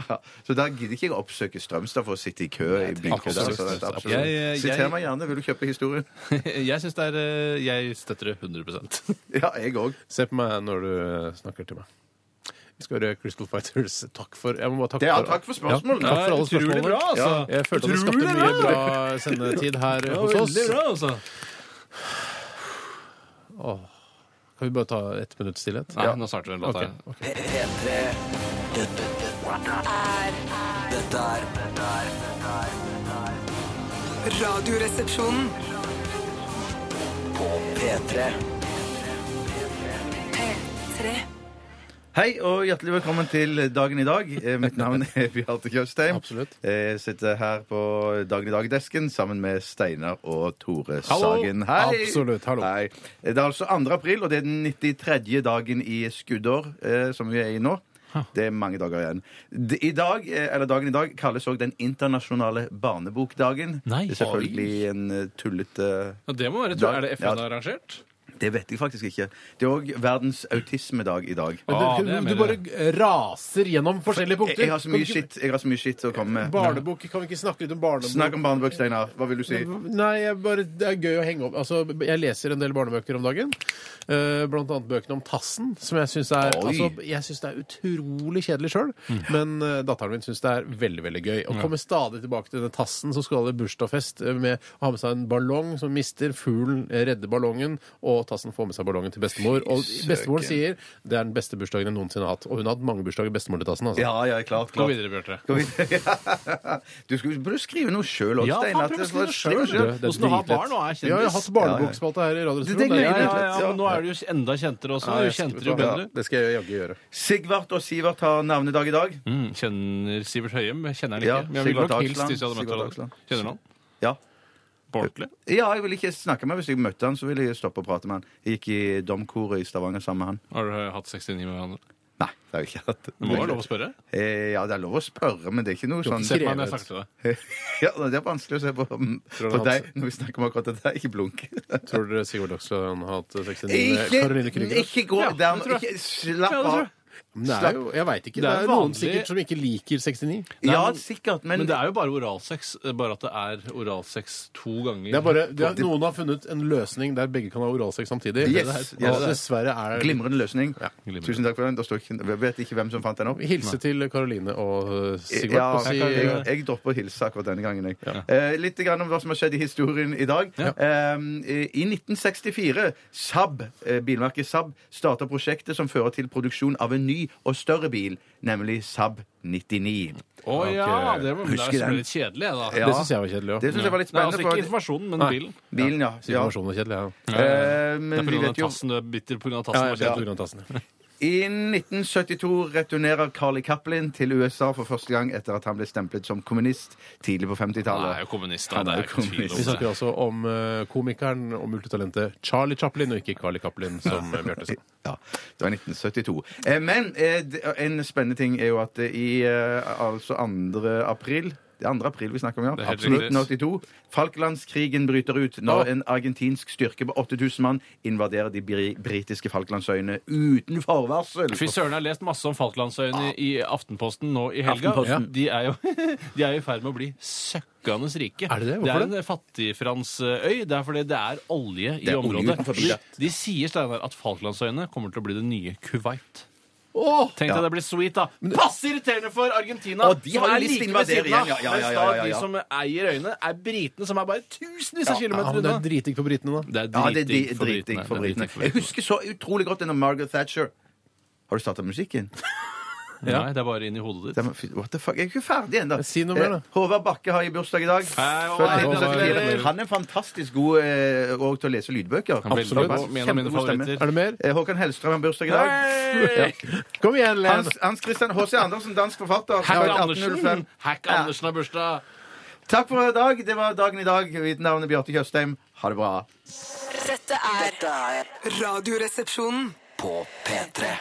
C: Ja. Så da gidder ikke jeg å oppsøke Strømstad for å sitte i kø i bykø der. Så
D: absolutt,
C: det er
D: absolutt.
C: absolutt.
D: Jeg- jeg-
C: Siter meg gjerne. Vil du kjøpe historien? <laughs>
D: <laughs> Jeg, synes det er, eh, jeg støtter det 100
C: Ja, jeg òg.
B: Se på meg når du eh, snakker til meg. Vi skal høre Crystal Fighters. <laughs> Takk for jeg må bare takke
C: Ja,
B: for-
C: takk for spørsmålene.
B: Ja, takk for alle
D: Utrolig
B: spørsmålene.
D: bra, altså.
B: Ja, jeg følte at det skapte
D: Utrolig
B: mye
D: bra.
B: bra
C: <laughs>
B: sendetid her hos oss.
D: Veldig bra, altså.
B: Kan vi bare ta ett minutts stillhet?
D: Nei, nå starter vi en låt
B: Ok,
D: her.
B: ok.
E: P- P3 Dette er Dette er
F: Radioresepsjonen.
E: På P3
F: P3.
C: Hei og hjertelig velkommen til dagen i dag. Eh, Mitt navn
B: <laughs>
C: er Bjarte Tjøstheim.
B: Absolutt.
C: Eh, Jeg sitter her på Dagen i dag-desken sammen med Steinar og Tore
B: Hallo.
C: Sagen. Hei!
B: Absolutt, hallo.
C: Hei. Eh, Det er altså 2. april, og det er den 93. dagen i skuddår eh, som vi er i nå. Det er mange dager igjen. D- I dag, eh, eller Dagen i dag kalles òg den internasjonale barnebokdagen.
D: Nei.
C: Det er selvfølgelig en eh, tullete
D: Ja, Det må være,
C: Da-
D: tror, Er det FN
C: Ja.
D: arrangert?
C: Det vet jeg faktisk ikke. Det er òg verdens autismedag i dag.
B: Men
D: Ah,
B: du,
D: det er
B: du
D: mer-
B: bare raser gjennom forskjellige
C: Jeg,
B: punkter.
C: jeg har så mye
B: Kan vi ikke-
C: shit, jeg har så mye shit å komme med.
B: Barnebok, kan vi ikke snakke litt om barnebok?
C: Snakk om barnebøker, Steinar. Hva vil du si?
B: Nei, jeg bare, det er gøy å henge opp. Altså, jeg leser en del barnebøker om dagen. Eh, Blant annet bøkene om Tassen, som jeg syns er,
C: Oi.
B: altså, jeg synes det er utrolig kjedelig sjøl.
D: Mm.
B: Men eh, datteren min syns det er veldig veldig gøy. Og kommer stadig tilbake til denne Tassen som skal ha bursdagsfest eh, med å ha med seg en ballong som mister. Fuglen eh, redder ballongen, og Tassen får med seg ballongen til bestemor. Og bestemoren sier det er den beste bursdagen jeg noensinne har hatt. Og hun har hatt mange bursdager, bestemoren til Tassen. Altså.
C: Ja, ja, klart.
D: Gå
C: klart.
D: videre, Bjarte.
C: Skal vi- Du skulle burde du skrive noe sjøl òg,
D: Ja, faen,
C: Steinar.
D: prøv å
C: Det
D: skrive
C: var-
D: det selv.
B: Det er
D: Hvordan du har
B: dritlett.
D: barn og er
B: Ja, jeg har hatt
D: kjendis.
B: barneboksspalte her i Radioresepsjonen.
C: Det
B: Det
C: er
B: er
C: gøy.
D: Ja, ja,
B: dritlett.
D: ja, men nå er du jo enda kjentere også.
B: Nei,
D: Du kjente det
B: vet
D: jo
B: du hva?
D: bedre.
B: Ja, det skal jeg jaggu gjøre.
C: Sigvart og Sivert har navnedag i dag.
D: Mm, kjenner Sivert Høyem? Jeg Kjenner han ikke.
C: Ja,
D: men jeg ville
C: Sigvard
D: nok hilst
C: Dagsland.
D: hvis jeg hadde møtt
C: Sigvard
D: ham.
C: Dagsland.
D: Kjenner du han?
C: Ja.
D: På ordentlig?
C: ja, jeg ville ikke snakke med ham. Hvis jeg møtte han, så ville jeg stoppe å prate med han. Jeg gikk i domkoret i Stavanger sammen med han.
D: Har du hatt 69 med hverandre?
C: Nei, det har jeg ikke hatt.
D: Det må være lov å spørre?
C: Eh, Ja, det er lov å spørre, men det er ikke noe sånn
D: Se på meg når jeg snakker til deg.
C: <laughs> Ja, det er vanskelig å se på, mm, på
B: han-
C: deg når vi snakker om akkurat dette. Ikke blunk.
B: Tror dere Sigurd Dagsland har hatt 69 med Karoline
C: Ikke,
B: Krüger?
C: ikke gå
D: Ja, det
C: der
D: tror jeg.
C: ikke- Slapp
D: Ja, det tror
C: av.
D: jeg.
B: Men Det er jo, jeg veit ikke.
D: Det
B: Det
D: er
B: er noen
D: vanlig-
B: sikkert som ikke liker 69.
C: Ja, sikkert, men,
D: Men det er jo bare oralsex. eh, Bare at det er oralsex to ganger.
B: Det er bare, det er, noen har funnet en løsning der begge kan ha oralsex samtidig.
C: Yes,
B: Det er-
C: yes, det er-
B: og dessverre er det
C: Glimrende løsning.
D: glimrende.
C: Tusen takk for den. Da står ikke, jeg vet ikke hvem som fant den opp.
B: Hilse til Karoline og eh, Sigurd.
C: Ja,
B: og si,
C: jeg, jeg, jeg dropper å hilse akkurat denne gangen. Jeg. Eh, litt grann om hva som har skjedd i historien i dag. Eh, I 1964 Saab, eh, bilmerket Saab starta prosjektet som fører til produksjon av en ny og større bil, nemlig Saab 99.
D: Å ja! Det var det
C: Husker
D: er jo
C: den.
D: litt kjedelig, jeg, da.
C: Ja.
B: det syns jeg var kjedelig
C: Det
B: òg.
C: syns jeg var litt
D: Nei, altså
C: spennende.
D: ikke
C: for at-
D: informasjonen, men
B: Nei.
D: bilen.
C: bilen, ja. ja.
B: Informasjonen var kjedelig, ja.
C: Eh,
D: Det er
C: men
D: på
C: vi
D: grunn av
C: vet jo
D: tassen, du er bitter på grunn av
B: Ja,
D: tassen.
B: jeg
D: Ja,
B: kjenner Torgrim Tassen, ja.
C: I 1972 returnerer Carly Cappelin til USA for første gang etter at han ble stemplet som kommunist tidlig på
D: Han er
C: 50-tallet.
D: jo kommunist, da.
C: Han
D: Det
C: er
D: er
C: jo
D: jo ikke tvil
B: Vi
D: om
B: snakker
D: det.
B: altså om eh, komikeren og multitalentet Charlie Chaplin, og ikke Carly Chaplin, som eh, Bjarte sa.
C: Ja, det var 1972. Eh, Men eh, d- en spennende ting er jo at eh, i eh, altså 2. april det er 2. april vi snakker om,
D: Det
C: ja.
D: er helt
C: Absolutt
D: riktig.
C: 1982. Falklandskrigen bryter ut når
B: Ja.
C: en argentinsk styrke på 8000 mann invaderer de bri britiske Falklandsøyene uten forvarsel.
D: Fy søren, jeg har lest masse om Falklandsøyene i i Aftenposten nå i helga.
B: Aftenposten.
D: De er jo <laughs> de er jo i ferd med å bli søkkende rike.
B: Er det det? Hvorfor
D: det er
B: det?
D: en fattigfransøy. Det er fordi det er olje i
C: Det er olje
D: området.
C: utenfor
D: De,
C: budsjett.
D: de sier Steinar, at Falklandsøyene kommer til å bli det nye Kuwait.
B: Åh!
D: Tenk
C: Ja.
D: deg det blir sweet, da. Passe irriterende for Argentina,
C: Og de har jo lyst til å invadere igjen. Ja, ja, ja, ja, ja,
D: mens da de
C: ja.
D: som eier øyene, er britene, som er bare tusenvis av
B: Ja,
D: kilometer
B: men det
D: unna.
B: er dritdigg på britene, da.
D: Det er
C: Ja, det er
D: dritdigg
C: dri-
D: for
C: dritdigg
D: britene.
C: for
D: Det er
C: britene.
D: dritdigg
C: Jeg husker så utrolig godt denne Margaret Thatcher. Har du starta musikken?
D: Nei, det er bare inn i hodet ditt.
C: Den var- fy- What the fuck? Jeg er ikke ferdig ennå. Eh,
B: Si noe mer, da.
C: Håvard Bakke har i bursdag i dag.
D: Hei,
C: Født
D: Håvard.
C: 1974. Han er fantastisk god eh, og til å lese lydbøker.
D: Han er veldig
B: Absolutt.
D: god, en av mine
C: Kjempegod stemme.
D: favoritter.
B: Er det mer?
C: Eh, Håkan Hellstrøm har bursdag i dag.
D: Hei!
B: Kom igjen, Len!
C: Hans, Hans Christian H.C. Andersen, dansk forfatter.
D: Hack
C: født 1805.
D: Andersen. Hack
C: Ja.
D: Andersen har bursdag.
C: Takk for i dag. Det var dagen i dag. Mitt navn er Bjarte Tjøstheim. Ha det bra.
F: Dette er
E: Dette er
F: Radioresepsjonen.
E: på P3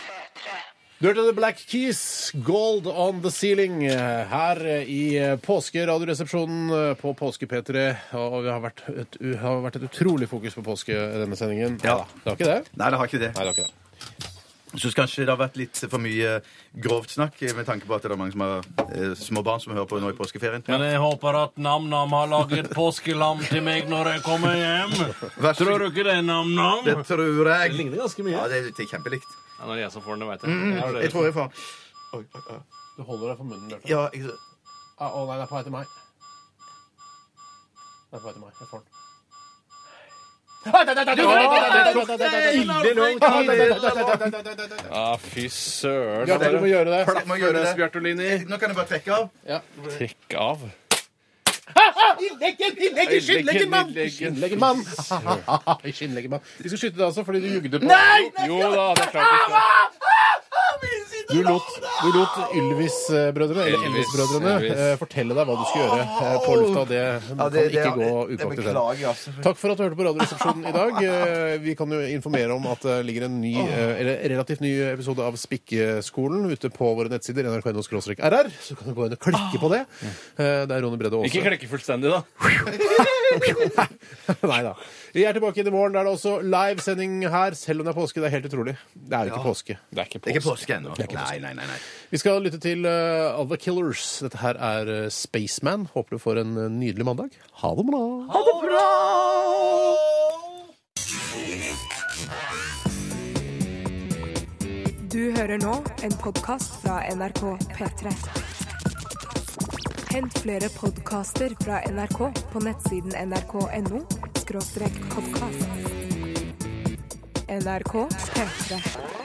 B: Du hørte The Black Keys, Gold on the Ceiling, her i påskeradioresepsjonen på Påske-P3. Og det har vært, et, det har vært et utrolig fokus på påske i denne sendingen.
C: Ja.
B: Neida, Det har ikke det?
C: Nei, det har ikke det.
B: Nei, det har ikke det.
C: Så kanskje det har vært litt for mye grovt snakk, eh, med tanke på at det er mange som har eh, små barn som hører på nå i påskeferien.
D: Men jeg håper at Nam-Nam har laget påskelam til meg når jeg kommer hjem.
C: Vær så
D: Tror
C: god.
D: du ikke det, Nam-Nam?
C: Det tror jeg.
B: ligner ganske
C: Ja,
B: mye.
C: det er, det er kjempelikt.
D: Ja, når jeg som får den, det vet jeg. Ja,
C: Jeg
D: det er
C: tror jeg får
B: Du holder deg for munnen, Bjarte.
C: Ja, jeg...
B: Ah, Å nei, det er på vei til meg. Det er på vei til meg. Jeg får den. Ille lang
D: det. Ah, fy søren.
B: Bjarte, du må gjøre det.
C: Jeg må gjøre det.
D: Bjartolini.
C: Nå kan jeg bare trekke av.
D: Trekk av.
B: Skinnleggen, skinnleggen, skinnleggen, mann! Skinnleggen, mann! <laughs> Skinnleggen, mann. Vi skal skyte deg også, fordi du jugde på
D: Jo da, det er klart.
B: Du lot, du lot Ylvis-brødrene eller
D: Elvis,
B: Elvis-brødrene
D: Elvis.
B: eh, fortelle deg hva du skal gjøre eh, på lufta. Det
C: Ja,
B: kan
C: det- det-
B: ikke gå
C: det
B: upraktisk.
C: Beklager, altså.
B: Takk for at du hørte på Radioresepsjonen i dag. Eh, Vi kan jo informere om at det ligger en ny, eh, eller relativt ny episode av Spikkeskolen ute på våre nettsider, nrk.no-rr. Så kan du gå inn og klikke på det. Eh, Det er Ronny Brede
D: Ikke
B: Aase.
D: klekke fullstendig, da.
B: <laughs> Nei da. Vi er tilbake inn i morgen. Da er det også livesending her, selv om det er påske. Det er helt utrolig. Det er jo ikke påske. Det er ikke
C: Det er ikke påske ennå. Nei, nei, nei. nei.
B: Vi skal lytte til uh, All The Killers. Dette her er uh, Spaceman. Håper du får en uh, nydelig mandag. Ha det bra!
A: Du hører nå en podkast fra NRK P3. Hent flere podkaster fra NRK på nettsiden nrk.no podkast. NRK P3.